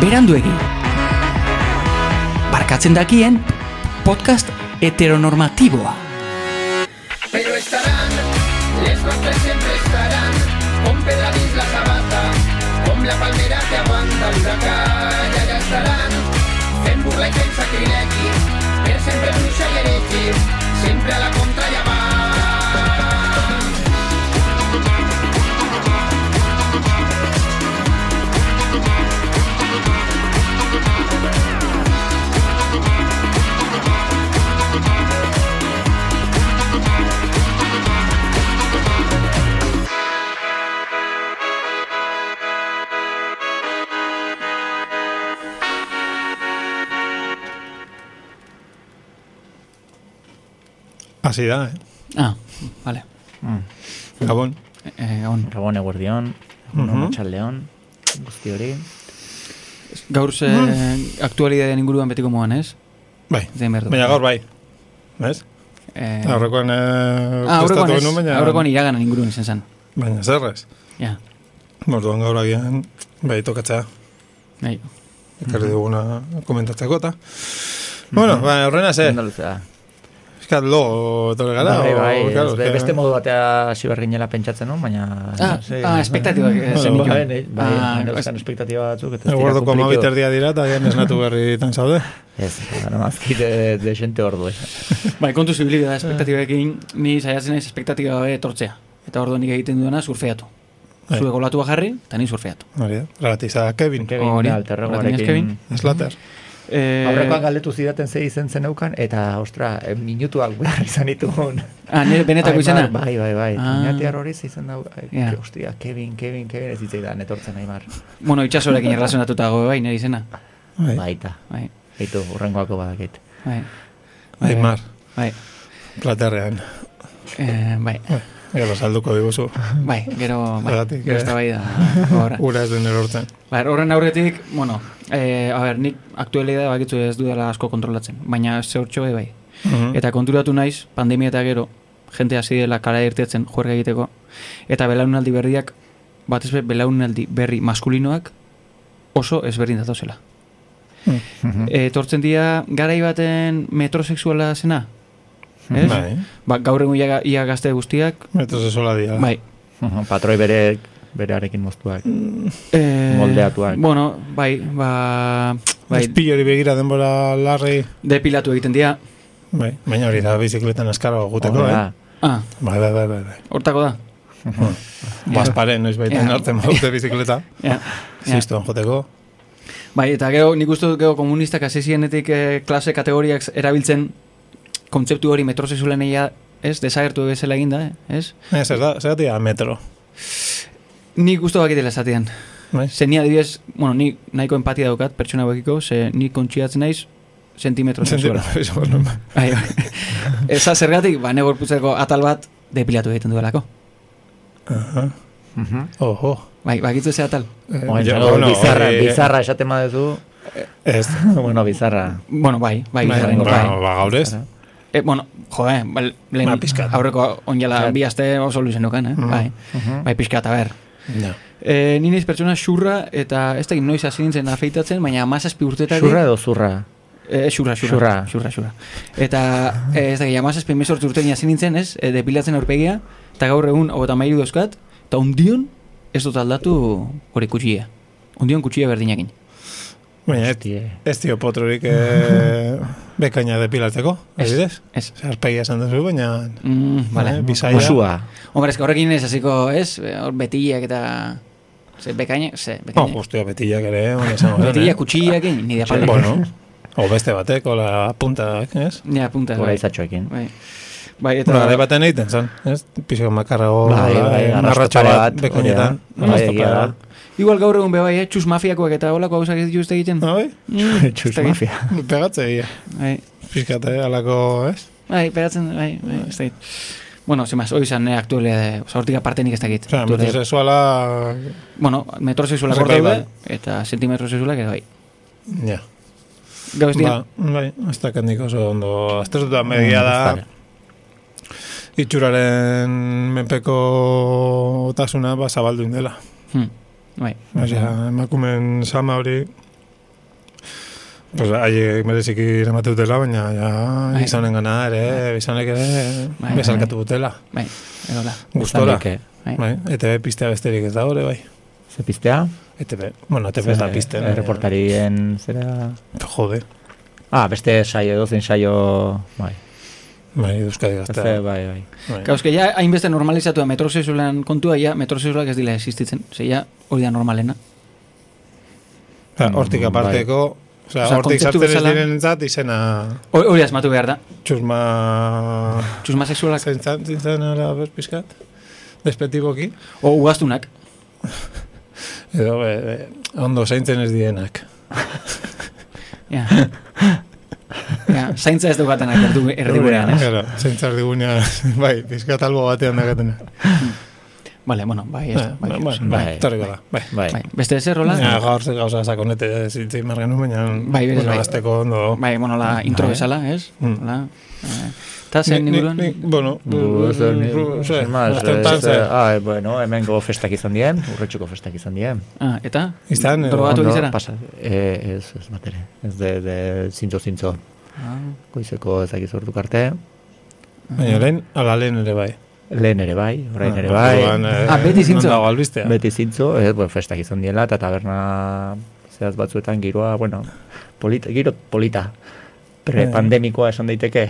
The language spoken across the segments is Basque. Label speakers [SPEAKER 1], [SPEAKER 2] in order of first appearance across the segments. [SPEAKER 1] beranduegi. Barkatzen dakien, podcast heteronormatiboa.
[SPEAKER 2] Pero estarán, lesbos que siempre estarán, con Pedradis la sabata, con la palmera que aguanta huracán, i allà estaran, fent burla i fent sacrilegi, per sempre bruixa i heretge, sempre a la contra i avant.
[SPEAKER 3] Hasi da, eh?
[SPEAKER 1] Ah, vale.
[SPEAKER 3] Gabon.
[SPEAKER 1] E, on.
[SPEAKER 4] Gabon eguerdion, egun
[SPEAKER 3] Mhm.
[SPEAKER 4] on, txaldeon, guzti hori.
[SPEAKER 1] Gaur ze aktualidadean inguruan betiko moan, ez?
[SPEAKER 3] Bai.
[SPEAKER 1] Zein behar du.
[SPEAKER 3] Baina gaur bai. Ez?
[SPEAKER 1] E,
[SPEAKER 3] Aurrekoan eh,
[SPEAKER 1] ah,
[SPEAKER 3] prestatu
[SPEAKER 1] aurrekoan ez,
[SPEAKER 3] genuen, baina...
[SPEAKER 1] aurrekoan iraganan inguruan izan zen.
[SPEAKER 3] Baina zerrez.
[SPEAKER 1] Ja,
[SPEAKER 3] Morduan gaur agian, bai, tokatzea.
[SPEAKER 1] nahi.
[SPEAKER 3] Ekarri duguna komentatzeko eta. Bueno, baina horrena ze,
[SPEAKER 4] Andaluzea.
[SPEAKER 3] eskat lo etorri gara.
[SPEAKER 4] bai,
[SPEAKER 3] Eh. o,
[SPEAKER 4] bai, ez
[SPEAKER 3] claro,
[SPEAKER 4] be-
[SPEAKER 3] que-
[SPEAKER 4] beste modu batea hasi behar ginela pentsatzen, no? baina...
[SPEAKER 1] Ah,
[SPEAKER 4] ze-
[SPEAKER 1] ah, espektatibak, eh,
[SPEAKER 4] Bueno,
[SPEAKER 3] zenituen.
[SPEAKER 4] Bai, nei- bai,
[SPEAKER 1] Ah,
[SPEAKER 4] Andaluzan
[SPEAKER 1] ez-
[SPEAKER 4] espektatiba batzuk. eta ez dira
[SPEAKER 3] Eguardoko
[SPEAKER 4] cumplitu.
[SPEAKER 3] amabiter dia dira, eta gian esnatu berri tan zaude.
[SPEAKER 4] Ez, gara mazkit de, de xente ordu. eh.
[SPEAKER 1] Bai, kontu zibilida da espektatibekin, ni saiatzen naiz espektatiba gabe etortzea. Eta orduan nik egiten duena surfeatu.
[SPEAKER 3] Bai.
[SPEAKER 1] Zure golatua jarri, eta ni surfeatu.
[SPEAKER 3] Hori da, relatiza Kevin.
[SPEAKER 4] Kevin
[SPEAKER 1] Hori,
[SPEAKER 4] da,
[SPEAKER 1] Martínez Kevin.
[SPEAKER 4] alterregoarekin.
[SPEAKER 3] Slater.
[SPEAKER 1] Eh,
[SPEAKER 4] Aurrekoan galdetu zidaten ze izen zen eukan, eta, ostra, eh, minutuak behar izan ditun.
[SPEAKER 1] Ah, nire benetako
[SPEAKER 4] Ai,
[SPEAKER 1] izena?
[SPEAKER 4] Mar, Bai, bai, bai.
[SPEAKER 1] Ah.
[SPEAKER 4] Iñatiar hori ze izen dau. ai,
[SPEAKER 1] Ja.
[SPEAKER 4] ke- Ostia, Kevin, Kevin, Kevin ez zitzaidan etortzen Aimar.
[SPEAKER 1] Bueno, itxasorekin erlazionatuta gobe bai, nire izena.
[SPEAKER 3] Bai.
[SPEAKER 4] Baita.
[SPEAKER 1] Bai,
[SPEAKER 4] Eitu, urrengoako badakit.
[SPEAKER 1] bai.
[SPEAKER 3] Aimar,
[SPEAKER 1] Bai,
[SPEAKER 3] platerrean.
[SPEAKER 1] eh, bai,
[SPEAKER 3] Gero salduko diguzu.
[SPEAKER 1] bai, gero, bai,
[SPEAKER 3] Zergatik,
[SPEAKER 1] gero
[SPEAKER 3] eh?
[SPEAKER 1] ez da bai da. gogorra.
[SPEAKER 3] Ura ez den erortzen.
[SPEAKER 1] Bai, horren aurretik, bueno, eh, a ber, nik aktualidadea bakitzu ez dudala asko kontrolatzen, baina zehortxo bai bai.
[SPEAKER 3] Mhm.
[SPEAKER 1] Eta konturatu naiz, pandemia eta gero, jente hasi dela kala irtetzen juerga egiteko, eta belaunaldi berriak, batez be, belaunaldi berri maskulinoak oso ezberdin datozela.
[SPEAKER 3] Mm.
[SPEAKER 1] E, tortzen dira, garai baten metrosexuala zena? Ez?
[SPEAKER 3] Bai. Ah.
[SPEAKER 1] Ba, gaur egun ia, ia gazte guztiak,
[SPEAKER 3] Metrosesuala dira.
[SPEAKER 1] bai.
[SPEAKER 4] Patroi bere berearekin moztuak.
[SPEAKER 1] E,
[SPEAKER 4] Moldeatuak.
[SPEAKER 1] Bueno, bai, ba, bai,
[SPEAKER 3] Espilori begira denbora larri.
[SPEAKER 1] depilatu egiten dira.
[SPEAKER 3] Bai, baina hori da bizikletan eskara guteko,
[SPEAKER 4] Hori
[SPEAKER 3] eh?
[SPEAKER 4] da.
[SPEAKER 1] Ah,
[SPEAKER 3] Bai, bai, bai, bai. bai.
[SPEAKER 1] hortako da.
[SPEAKER 3] Bazparen, noiz baiten
[SPEAKER 1] Ja.
[SPEAKER 3] hartzen badute bizikleta.
[SPEAKER 1] Ja, ja.
[SPEAKER 3] Zistuan joteko.
[SPEAKER 1] Bai, eta gero nik uste dut gero komunistak hasi zienetik eh, klase kategoriak erabiltzen kontzeptu hori metrosexualeneia ez, desagertu bezala eginda, eh, ez?
[SPEAKER 3] Eh, zer da, zer da metro.
[SPEAKER 1] Nik uste bakitela esatean.
[SPEAKER 3] Bai?
[SPEAKER 1] Ze ni adibidez, bueno, ni nahiko empatia daukat pertsona hauekiko, ze ni kontsiatzen naiz sentimetro
[SPEAKER 3] Sentitu,
[SPEAKER 1] sexuala. Bai, bai. Eza zergatik, ba, ne gorputzeko atal bat depilatu egiten duelako.
[SPEAKER 3] Aha. Oho.
[SPEAKER 1] Bai, bakitzu ze atal.
[SPEAKER 3] Eh,
[SPEAKER 4] Mhm. Oen,
[SPEAKER 3] ja,
[SPEAKER 4] zango,
[SPEAKER 3] bueno, eh,
[SPEAKER 4] bizarra,
[SPEAKER 3] hori-
[SPEAKER 4] bizarra esaten badezu.
[SPEAKER 3] Ez.
[SPEAKER 4] Bueno, bizarra.
[SPEAKER 1] Bueno, bai, bai,
[SPEAKER 3] Bai,
[SPEAKER 1] bizarrengo, bai.
[SPEAKER 3] bueno, ba, gaur ez.
[SPEAKER 1] Eh, bueno, jo, eh, ba, lehen
[SPEAKER 3] Ba, pixkat.
[SPEAKER 1] aurreko onjala
[SPEAKER 4] Claro.
[SPEAKER 1] bi aste oso luzenukan, eh? Bai, bai pixka eta ber.
[SPEAKER 3] Ja.
[SPEAKER 1] E, ni naiz pertsona xurra eta ez da noiz hasi nintzen afeitatzen, baina amazazpi urtetatik...
[SPEAKER 4] Xurra edo zurra.
[SPEAKER 1] E, xurra, xurra, xurra,
[SPEAKER 4] Xurra.
[SPEAKER 1] xurra, Eta eh, ez da, amazazpi mezortzi urtein hasi nintzen, ez? E, depilatzen aurpegia, eta gaur egun hogeta mairu dauzkat, eta ondion ez dut aldatu hori kutsia. Ondion kutsia berdinakin.
[SPEAKER 3] Baina ez,
[SPEAKER 4] Hostie.
[SPEAKER 3] ez dio potrorik eh, bekaina depilatzeko. Ez direz?
[SPEAKER 1] Ez.
[SPEAKER 3] Arpegia esan duzu, baina...
[SPEAKER 1] Mm, vale.
[SPEAKER 3] Eh, bizaia.
[SPEAKER 4] Musua.
[SPEAKER 1] Hombre, ez horrekin ez hasiko, ez? Eh, Hor betiak eta... Ze, bekaina, ze,
[SPEAKER 3] Oh,
[SPEAKER 1] bekaina.
[SPEAKER 3] hostia, betillak ere, hona esango zen, eh? Bai.
[SPEAKER 1] betiak, kutsiakin, nire
[SPEAKER 4] bai.
[SPEAKER 1] apalde.
[SPEAKER 3] Bueno, o beste batek, ola puntak, ez?
[SPEAKER 1] Ja, punta.
[SPEAKER 4] Gora
[SPEAKER 1] Bai,
[SPEAKER 4] izatxoekin.
[SPEAKER 1] bai. bai
[SPEAKER 3] Eta
[SPEAKER 1] eta...
[SPEAKER 3] gara baten egiten zen, ez? Pixo makarrago,
[SPEAKER 4] Bai, bai,
[SPEAKER 3] marratxo
[SPEAKER 4] arrastopare
[SPEAKER 3] eh, bat,
[SPEAKER 4] bat,
[SPEAKER 3] bekainetan.
[SPEAKER 4] hori da. Bai,
[SPEAKER 3] Arrastopare
[SPEAKER 4] egia da.
[SPEAKER 3] bat.
[SPEAKER 1] Igual gaur egun bebai, eh? Txus mafiakoak eta holako gauzak ez dituzte egiten.
[SPEAKER 3] Ah, bai?
[SPEAKER 1] Mm, ez
[SPEAKER 4] Txus
[SPEAKER 1] dakit.
[SPEAKER 4] mafia.
[SPEAKER 3] Pegatze egia.
[SPEAKER 1] Bai,
[SPEAKER 3] Piskate, alako, ez?
[SPEAKER 1] bai, peratzen, bai, bai, ez dakit. Bueno, zemaz, hoi zan, eh, aktualea, oza, hortik apartenik ez dakit.
[SPEAKER 3] Osea,
[SPEAKER 1] Aktualea-
[SPEAKER 3] metrosexuala...
[SPEAKER 1] bueno, metrosexuala
[SPEAKER 3] Oso
[SPEAKER 1] gorte
[SPEAKER 3] kaidan.
[SPEAKER 1] eta sentimetrosexuala gero bai.
[SPEAKER 3] Ja.
[SPEAKER 1] Gau ez dira,
[SPEAKER 3] Ba, bai, ez dakit nik oso ondo. Aztertuta
[SPEAKER 4] Mm,
[SPEAKER 3] media da
[SPEAKER 4] Bizarra.
[SPEAKER 3] itxuraren menpeko tasuna ba, zabaldu indela.
[SPEAKER 1] hm, bai,
[SPEAKER 3] Osea, emakumen sama hori Pues haiek mereziki eramate dutela, baina ja,
[SPEAKER 1] Bai.
[SPEAKER 3] izanen gana ere, izanek ere,
[SPEAKER 1] Bai, bai.
[SPEAKER 3] bezalkatu dutela.
[SPEAKER 1] Bai, edo la.
[SPEAKER 3] Gustora.
[SPEAKER 4] Izanik, eh,
[SPEAKER 1] Bai.
[SPEAKER 3] Bai, ETB piztea besterik ez da hori, bai.
[SPEAKER 4] Ze piztea?
[SPEAKER 3] ETB, bueno, ETB ez da
[SPEAKER 4] Ze-
[SPEAKER 3] pizten.
[SPEAKER 4] eh,
[SPEAKER 3] baina-
[SPEAKER 4] Reportarien, zera...
[SPEAKER 3] Jode,
[SPEAKER 4] Ah, beste saio, edozein saio... Bai,
[SPEAKER 3] bai, Euskadi
[SPEAKER 4] Ze,
[SPEAKER 3] gaztea.
[SPEAKER 4] bai, bai.
[SPEAKER 3] Bai.
[SPEAKER 1] Gauz, que ja hainbeste normalizatu da metrosexualan kontua, ja metrosexualak ez dila existitzen. Ze ja, hori da normalena.
[SPEAKER 3] Osea, hortik
[SPEAKER 4] Mm, bai.
[SPEAKER 3] aparteko, osea,
[SPEAKER 1] Osea,
[SPEAKER 3] hortik
[SPEAKER 1] kontzeptu
[SPEAKER 3] sartzen ez
[SPEAKER 1] bezala-
[SPEAKER 3] direnentzat izena
[SPEAKER 1] Hor- Hori asmatu behar da.
[SPEAKER 3] txusma...
[SPEAKER 1] Txusma sexualak,
[SPEAKER 3] Zain zan, zin zan, ara, berpizkat? Despetiboki.
[SPEAKER 1] o ugaztunak.
[SPEAKER 3] Edo, e, e, ondo zaintzen ez dienak.
[SPEAKER 1] Ja. ja, zaintza ez daukatenak erdu, erdigurean, ez?
[SPEAKER 3] Claro, zaintza erdigunean, bai, pizkat albo batean dagatena.
[SPEAKER 1] Vale, bueno, bai, ez.
[SPEAKER 3] Bai,
[SPEAKER 1] Bai,
[SPEAKER 3] bai, bai,
[SPEAKER 4] bai.
[SPEAKER 3] torriko da, bai.
[SPEAKER 4] Bai,
[SPEAKER 1] bai. Beste ez errola?
[SPEAKER 3] Ja, gaur ze gauza sakonete zintzein margen nuen, baina
[SPEAKER 1] Bai, berez,
[SPEAKER 3] bueno,
[SPEAKER 1] bai.
[SPEAKER 3] azteko ondo.
[SPEAKER 1] Bai, bueno, la intro
[SPEAKER 4] Bai.
[SPEAKER 1] bezala, ez?
[SPEAKER 3] Oh. Ah, Mm.
[SPEAKER 1] Hola. eh, Eta zen
[SPEAKER 3] Ni- ni-
[SPEAKER 1] inguruan?
[SPEAKER 3] ni- Bueno,
[SPEAKER 4] Bu, ez da, ni-
[SPEAKER 3] Mm, ze,
[SPEAKER 4] ez más,
[SPEAKER 3] azken
[SPEAKER 4] ez
[SPEAKER 3] tan,
[SPEAKER 4] da-
[SPEAKER 3] ze.
[SPEAKER 4] Ah, bueno, hemengo festak izan dien, urretxuko festak izan dien.
[SPEAKER 1] Ah, eta?
[SPEAKER 3] Izan, eh,
[SPEAKER 1] Drogatu
[SPEAKER 4] Ondo,
[SPEAKER 1] egizera?
[SPEAKER 4] Pasa, eh, ez, ez bat ere. Ez de, de zintzo zintzo.
[SPEAKER 1] Ah,
[SPEAKER 4] Goizeko ezakiz orduk arte.
[SPEAKER 3] Baina lehen, ala lehen ere bai.
[SPEAKER 4] Lehen ere bai, orain ere
[SPEAKER 3] Orduan,
[SPEAKER 4] bai.
[SPEAKER 3] eh,
[SPEAKER 1] Ah, beti zintzo.
[SPEAKER 3] non Dago albistea.
[SPEAKER 4] Beti zintzo, eh, bueno, festak izan diela, eta taberna zehaz batzuetan giroa, bueno, polita, giro polita.
[SPEAKER 3] Eh.
[SPEAKER 4] Prepandemikoa esan daiteke.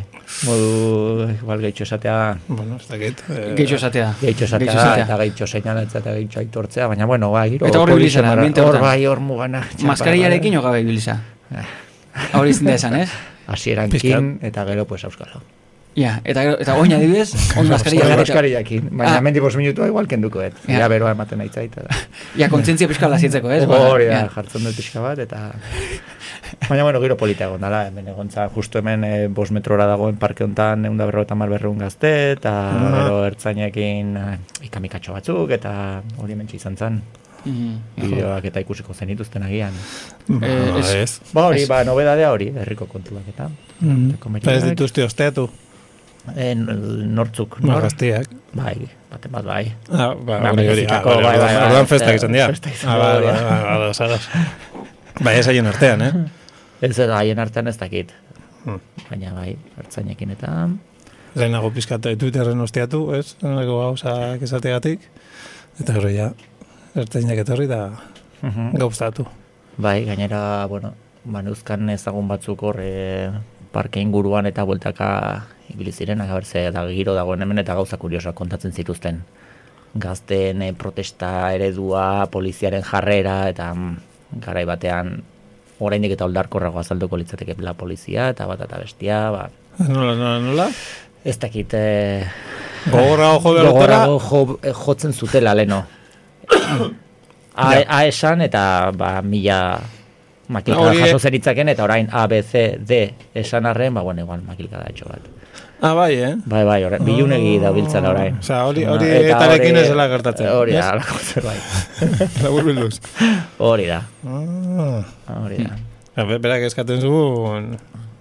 [SPEAKER 4] Modu, igual gehitxo esatea,
[SPEAKER 3] Bueno, ez dakit. eh,
[SPEAKER 1] Geixo esatea.
[SPEAKER 4] Gehitxo esatea,
[SPEAKER 1] Gehitxo esatea.
[SPEAKER 4] eta gehitxo seinalatzea, eta gehitxo aitortzea, baina bueno, ba, giro.
[SPEAKER 1] Eta hor ibili
[SPEAKER 4] polixamara-
[SPEAKER 1] zara, ambiente
[SPEAKER 4] Hor
[SPEAKER 1] hortan.
[SPEAKER 4] bai, hor mugana. txapa,
[SPEAKER 1] Maskariarekin
[SPEAKER 4] bai.
[SPEAKER 1] o gabe ibiliza? Hori izin da esan, ez?
[SPEAKER 4] Hasierankin, eta gero, pues, auskalo.
[SPEAKER 1] Ja, eta, gero- eta oin adibidez, on maskarilla
[SPEAKER 4] Euskal
[SPEAKER 1] jarrita.
[SPEAKER 4] Euskariakin, baina
[SPEAKER 1] Ah.
[SPEAKER 4] mendi bost minutua igual kenduko, et.
[SPEAKER 1] Ja.
[SPEAKER 4] Ja, beroa ematen aitzait. eta-
[SPEAKER 1] Ja, kontzientzia pixka lasietzeko, ez?
[SPEAKER 4] Hori da,
[SPEAKER 1] Ja.
[SPEAKER 4] jartzen dut pixka bat, eta... Baina, bueno, giro polita egon dala, hemen egon za, justu hemen e, bost metrora dagoen parke honetan, egun da berrogeita hamar berreun gazte, eta
[SPEAKER 1] Ah.
[SPEAKER 3] Aha.
[SPEAKER 4] gero ertzainekin eh, ikamikatxo batzuk, eta hori mentxe izan zen,
[SPEAKER 1] Mhm.
[SPEAKER 4] bideoak eta ikusiko zenituzten agian.
[SPEAKER 3] ba,
[SPEAKER 1] Eh, ez-
[SPEAKER 3] ez. Mm.
[SPEAKER 4] Ba hori, ba, nobedadea hori, herriko kontuak eta. Eta komediak.
[SPEAKER 3] Ba, Ez dituzte osteatu,
[SPEAKER 4] Eh, n- nortzuk,
[SPEAKER 3] ba, gaztiak.
[SPEAKER 4] Bai, baten bat bai.
[SPEAKER 3] Ah, ba,
[SPEAKER 4] Ba,
[SPEAKER 3] hori, hori, ah,
[SPEAKER 4] merezitako,
[SPEAKER 3] hori,
[SPEAKER 4] bai, bai, bai,
[SPEAKER 3] orduan
[SPEAKER 4] bai,
[SPEAKER 3] festak izan dira.
[SPEAKER 4] festak izan
[SPEAKER 3] Ah, ba,
[SPEAKER 4] dira.
[SPEAKER 3] ba, ba, ados, ados. Bai, ez haien artean, eh?
[SPEAKER 4] Ez da, haien artean ez dakit.
[SPEAKER 3] Hmm.
[SPEAKER 4] Baina bai, ertzainekin eta...
[SPEAKER 3] Lehenago pizkat eh, Twitterren osteatu, ez? Lehenako gauzak esategatik. Eta gero ja, ertzainak etorri da Mhm. gauztatu.
[SPEAKER 4] Bai, gainera, bueno, manuzkan ezagun batzuk hor eh, parke inguruan eta bueltaka ibili zirenak, aber ze da giro dagoen hemen eta gauza kuriosoak kontatzen zituzten. Gazten eh, protesta eredua, poliziaren jarrera eta mm, garai batean oraindik eta oldarkorrago azalduko litzateke la polizia eta bat eta bestia, ba,
[SPEAKER 3] Nola, nola, nola?
[SPEAKER 4] ez dakit eh,
[SPEAKER 3] Gogorra ojo behar
[SPEAKER 4] gogorago jo, eh, jotzen zutela leno. A, A esan eta ba, mila makilkada
[SPEAKER 3] Hori-
[SPEAKER 4] jaso zeritzaken eta orain A, B, C, D esan arren, ba, bueno, igual makilkada etxo bat.
[SPEAKER 3] Ah, bai, eh?
[SPEAKER 4] Bai, bai, orain, bilunegi da biltzala orain.
[SPEAKER 3] Osea, hori-
[SPEAKER 4] Eta
[SPEAKER 3] hori
[SPEAKER 4] hori- Eh,
[SPEAKER 3] etarekin ez dela gertatzen,
[SPEAKER 4] Hori
[SPEAKER 3] ez?
[SPEAKER 4] da, halako zerbait.
[SPEAKER 3] Labur bilduz.
[SPEAKER 4] hori da,
[SPEAKER 3] Ah,
[SPEAKER 4] hori da.
[SPEAKER 3] Be- berak eskaten zuen,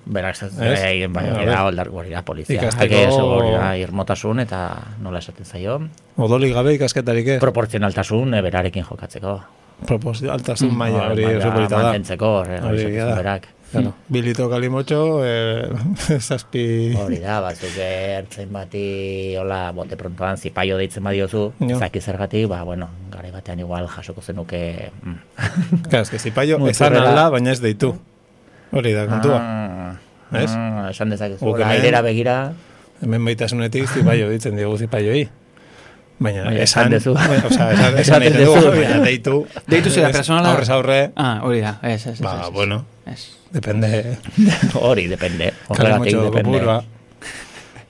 [SPEAKER 4] Berak esaten
[SPEAKER 3] Ez?
[SPEAKER 4] zuen, bai, hori
[SPEAKER 3] A
[SPEAKER 4] da,
[SPEAKER 3] ber.
[SPEAKER 4] oldar, hori da, polizia.
[SPEAKER 3] Ikasteko-
[SPEAKER 4] Ikasteko... Hori da, irmotasun eta nola esaten zaio.
[SPEAKER 3] odoli gabe ikasketarik ez.
[SPEAKER 4] Proportzionaltasun eh, berarekin jokatzeko.
[SPEAKER 3] Propos, altasun maila
[SPEAKER 4] Hor,
[SPEAKER 3] hori
[SPEAKER 4] maila
[SPEAKER 3] errepolita da.
[SPEAKER 4] Mantentzeko, hori,
[SPEAKER 3] Hori
[SPEAKER 4] hori
[SPEAKER 3] da.
[SPEAKER 4] da. Berak.
[SPEAKER 3] Claro. Bilito kalimotxo, eh, zazpi...
[SPEAKER 4] Hori da, batzuk ertzen bati, hola, bote prontoan zipaio deitzen badiozu,
[SPEAKER 3] Jo.
[SPEAKER 4] zaki zergatik, ba, bueno, gare batean igual jasoko zenuke... Mm.
[SPEAKER 3] Claro, eske zipaio
[SPEAKER 4] Muturrera.
[SPEAKER 3] ezan alda, baina ez deitu. Hori da kontua.
[SPEAKER 4] Ah,
[SPEAKER 3] Ez?
[SPEAKER 4] ah, esan dezakezu,
[SPEAKER 3] Guk
[SPEAKER 4] hola,
[SPEAKER 3] hemen-
[SPEAKER 4] airera begira,
[SPEAKER 3] Hemen baitasunetik zipaio ditzen diogu zipaioi. Baina
[SPEAKER 4] Baina
[SPEAKER 3] esan,
[SPEAKER 4] esan dezu.
[SPEAKER 3] baina, osea, esan,
[SPEAKER 4] Esaten
[SPEAKER 3] esan egiten dugu,
[SPEAKER 4] dezu.
[SPEAKER 3] baina deitu.
[SPEAKER 1] Deitu zera
[SPEAKER 3] Ez,
[SPEAKER 1] personala?
[SPEAKER 3] Aurrez aurre,
[SPEAKER 1] Ah, hori da, ez, ez, ez.
[SPEAKER 3] ba,
[SPEAKER 1] ez, ez.
[SPEAKER 3] bueno,
[SPEAKER 1] Ez.
[SPEAKER 3] depende.
[SPEAKER 4] hori, depende. Horregatik,
[SPEAKER 3] Kalimotxo
[SPEAKER 4] depende.
[SPEAKER 3] kopurua.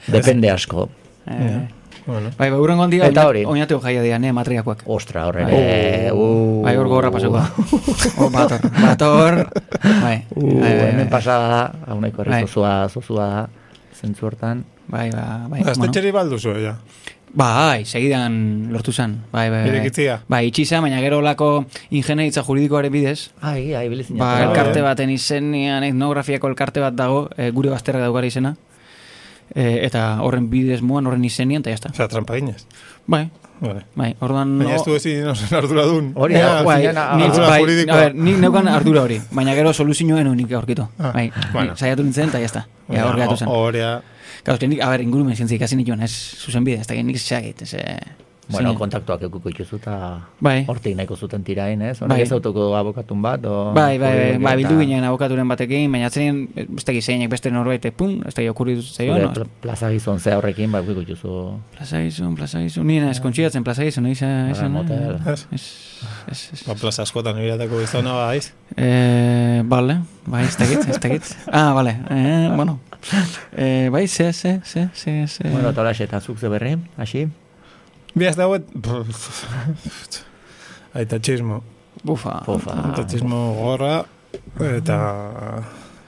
[SPEAKER 4] Depende asko.
[SPEAKER 1] Eh,
[SPEAKER 3] Bueno.
[SPEAKER 1] Bai, ba, urrengo handia,
[SPEAKER 4] Eta hori.
[SPEAKER 1] oinateo jaia dira, ne, matriakoak.
[SPEAKER 4] Ostra, horre ere. uh,
[SPEAKER 1] Bai, hor gorra pasako. Oh, bator, bator. Bai,
[SPEAKER 4] Uh,
[SPEAKER 1] bai, bai,
[SPEAKER 4] hemen
[SPEAKER 1] bai,
[SPEAKER 4] pasada da, hauneko
[SPEAKER 1] Bai.
[SPEAKER 4] herri zozua, zozua da, zentzu hortan.
[SPEAKER 1] bai, ba, bai,
[SPEAKER 3] Azte
[SPEAKER 1] bueno.
[SPEAKER 3] txeri balduzu, ja.
[SPEAKER 1] Bai, segidan lortu zen. Bai, bai, bai.
[SPEAKER 3] Irekitzea.
[SPEAKER 1] Bai, itxi zen, baina gero olako ingenieritza juridikoaren bidez.
[SPEAKER 4] Ah, egia, ibili zinen.
[SPEAKER 1] Ba,
[SPEAKER 3] Ah,
[SPEAKER 1] elkarte
[SPEAKER 3] bai.
[SPEAKER 1] baten izenean, etnografiako elkarte bat dago, eh, gure bazterra daukara izena. Eh, eta horren bidez moan, horren izenean, eta jazta.
[SPEAKER 3] Osa, trampa ginez.
[SPEAKER 1] Bai,
[SPEAKER 3] Vale.
[SPEAKER 1] Bai, orduan...
[SPEAKER 3] Baina ez
[SPEAKER 1] o-
[SPEAKER 3] du ezin ozen arduradun.
[SPEAKER 4] Hori da,
[SPEAKER 3] Ja,
[SPEAKER 4] guai,
[SPEAKER 1] Bai,
[SPEAKER 3] zinen
[SPEAKER 4] a-
[SPEAKER 1] nik,
[SPEAKER 3] ardura
[SPEAKER 1] bai,
[SPEAKER 3] juridikoa.
[SPEAKER 1] a ber, nik neukan ardura hori, baina gero soluzioen unik aurkitu.
[SPEAKER 3] Ah,
[SPEAKER 1] bai,
[SPEAKER 3] bueno.
[SPEAKER 1] ni saiatu nintzen, eta jazta. Ja, hor gehatu zen.
[SPEAKER 3] O- Horea,
[SPEAKER 1] Gauz, nik, a ber, ingurumen zientzik hasi nituen, ez zuzen bide, ez da nik zagit, ez... eh,
[SPEAKER 4] Bueno,
[SPEAKER 1] zein-
[SPEAKER 4] kontaktuak ekuko ituzu eta
[SPEAKER 1] Bai.
[SPEAKER 4] hortik nahiko zuten tirain, ez?
[SPEAKER 1] Bai.
[SPEAKER 4] Honek ez autoko abokatun bat, o...
[SPEAKER 1] Bai, bai, bai, bai, bildu
[SPEAKER 4] eta
[SPEAKER 1] ginen abokaturen batekin, baina atzerien, ez da zeinek beste norbait, pum, ez da okurritu zaio,
[SPEAKER 4] zure
[SPEAKER 1] no?
[SPEAKER 4] pla- Plaza gizon zea horrekin, bai, ekuko ituzu...
[SPEAKER 1] Plaza gizun, plaza gizun, nien eskontsidatzen plaza gizun, eiza, eiza,
[SPEAKER 4] Ah. motel.
[SPEAKER 3] Ez.
[SPEAKER 1] ez, ez, ez,
[SPEAKER 3] ba, plaza askotan ibiratako gizona, ba, aiz.
[SPEAKER 1] Eh, bale, bai, ez dakit, ez dakit. Ah, bale, eh, bueno. Eh, bai, ze, ze, ze, ze, ze.
[SPEAKER 4] Bueno, eta hola, eta zuk ze berri, hasi?
[SPEAKER 3] Bi ez dauet... Aita txismo.
[SPEAKER 1] Bufa.
[SPEAKER 4] Pofa.
[SPEAKER 3] Aita txismo gorra, eta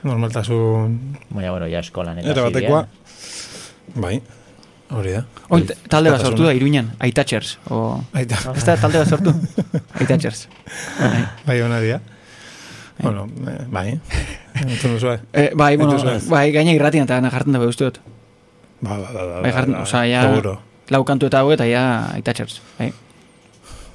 [SPEAKER 3] normaltasun
[SPEAKER 4] Baina, bueno, ja eskolan eta...
[SPEAKER 3] era
[SPEAKER 4] hasi
[SPEAKER 3] batekoa.
[SPEAKER 4] dira.
[SPEAKER 3] Bai, hori da.
[SPEAKER 1] Oin, t- talde bat sortu da, iruñan, aitatxers, o...
[SPEAKER 3] Aita,
[SPEAKER 1] Ez da, talde bat sortu, aitatxers.
[SPEAKER 3] bai hona dira. Bueno, eh, bai. Entzun duzue.
[SPEAKER 1] Eh, bai, bueno,
[SPEAKER 3] Entonces, ez.
[SPEAKER 1] bai, gaina irratian eta jartzen da uste dut.
[SPEAKER 3] Ba, ba, ba, ba.
[SPEAKER 1] Bai, jartzen, oza, ja,
[SPEAKER 3] Seguro.
[SPEAKER 1] lau kantu eta hau eta ja aitatxers. Bai,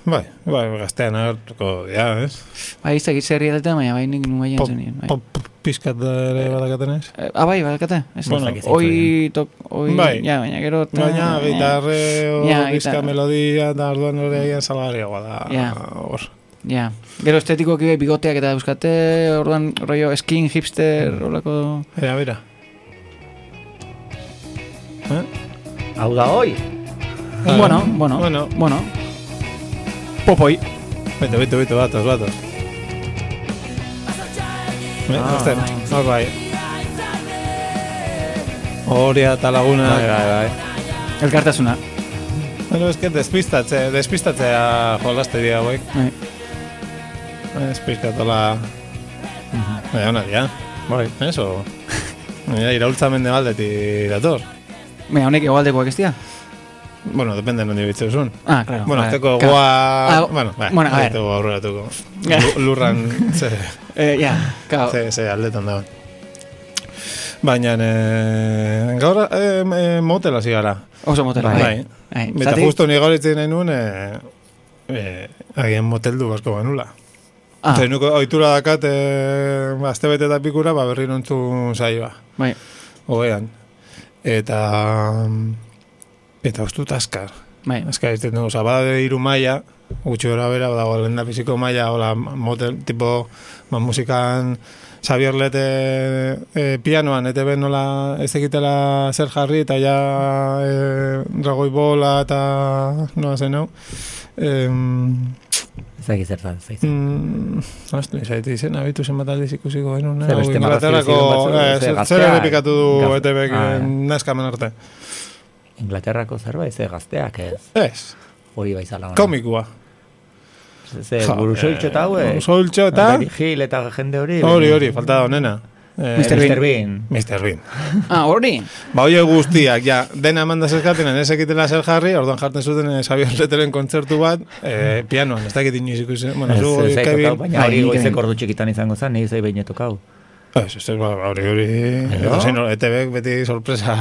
[SPEAKER 3] Bai, bai, gaztean agertuko, ja, ez?
[SPEAKER 1] bai, ez dakit zerri eta baina bai nik nuen
[SPEAKER 3] Pop,
[SPEAKER 1] baian zenien. Bai.
[SPEAKER 3] pop, pop, pizkat da ere badakatenez.
[SPEAKER 1] Eh, Ah, bai, badakate? Ez
[SPEAKER 3] Bueno,
[SPEAKER 1] ez dakit oi, tok, oi,
[SPEAKER 3] Bai.
[SPEAKER 1] ja, baina gero... eh, eta-
[SPEAKER 3] Baina, gitarreo,
[SPEAKER 1] Ja,
[SPEAKER 3] bizka
[SPEAKER 1] Ah, gitarra.
[SPEAKER 3] melodia, eta orduan hori egin salgarriagoa da.
[SPEAKER 1] Ja.
[SPEAKER 3] Hor.
[SPEAKER 1] Ja, gero estetikoak bai bigoteak eta euskate, orduan rollo skin, hipster, horlako...
[SPEAKER 3] Bera, bera. Eh?
[SPEAKER 4] Hau da, hoi!
[SPEAKER 3] Ah,
[SPEAKER 1] Bueno, bueno,
[SPEAKER 3] Bueno,
[SPEAKER 1] bueno, bueno. Popoi.
[SPEAKER 3] bete, bete, bete, batoz, batoz.
[SPEAKER 1] Ah.
[SPEAKER 3] Eh, Azten, hor bai. Horia eta laguna.
[SPEAKER 4] Bai, bai, bai.
[SPEAKER 1] Elkartasuna.
[SPEAKER 3] Bueno, eske despistatze, despistatzea jolaste dira hauek.
[SPEAKER 1] Bai.
[SPEAKER 3] Ez pizkatola...
[SPEAKER 1] Mhm.
[SPEAKER 3] Baina hona dira. Bai. Eso. Baina iraultza mende baldetik dator.
[SPEAKER 1] Mira, honek egualdekoak ez dira?
[SPEAKER 3] Bueno, depende nondi bitzeuzun.
[SPEAKER 1] Ah, claro.
[SPEAKER 3] Bueno,
[SPEAKER 1] vale.
[SPEAKER 3] azteko
[SPEAKER 1] Claro.
[SPEAKER 3] goa...
[SPEAKER 1] Ah,
[SPEAKER 3] Bueno, bai,
[SPEAKER 1] bueno, a
[SPEAKER 3] ez
[SPEAKER 1] ver.
[SPEAKER 3] dugu aurreratuko.
[SPEAKER 1] Ja.
[SPEAKER 3] Lu- Lurran, ze,
[SPEAKER 1] Eh, ja, claro.
[SPEAKER 3] ze, ze aldetan dago. Baina, eh, gaur eh, eh, motel hasi gara.
[SPEAKER 1] Oso motela.
[SPEAKER 3] Bai.
[SPEAKER 1] Bai. Bai.
[SPEAKER 3] Eta
[SPEAKER 1] Zati?
[SPEAKER 3] justo ni gaur itzen nahi nuen, eh, eh, agian moteldu basko banula. Ah.
[SPEAKER 1] Ah,
[SPEAKER 3] Zenuko oitura dakat, eh, azte bete eta pikura, ba, berri nontzun saioa.
[SPEAKER 1] bai.
[SPEAKER 3] Ogean. Eta... Eta ustut askar.
[SPEAKER 1] Bai.
[SPEAKER 3] Askar izten dugu. Osa, bada de iru maia, gutxi gora bera, badago lehen da biziko maia, hola, motel, tipo, ba, musikan, Xavier Lete e, pianoan, eta ben nola ez ekitela zer jarri, eta ja e, dragoi bola, eta noa zen hau. Em,
[SPEAKER 4] Ez dakit zer zan, zaiz.
[SPEAKER 3] Mm, Ostu, izaite izen, abitu zenbat aldiz ikusiko genuen,
[SPEAKER 4] Zer,
[SPEAKER 3] hau
[SPEAKER 4] beste
[SPEAKER 3] Inglaterrako,
[SPEAKER 4] marrazki
[SPEAKER 3] eh,
[SPEAKER 4] ziren batzuk, ze
[SPEAKER 3] zer zer
[SPEAKER 4] gaztea,
[SPEAKER 3] errepikatu du
[SPEAKER 4] gazte-
[SPEAKER 3] ETBek
[SPEAKER 4] Ah, eh.
[SPEAKER 3] naskamen arte.
[SPEAKER 4] Inglaterrako zerbait, ze gazteak ez.
[SPEAKER 3] Ez,
[SPEAKER 4] Hori baizala.
[SPEAKER 3] komikua.
[SPEAKER 4] Ze,
[SPEAKER 3] Ja,
[SPEAKER 4] burusoitxo eta hauek.
[SPEAKER 3] Soltxo eta,
[SPEAKER 4] Gil eta jende hori.
[SPEAKER 3] hori, hori, falta da honena. Eh,
[SPEAKER 1] Mr. Bean.
[SPEAKER 4] Mr. Bean.
[SPEAKER 3] Mr. Bean.
[SPEAKER 1] Ah, hori.
[SPEAKER 3] Ba, hoi guztiak, ja, dena mandaz eskatenen, ez ekitela zer jarri, orduan jartzen zuten eh, Xabier Leteren kontzertu bat, eh, pianoan, ez dakit inoiz ikusi, bueno,
[SPEAKER 4] Ez,
[SPEAKER 3] zu,
[SPEAKER 4] ez zait
[SPEAKER 3] Kevin-
[SPEAKER 4] tokau, baina hori
[SPEAKER 1] Bai, nik
[SPEAKER 4] goizeko
[SPEAKER 1] ere.
[SPEAKER 4] ordu txikitan izango zen, nahi zei behin etokau.
[SPEAKER 3] Ez, ez, ez, ba, hori hori... Edozein hor- ETBek beti sorpresa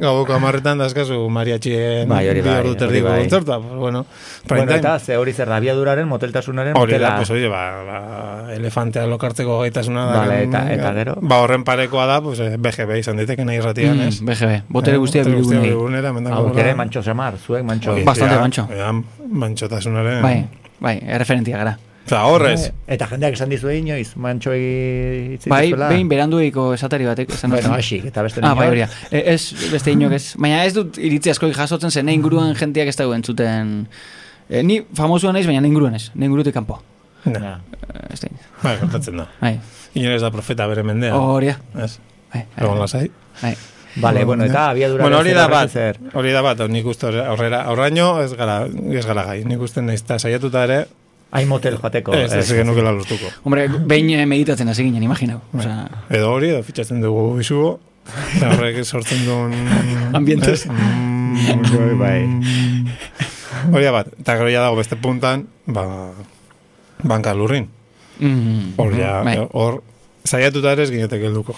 [SPEAKER 3] gaboko amarretan dazkazu mariatxien
[SPEAKER 4] Bai, hori bai,
[SPEAKER 3] ordu
[SPEAKER 4] hori
[SPEAKER 3] terdiko
[SPEAKER 4] bai.
[SPEAKER 3] kontzertua. Pues, bueno, prime
[SPEAKER 4] Bueno,
[SPEAKER 3] time.
[SPEAKER 4] eta ze hori zer da, abiaduraren, moteltasunaren,
[SPEAKER 3] Hori da,
[SPEAKER 4] motela.
[SPEAKER 3] pues, oie, ba, ba, elefantea lokartzeko gaitasuna da.
[SPEAKER 4] Vale,
[SPEAKER 3] kan-
[SPEAKER 4] eta- eta gero?
[SPEAKER 3] Ba, horren parekoa da, pues, eh, BGB izan diteke nahi irratian, ez?
[SPEAKER 1] Mm, BGB. Botere guztiak
[SPEAKER 3] Eh, botere guztiak
[SPEAKER 1] bilgunei.
[SPEAKER 3] bilgunera, mendako
[SPEAKER 4] Hau,
[SPEAKER 3] gora.
[SPEAKER 4] ere mantxo samar, zuek mantxo.
[SPEAKER 1] Ba- Bastante
[SPEAKER 3] Ja,
[SPEAKER 1] mantxo.
[SPEAKER 3] ja, Mantxotasunaren.
[SPEAKER 1] Bai, bai, erreferentia gara.
[SPEAKER 3] Osa, horrez.
[SPEAKER 4] Eh, Eta jendeak esan dizu inoiz, mantxo itzitu
[SPEAKER 1] Bai, behin beranduiko esatari batek. esan
[SPEAKER 4] Bueno,
[SPEAKER 1] zuen.
[SPEAKER 4] asik, eta beste
[SPEAKER 1] Ah, bai,
[SPEAKER 4] inor.
[SPEAKER 1] hori da. E, ez, beste inok ez. Baina ez dut iritzi asko jasotzen zen, ne inguruan jenteak ez dago entzuten... E, ni famosuan naiz, baina ne inguruan ez. Ne ingurutik kanpo.
[SPEAKER 3] Na,
[SPEAKER 4] Ja.
[SPEAKER 1] E, ez da.
[SPEAKER 3] Bai, gertatzen da.
[SPEAKER 1] Bai,
[SPEAKER 3] Inor ez da profeta bere mendea.
[SPEAKER 1] hori da.
[SPEAKER 3] Ez?
[SPEAKER 1] Bai,
[SPEAKER 3] Egon
[SPEAKER 1] bai,
[SPEAKER 3] lasai.
[SPEAKER 1] bai.
[SPEAKER 4] Vale, bueno, eta abiaduraren
[SPEAKER 3] Bueno, hori
[SPEAKER 4] zer
[SPEAKER 3] da
[SPEAKER 4] horrek
[SPEAKER 3] bat,
[SPEAKER 4] zer.
[SPEAKER 3] hori da bat, hau nik uste horre- aurrera, aurraino ez gara, ez gara gai, nik uste nahiz eta saiatuta ere,
[SPEAKER 4] Hain motel joateko.
[SPEAKER 3] ez, ez genukela lortuko.
[SPEAKER 1] Hombre, behin eh, meditatzen hasi ginen, imaginau.
[SPEAKER 3] Bai.
[SPEAKER 1] Osa,
[SPEAKER 3] Edo hori, edo fitxatzen dugu izugo, eta horrek sortzen duen...
[SPEAKER 1] Ambientes.
[SPEAKER 3] ez? Mm,
[SPEAKER 4] Bai, bai.
[SPEAKER 3] Hori da bat, eta gero ja dago beste puntan, ba, banka lurrin.
[SPEAKER 1] mm,
[SPEAKER 3] Hor, ja,
[SPEAKER 1] bai,
[SPEAKER 3] hor, saiatuta ere ez ginetek helduko.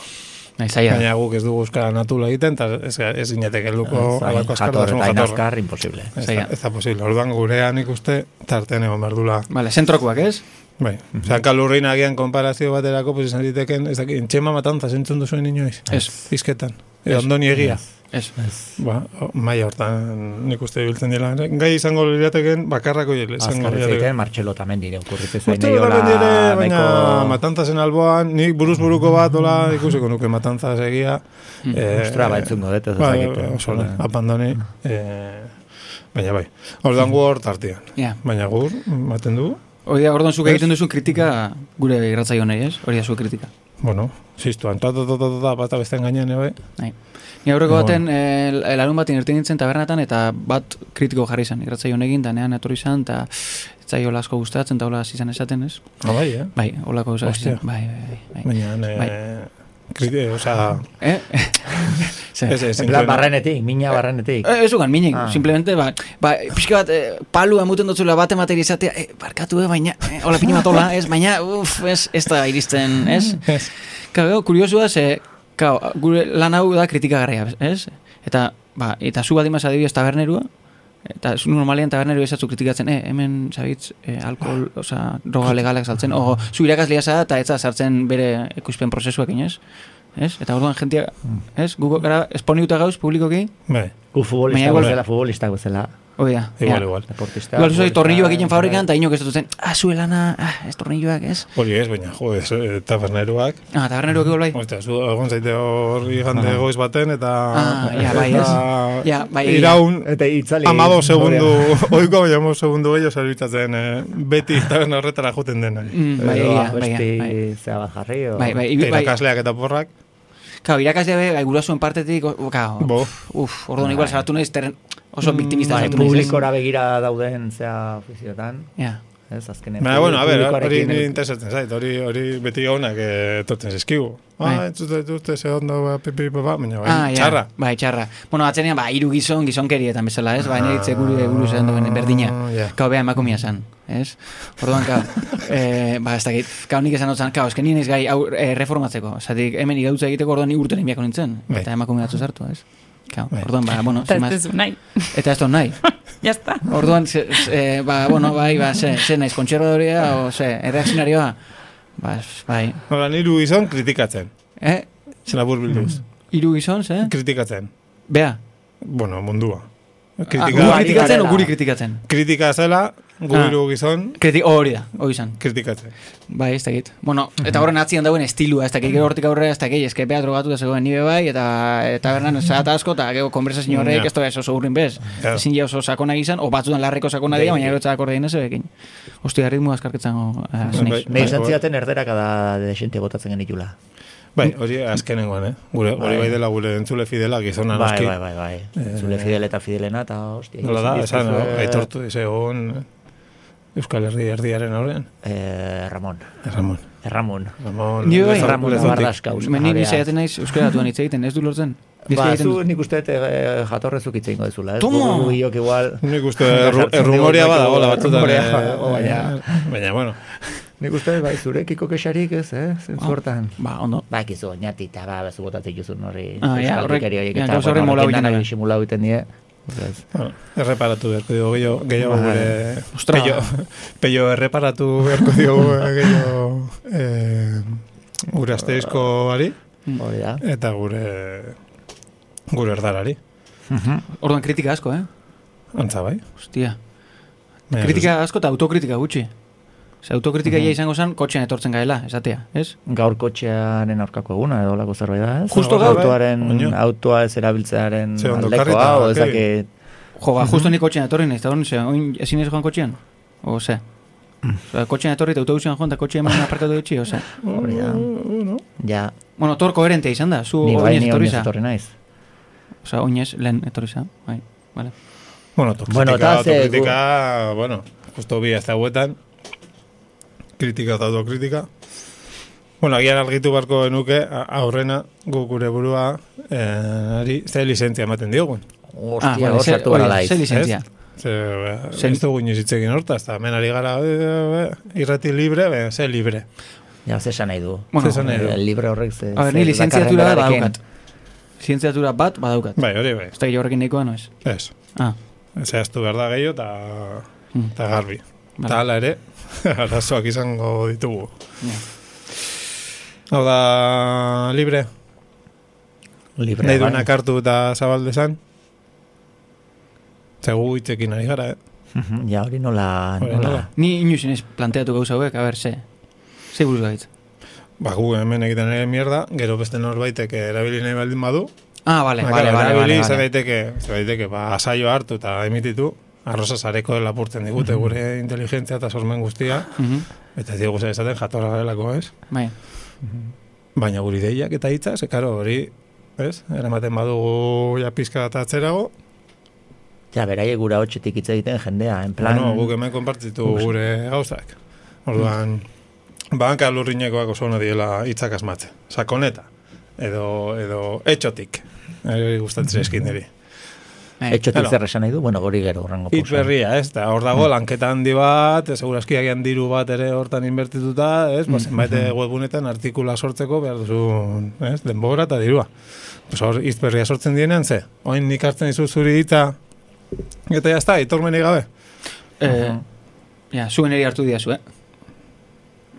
[SPEAKER 1] Nahi zaila.
[SPEAKER 3] Baina guk ez dugu euskara natula egiten, eta ez, ez gineteke luko
[SPEAKER 4] Ez,
[SPEAKER 3] alako
[SPEAKER 4] jator,
[SPEAKER 3] askartasun
[SPEAKER 4] eta
[SPEAKER 3] jatorra.
[SPEAKER 4] inaskar, imposible.
[SPEAKER 3] Ez
[SPEAKER 1] zaila.
[SPEAKER 3] da, ez da posible. Orduan gurean ikuste tartean egon behar dula.
[SPEAKER 1] Bale, zentrokoak ez?
[SPEAKER 3] Bai. Osea, kalurrin agian konparazio baterako, pues izan diteken, ez dakit, txema matanza zentzun duzuen inoiz.
[SPEAKER 1] Ez.
[SPEAKER 3] Izketan. Edo ondoni egia.
[SPEAKER 1] Ez.
[SPEAKER 3] Ba, o- maila hortan nik uste biltzen dira. Gai izango lirateken, bakarrako hile izango
[SPEAKER 4] Azkarri zeiten,
[SPEAKER 3] lirateken.
[SPEAKER 4] Martxelo tamendire okurritu zain
[SPEAKER 3] Uste dut orain ere, baina matanzasen alboan, nik buruz buruko bat, hola, ikusiko nuke matanzaz egia. Eh,
[SPEAKER 4] Ostra, ba, entzungo dut, ez
[SPEAKER 3] Bai,
[SPEAKER 4] ezakit, eh,
[SPEAKER 3] oso,
[SPEAKER 4] baina-
[SPEAKER 3] abandoni. Eh, baina bai, ordan gu hor tartean.
[SPEAKER 1] Ja.
[SPEAKER 3] Baina gur, maten du,
[SPEAKER 1] Hori da, orduan zuk
[SPEAKER 3] Ez.
[SPEAKER 1] egiten duzun kritika gure irratzaio honei, ez? Hori da zuen kritika.
[SPEAKER 3] bueno, ziztuan, ta, ta, ta, ta, ta, bata bestean gainean, eh, bai.
[SPEAKER 1] Nahi. Ni aurreko
[SPEAKER 3] Bueno.
[SPEAKER 1] baten, eh, larun batin irten nintzen tabernatan, eta bat kritiko jarri zen, irratzaio honekin, da nean etorri zen, eta ez zaio asko gustatzen, eta hola hasi zen esaten, ez?
[SPEAKER 3] Ah, bai, eh?
[SPEAKER 1] Bai, holako hasi
[SPEAKER 3] Hostia.
[SPEAKER 1] zen. Bai, bai, bai. bai.
[SPEAKER 3] Baina, eh, kriti, oza,
[SPEAKER 1] Eh? Zer?
[SPEAKER 3] Bai. ez, ez,
[SPEAKER 4] En plan,
[SPEAKER 3] zintuen-
[SPEAKER 4] barrenetik, mina barrenetik.
[SPEAKER 1] Eh, Ez ugan, minek,
[SPEAKER 4] Ah.
[SPEAKER 1] simplemente, ba, ba, pixka bat, eh, palu emuten dutzula bat emateri izatea, eh, barkatu, eh, baina, eh, hola pini bat hola, ez, baina, uff, ez, ez da iristen, ez?
[SPEAKER 3] Ez.
[SPEAKER 1] Kago, kuriosu da, ze, kao, gure lan hau da kritikagarria, ez? Eta, ba, eta zu bat imaz adibidez tabernerua, eta zu normalean tabernerua ezatzu kritikatzen, eh, hemen, zabitz, eh, alkohol, oza, droga legalak saltzen, o, zu irakaslea za, eta ez da sartzen bere ikuspen prozesuak, ez? Ez? Eta orduan jentia,
[SPEAKER 3] Mm.
[SPEAKER 1] ez? Gugo gara esponiuta gauz publikoki,
[SPEAKER 3] bai,
[SPEAKER 4] Gu futbolista
[SPEAKER 1] Baina igual-
[SPEAKER 4] bezala, futbolista bezala.
[SPEAKER 1] hori da.
[SPEAKER 3] igual,
[SPEAKER 1] ja.
[SPEAKER 3] igual.
[SPEAKER 4] Deportista.
[SPEAKER 1] Igual zuzai
[SPEAKER 4] futbolista, eh,
[SPEAKER 1] tornilloak egin fabrikan, eta inok ez dut zen, ah, zuelana, ah, ez tornilloak, ez?
[SPEAKER 3] Hori ez, baina, jo, ez, eh, taberneruak,
[SPEAKER 1] Ah, taberneroak igual bai.
[SPEAKER 3] Ostia, zu egon zaite hor igande goiz baten eta...
[SPEAKER 1] Ah, ja, bai, ez.
[SPEAKER 3] eta
[SPEAKER 1] Ja, bai, egia.
[SPEAKER 3] Iraun,
[SPEAKER 4] Eta itzali.
[SPEAKER 3] amado segundu, oiko baina amado segundu gehiago zerbitzatzen, eh, beti taberna horretara joten dena.
[SPEAKER 1] Mm, bai,
[SPEAKER 4] Edo,
[SPEAKER 1] egia, bai,
[SPEAKER 4] beste
[SPEAKER 1] bai.
[SPEAKER 4] zea bat jarri, o-
[SPEAKER 1] Bai, bai, ibi-
[SPEAKER 3] Eta
[SPEAKER 1] bai,
[SPEAKER 3] irakasleak eta porrak,
[SPEAKER 1] Claro, irakaslea be, bai, gurasoen partetik, o- kao,
[SPEAKER 3] Bo.
[SPEAKER 1] uf, orduan igual
[SPEAKER 4] Bai.
[SPEAKER 1] saratu naiz terren, oso biktimista
[SPEAKER 4] Bai,
[SPEAKER 1] sartu naiz. ez?
[SPEAKER 4] publikora begira dauden zea ofiziotan.
[SPEAKER 1] Ja,
[SPEAKER 4] Ez, azkenean.
[SPEAKER 3] Baina, bueno, a ver, hori
[SPEAKER 4] publikoarekin
[SPEAKER 3] nire
[SPEAKER 4] el-
[SPEAKER 3] interesatzen zait, hori hori beti honak etortzen zizkigu.
[SPEAKER 1] Bai.
[SPEAKER 3] Ah, entzute dituzte, ze ondo, ba, pipi, baba, baina bai,
[SPEAKER 1] ah, ja,
[SPEAKER 3] txarra.
[SPEAKER 1] Bai, txarra. Bueno, atzenean, ba, hiru gizon, gizonkerietan bezala, ez? Ba, niritze gure guru zen duen berdina.
[SPEAKER 3] Ah, Ja.
[SPEAKER 1] Kau, beha emakumia zen, ez? Orduan, kau, eh, ba, ez dakit, kau nik esan dut zen, kau, esken nien gai aur, eh, reformatzeko. Zatik, hemen igautza egiteko, orduan ni urte nimiako nintzen.
[SPEAKER 3] Bai.
[SPEAKER 1] Eta emakumia batzu sartu, ez? Kau,
[SPEAKER 3] Bai.
[SPEAKER 1] orduan, ba, bueno,
[SPEAKER 5] Eta ez
[SPEAKER 1] zimaz,
[SPEAKER 5] duzu nahi.
[SPEAKER 1] eta ez dut nahi.
[SPEAKER 5] Ya está.
[SPEAKER 1] Orduan, ze, ze, ba, bueno, bai, ba, ze, ze naiz, kontserbadorea, o, ze, erreakzionarioa? Ba, ez, bai,
[SPEAKER 3] Nola, niru izan kritikatzen,
[SPEAKER 1] eh?
[SPEAKER 3] labur bilduz.
[SPEAKER 1] Hiru gizon, ze?
[SPEAKER 3] Kritikatzen,
[SPEAKER 1] Bea.
[SPEAKER 3] bueno, mundua.
[SPEAKER 1] Ah,
[SPEAKER 3] Kritika,
[SPEAKER 1] gu kritikatzen, o
[SPEAKER 4] garela.
[SPEAKER 1] guri kritikatzen?
[SPEAKER 3] kritika zela,
[SPEAKER 1] Ah.
[SPEAKER 3] gubiru gizon,
[SPEAKER 1] Kriti, oh, hori da, hori izan.
[SPEAKER 3] kritikatzen.
[SPEAKER 1] Bai, ez dakit. Bueno, eta horren atzian dauen estilua, ez dakit gero hortik aurrera, ez dakit, eske bea drogatu da zegoen nibe bai, eta eta bernan zat asko, eta gero konversazio horrek
[SPEAKER 3] Ja.
[SPEAKER 1] ez da ez oso urrin bez.
[SPEAKER 3] Ja.
[SPEAKER 1] Ezin ja oso sakona gizan, o batzutan larreko sakona dira, baina gero txakorde dinez ebekin. Ostia, ritmo askarketzen go, eh,
[SPEAKER 3] Bai,
[SPEAKER 1] naiz.
[SPEAKER 4] Nei
[SPEAKER 3] Bai,
[SPEAKER 4] izan
[SPEAKER 3] bai.
[SPEAKER 4] zidaten erderaka da desente botatzen genitula.
[SPEAKER 3] Bai, hori azkenengoan, eh? Gure, hori
[SPEAKER 4] Bai.
[SPEAKER 3] bai dela gure entzule fidela gizona
[SPEAKER 4] Bai,
[SPEAKER 3] noski.
[SPEAKER 4] bai, bai, bai. Zule Fidel eta Fidelena eta hostia.
[SPEAKER 3] Nola Eh, da,
[SPEAKER 4] izan
[SPEAKER 3] esan,
[SPEAKER 4] dizkizue,
[SPEAKER 3] eh, aitortu egon eh, Euskal Herri erdiaren aurrean.
[SPEAKER 4] Eh, Ramon.
[SPEAKER 3] Ramon.
[SPEAKER 4] Ramon.
[SPEAKER 3] Ramon.
[SPEAKER 1] Ni bai.
[SPEAKER 3] Lezon-
[SPEAKER 4] Ramon
[SPEAKER 3] Lezontik.
[SPEAKER 4] Navarraska
[SPEAKER 1] Me ni ni
[SPEAKER 4] jabea.
[SPEAKER 1] saiatzen naiz euskaratuan hitz egiten, ez du lortzen.
[SPEAKER 4] Ba,
[SPEAKER 1] Bizkaia
[SPEAKER 4] zu
[SPEAKER 1] egiten-
[SPEAKER 4] nik uste dut eh, jatorrezuk hitz egingo dezula, ez?
[SPEAKER 1] Toma!
[SPEAKER 4] Gu- gu Biok igual...
[SPEAKER 3] Nik uste eh,
[SPEAKER 4] Sartzen
[SPEAKER 3] erru-
[SPEAKER 4] dugu
[SPEAKER 3] errumorea
[SPEAKER 4] baiko-
[SPEAKER 3] badagoela batzutan.
[SPEAKER 4] errumorea,
[SPEAKER 3] eh,
[SPEAKER 4] jo, baina-
[SPEAKER 3] Baina, bueno.
[SPEAKER 4] Nik uste, bai, zurekiko kexarik ez, eh?
[SPEAKER 1] Ah,
[SPEAKER 4] Zentzortan.
[SPEAKER 1] Ba, ondo.
[SPEAKER 4] Ba, ekizu, oinati eta ba, bezu botatzen juzun horri.
[SPEAKER 1] Ah, ja,
[SPEAKER 4] euskal
[SPEAKER 1] horrek-
[SPEAKER 4] dikeria horiek
[SPEAKER 1] ja,
[SPEAKER 4] eta,
[SPEAKER 1] gauza
[SPEAKER 4] bueno,
[SPEAKER 1] horri molau
[SPEAKER 4] horrekin
[SPEAKER 1] egiten
[SPEAKER 4] dana
[SPEAKER 1] da.
[SPEAKER 4] disimulatu egiten die. Horrez.
[SPEAKER 3] Bueno, erreparatu beharko diogu gehiago, gehiago
[SPEAKER 4] Bai.
[SPEAKER 3] gure...
[SPEAKER 1] Ostra.
[SPEAKER 3] Peio, peio erreparatu beharko diogu eh, gehiago eh, gure asteizko ari
[SPEAKER 1] Mm.
[SPEAKER 4] Hori da.
[SPEAKER 3] eta gure gure erdarari.
[SPEAKER 1] Orduan kritika asko, eh?
[SPEAKER 3] Antza bai?
[SPEAKER 1] Hostia.
[SPEAKER 3] Baina,
[SPEAKER 1] Kritika asko eta autokritika gutxi. Ze autokritika ja izango zen kotxean etortzen gaela, esatea, ez?
[SPEAKER 4] Gaur kotxearen aurkako eguna edo lako zerbait da, ez?
[SPEAKER 1] Justo gaur.
[SPEAKER 4] autoaren
[SPEAKER 3] Oino.
[SPEAKER 4] autoa ez erabiltzearen
[SPEAKER 3] Ze ondo,
[SPEAKER 4] aldeko
[SPEAKER 3] karrita,
[SPEAKER 4] hau,
[SPEAKER 3] Kevin.
[SPEAKER 4] ezakit.
[SPEAKER 1] Jo, ba, justo ni kotxean etorri naiz, eta hori, ze, oin ezin ez joan kotxean? O, ze? Osa, kotxean etorri eta autobusean joan, eta kotxean eman aparkatu ditxi, o, ze?
[SPEAKER 3] Oh,
[SPEAKER 4] Hori da. Ja,
[SPEAKER 1] Bueno, tor koherentea izan da, zu
[SPEAKER 4] ni bai
[SPEAKER 1] oinez
[SPEAKER 4] ni
[SPEAKER 1] etorri
[SPEAKER 4] oinez
[SPEAKER 1] za.
[SPEAKER 4] etorri naiz.
[SPEAKER 1] Osa, oinez lehen etorri za, bai, vale.
[SPEAKER 3] Bueno, autokritika,
[SPEAKER 4] Bueno, eta ze-
[SPEAKER 3] autokritika, bueno, justo bi ez hauetan, kritika eta autokritika. Bueno, agian argitu barko nuke, aurrena, gu gure burua, eh, ari, ze lizentzia ematen diogun.
[SPEAKER 4] Ostia,
[SPEAKER 1] vale,
[SPEAKER 4] hor
[SPEAKER 1] Ah, ze-
[SPEAKER 4] sartu
[SPEAKER 1] hori
[SPEAKER 4] gara
[SPEAKER 1] da,
[SPEAKER 4] laiz.
[SPEAKER 1] Ze lizentzia.
[SPEAKER 3] Ez? Ze, ba,
[SPEAKER 1] Zen-
[SPEAKER 3] ez dugu inoiz hitz egin horta, eta hemen ari gara, e, e, e, irrati libre, be, ze libre.
[SPEAKER 4] Ja, ze esan nahi du.
[SPEAKER 1] Bueno,
[SPEAKER 3] Ze esan nahi du?
[SPEAKER 4] Eh, Libre horrek ze...
[SPEAKER 1] A ber,
[SPEAKER 4] ze
[SPEAKER 1] ni lizentziatura bat
[SPEAKER 4] dakarren
[SPEAKER 1] badaukat. Zientziatura bat badaukat.
[SPEAKER 3] Bai, hori bai.
[SPEAKER 1] Ez da horrekin nahikoa, no ez?
[SPEAKER 3] Ez.
[SPEAKER 1] Ah,
[SPEAKER 3] Zehaztu behar da gehiago eta
[SPEAKER 1] Mm.
[SPEAKER 3] eta garbi.
[SPEAKER 1] Vale.
[SPEAKER 3] Eta hala ere, arazoak izango ditugu.
[SPEAKER 1] ja.
[SPEAKER 3] Hau da, libre,
[SPEAKER 4] Libre,
[SPEAKER 3] nahi
[SPEAKER 4] bai.
[SPEAKER 3] duenak hartu eta zabal dezan. Zegu hitzekin ari gara, eh?
[SPEAKER 4] Mhm, Ja, hori nola...
[SPEAKER 3] Hori nola.
[SPEAKER 4] nola.
[SPEAKER 1] Ni inusin ez planteatu gauza hauek, a ber, ze. Ze buruz gaitz.
[SPEAKER 3] Ba, gu hemen egiten ere mierda, gero beste norbaitek erabili nahi baldin badu.
[SPEAKER 1] Ah, vale, vale,
[SPEAKER 3] Ba, claro,
[SPEAKER 1] vale,
[SPEAKER 3] erabili
[SPEAKER 1] vale,
[SPEAKER 3] izan
[SPEAKER 1] vale.
[SPEAKER 3] daiteke, izan daiteke, ba, asaio hartu eta emititu, arroza sareko lapurtzen digute gure inteligentzia eta sormen guztia,
[SPEAKER 1] Mhm,
[SPEAKER 3] eta ez digu zer esaten jatorra garelako, ez?
[SPEAKER 1] Bai,
[SPEAKER 3] Baina guri deiak eta hitza, ze karo hori, ez? Eramaten badugu ja pizka eta atzerago,
[SPEAKER 4] Ja, beraiek gura hotxetik hitz egiten jendea, en plan...
[SPEAKER 3] bueno, guk hemen konpartitu
[SPEAKER 4] Guk-
[SPEAKER 3] gure gauzak. Orduan, banka lurrinekoak oso hona diela hitzak asmatze. Sakoneta, edo, edo etxotik, hori gustatzen zaizkit niri.
[SPEAKER 1] bai.
[SPEAKER 4] Etxotik
[SPEAKER 3] Claro.
[SPEAKER 4] zer esan nahi du, bueno, hori gero horrengo
[SPEAKER 3] Hit berria, ez? Ta hor dago, lanketa handi bat, eh, segurazki agian diru bat ere hortan inbertituta, ez? Ba, zenbait eh, webunetan artikula sortzeko behar duzu, ez? Denbora eta dirua. Pues hor, hitz berria sortzen dienean, ze? Oin nik hartzen dizu zuri hitza, eta jazta, itormenik gabe.
[SPEAKER 1] Eh, ja, zuen eri hartu diazu, eh?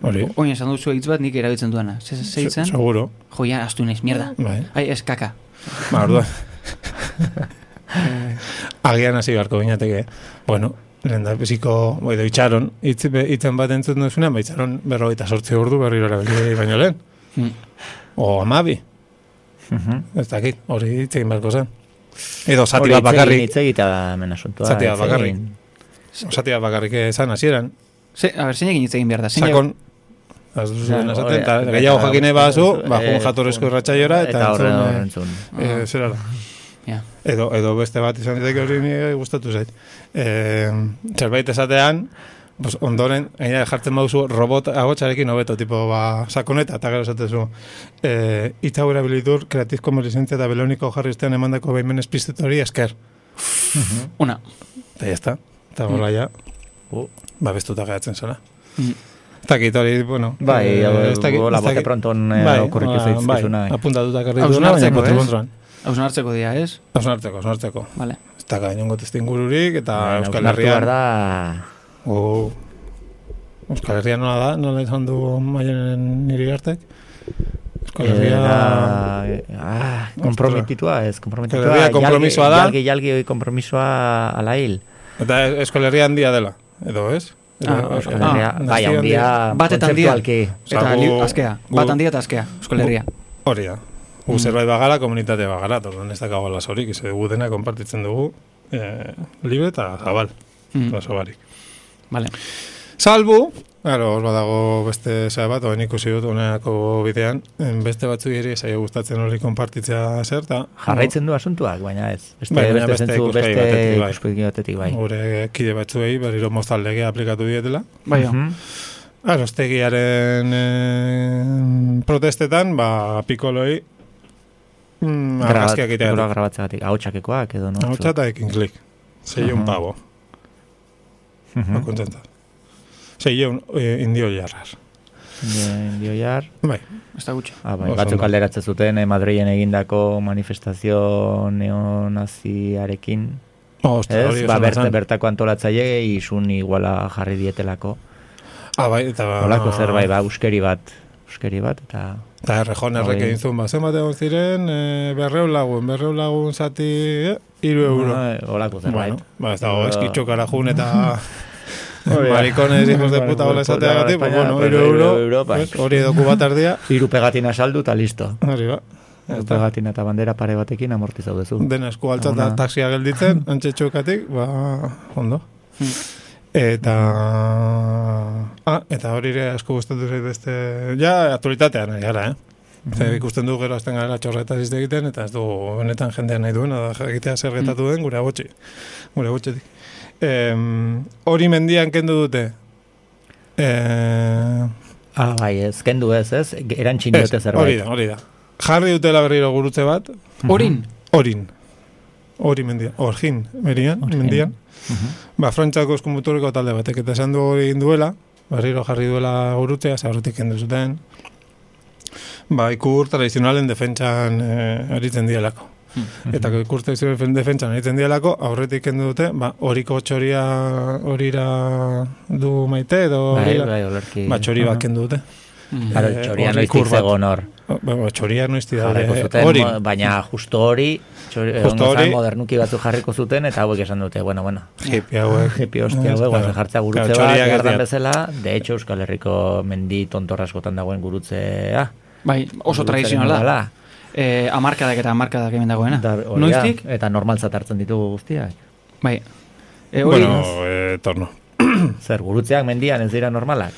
[SPEAKER 3] Hori,
[SPEAKER 1] Oin esan duzu hitz bat nik erabiltzen duena. Ze, ze
[SPEAKER 3] se-
[SPEAKER 1] hitzen?
[SPEAKER 3] seguro.
[SPEAKER 1] Jo, ja, astu naiz, mierda.
[SPEAKER 3] Bai.
[SPEAKER 1] Ai, ez kaka.
[SPEAKER 3] Ba, orduan. Eh. Agian hasi beharko ginateke. Bueno, lehen da biziko, edo itxaron, hitz- hitzen bat entzut duzunean, ba, itxaron berrogeita sortzi ordu berriro erabili baino lehen.
[SPEAKER 1] Mm.
[SPEAKER 3] O amabi,
[SPEAKER 4] Mhm.
[SPEAKER 3] ez dakit, hori hitz egin beharko zen. Edo zati
[SPEAKER 4] Hori
[SPEAKER 3] bat
[SPEAKER 4] hitz egin,
[SPEAKER 3] bakarrik,
[SPEAKER 4] Hitz egita da hemen asuntua.
[SPEAKER 3] Zati bat
[SPEAKER 4] hitz egin.
[SPEAKER 3] bakarrik. zati bat bakarrik esan hasieran,
[SPEAKER 1] Ze, a ber, zeinekin hitz egin behar da. Zein
[SPEAKER 3] sakon, az duzuen
[SPEAKER 4] Ja,
[SPEAKER 3] esaten, eta
[SPEAKER 4] hori-
[SPEAKER 3] gehiago jakine bazu, ba,
[SPEAKER 4] Eh,
[SPEAKER 3] jun jatorrezko irratsaiora, eta
[SPEAKER 4] horre horre
[SPEAKER 3] entzun,
[SPEAKER 4] entzun.
[SPEAKER 3] eh, eh, zerara.
[SPEAKER 1] Ja.
[SPEAKER 3] Edo, edo beste bat izan daiteke hori nire gustatu zait. Eh, zerbait esatean, pues, ondoren, gaina jartzen baduzu robot agotxarekin hobeto, tipo, ba, sakoneta, eta gero esatezu. Eh, Itza hura bilitur, kreatiz komerlizentzia eta beloniko jarri ustean emandako behimen espiztetori esker.
[SPEAKER 1] Una.
[SPEAKER 3] Eta jazta.
[SPEAKER 4] Mm.
[SPEAKER 3] Eta gola ja,
[SPEAKER 4] Uh,
[SPEAKER 3] babestuta geratzen zara.
[SPEAKER 1] Mm.
[SPEAKER 3] Ez dakit hori, bueno.
[SPEAKER 4] Bai,
[SPEAKER 3] eh, ez dakit-
[SPEAKER 4] hola,
[SPEAKER 3] ez
[SPEAKER 4] bote
[SPEAKER 3] dakit.
[SPEAKER 4] pronton eh,
[SPEAKER 3] Bai,
[SPEAKER 4] okurritu eh.
[SPEAKER 3] hola,
[SPEAKER 4] zaizkizuna.
[SPEAKER 3] Bai, apuntatuta karri duena, baina
[SPEAKER 1] Hausnartzeko,
[SPEAKER 3] kontu
[SPEAKER 1] ez?
[SPEAKER 3] kontuan.
[SPEAKER 1] Hausnartzeko dira, ez?
[SPEAKER 3] Hausnartzeko, hausnartzeko.
[SPEAKER 1] Vale.
[SPEAKER 3] Ez da gainongo testu ingururik, eta
[SPEAKER 4] Baina,
[SPEAKER 3] Euskal
[SPEAKER 4] hausnartu behar
[SPEAKER 3] Herrian...
[SPEAKER 4] Da,
[SPEAKER 3] O, Euskal Herria nola da, nola izan du mailen niri hartek? Euskal
[SPEAKER 4] Eh,
[SPEAKER 3] Herria...
[SPEAKER 4] Era, ah, kompromititua, ez, kompromititua.
[SPEAKER 3] Euskal Herria konpromisoa da. Ah,
[SPEAKER 4] Jalgi, jalgi, jalgi kompromisoa alail.
[SPEAKER 3] Eta Euskal Herria handia dela, edo ez? Edo,
[SPEAKER 1] Ah,
[SPEAKER 3] Euskal
[SPEAKER 1] ah,
[SPEAKER 3] Herria
[SPEAKER 4] bai,
[SPEAKER 3] nazio
[SPEAKER 4] handia,
[SPEAKER 1] Bat eta handia.
[SPEAKER 4] kontzeptualki.
[SPEAKER 3] Osea,
[SPEAKER 1] Eta
[SPEAKER 3] gu-
[SPEAKER 1] li, askea. Bat
[SPEAKER 3] gu-
[SPEAKER 1] handia eta askea. Euskal Herria.
[SPEAKER 3] Hori da. Gu zerbait bagara, komunitate bagara, eta orduan ez dakago lasorik, izo dugu dena konpartitzen dugu, eh, libe eta zabal,
[SPEAKER 1] Mm.
[SPEAKER 3] mm. barik.
[SPEAKER 1] Vale.
[SPEAKER 3] Salbu, Claro, hor badago beste zea bat, oen ikusi dut honako bidean, em, beste batzu ere zaio gustatzen hori konpartitzea zer, eta...
[SPEAKER 4] Jarraitzen du asuntuak, baina ez. Beste,
[SPEAKER 3] Bai, baina
[SPEAKER 4] beste,
[SPEAKER 3] beste
[SPEAKER 4] zentzu,
[SPEAKER 3] ikuspegi
[SPEAKER 4] beste
[SPEAKER 3] batetik, bai.
[SPEAKER 4] ikuspegi batetik, bai.
[SPEAKER 3] Gure kide batzuei berriro mozal legea aplikatu dietela.
[SPEAKER 1] Bai, jo.
[SPEAKER 4] Mhm.
[SPEAKER 3] Arostegiaren eh, protestetan, ba, pikoloi mm,
[SPEAKER 4] Grabat,
[SPEAKER 3] argazkiak
[SPEAKER 4] gura
[SPEAKER 3] itea.
[SPEAKER 4] grabatzeagatik, ahotsakekoak edo no?
[SPEAKER 3] Hau txata ekin klik. Seion
[SPEAKER 4] Aha.
[SPEAKER 3] pavo,
[SPEAKER 4] Mhm.
[SPEAKER 3] no kontenta. Seion eh, indio jarrar.
[SPEAKER 4] Dio- Dio jar.
[SPEAKER 3] Bai,
[SPEAKER 1] Ez da gutxo.
[SPEAKER 4] Ah, bai,
[SPEAKER 3] Oso
[SPEAKER 4] batzuk
[SPEAKER 3] ondo.
[SPEAKER 4] alderatzen zuten eh, Madrilen egindako manifestazio neonaziarekin.
[SPEAKER 3] Ostra, hori
[SPEAKER 4] Ez, ba,
[SPEAKER 3] esan
[SPEAKER 4] berte,
[SPEAKER 3] zen.
[SPEAKER 4] bertako antolatzaile isun iguala jarri dietelako.
[SPEAKER 3] Ah, bai, eta...
[SPEAKER 4] Holako zerbait, ba, uskeri bat. Uskeri bat, eta...
[SPEAKER 3] Eta errejon errek
[SPEAKER 4] Hori.
[SPEAKER 3] egin zuen, ba, zenbat egon ziren, eh, berreun lagun, berreun lagun zati, eh, iru euro.
[SPEAKER 4] Ah, Holako zerbait.
[SPEAKER 3] Bueno, ba, ez dago,
[SPEAKER 4] Ba-
[SPEAKER 3] eskitxokara jun eta
[SPEAKER 4] Hori da.
[SPEAKER 3] maricones hijos de
[SPEAKER 4] Bueno,
[SPEAKER 3] puta hola
[SPEAKER 4] pues,
[SPEAKER 3] esateagatik, pues,
[SPEAKER 4] España,
[SPEAKER 3] bueno,
[SPEAKER 4] pues,
[SPEAKER 3] hiru
[SPEAKER 4] hiru
[SPEAKER 3] euro,
[SPEAKER 4] euro, bai.
[SPEAKER 3] pues, hori edo kubat ardia,
[SPEAKER 4] Hiru pegatina saldu eta listo.
[SPEAKER 3] hori ba. Ya
[SPEAKER 4] Hiru
[SPEAKER 3] está.
[SPEAKER 4] pegatina eta bandera pare batekin amortizau duzu.
[SPEAKER 3] Dena esku altza eta
[SPEAKER 4] Ona.
[SPEAKER 3] taxia gelditzen, antxe txukatik, ba, ondo.
[SPEAKER 4] Hmm.
[SPEAKER 3] Eta... Ah, eta hori ere asko gustatu zait beste... Ja, aktualitatean ari gara, eh?
[SPEAKER 4] Hmm.
[SPEAKER 3] Zer ikusten du gero azten gara txorretaz izte egiten, eta ez du benetan jendean nahi duen, eta jakitea
[SPEAKER 4] Hmm.
[SPEAKER 3] zer gertatu den gure gutxi. Gure gutxetik. Em, hori mendian kendu dute. Eh,
[SPEAKER 4] Ah, bai, ez, kendu ez, ez, erantxin
[SPEAKER 3] ez,
[SPEAKER 4] diote
[SPEAKER 3] hori
[SPEAKER 4] zerbait.
[SPEAKER 3] da, hori da. Jarri dutela berriro gurutze bat,
[SPEAKER 1] Orin.
[SPEAKER 3] Orin. Hori mendia.
[SPEAKER 4] Mhm.
[SPEAKER 3] Orgin, merian, mendian. Ba, frantxako eskumuturreko talde batek. Eta esan du hori egin duela, barriro jarri duela gurutea, zaurretik kendu zuten. Ba, ikur tradizionalen defentsan eh, aritzen dielako.
[SPEAKER 4] Hmm.
[SPEAKER 3] Eta ikur tradizionalen defentsan aritzen dielako, aurretik kendu dute, ba, horiko txoria horira du maite edo
[SPEAKER 4] Bai,
[SPEAKER 3] horira.
[SPEAKER 4] bai, olerki.
[SPEAKER 3] Ba, txori bat kendu dute.
[SPEAKER 4] Claro,
[SPEAKER 3] Eh,
[SPEAKER 4] txoria
[SPEAKER 3] horri
[SPEAKER 4] noiztik
[SPEAKER 3] kur bat.
[SPEAKER 4] zegoen hor.
[SPEAKER 3] O, Ba, ba, txoria noizti daude.
[SPEAKER 4] Jarriko
[SPEAKER 3] eh,
[SPEAKER 4] zuten, ba,
[SPEAKER 3] Hori,
[SPEAKER 4] mo- baina justo hori, txori,
[SPEAKER 3] Justo
[SPEAKER 4] justo
[SPEAKER 3] hori.
[SPEAKER 4] modernuki batzuk jarriko zuten, eta hauek esan dute, bueno, bueno.
[SPEAKER 3] hippie hauek.
[SPEAKER 4] Jepi hostia,
[SPEAKER 3] Ez,
[SPEAKER 4] hauek,
[SPEAKER 3] claro.
[SPEAKER 4] guazen jartzea gurutze
[SPEAKER 3] Claro,
[SPEAKER 4] bat,
[SPEAKER 3] txoriak ez
[SPEAKER 4] gardan
[SPEAKER 3] dira.
[SPEAKER 4] bezala, de hecho, Euskal Herriko mendi tontorraskotan dagoen gurutzea.
[SPEAKER 1] Bai, oso
[SPEAKER 4] Gurutzaren
[SPEAKER 1] tradizionala da.
[SPEAKER 4] modala.
[SPEAKER 1] Eh, amarkadak eta amarkadak hemen dagoena.
[SPEAKER 4] Da, hori da,
[SPEAKER 1] Noiztik?
[SPEAKER 4] Eta normaltzat hartzen ditugu guztiak.
[SPEAKER 1] Bai. Eh, hori,
[SPEAKER 3] Bueno, eh, torno.
[SPEAKER 4] Zer, gurutzeak mendian ez dira normalak?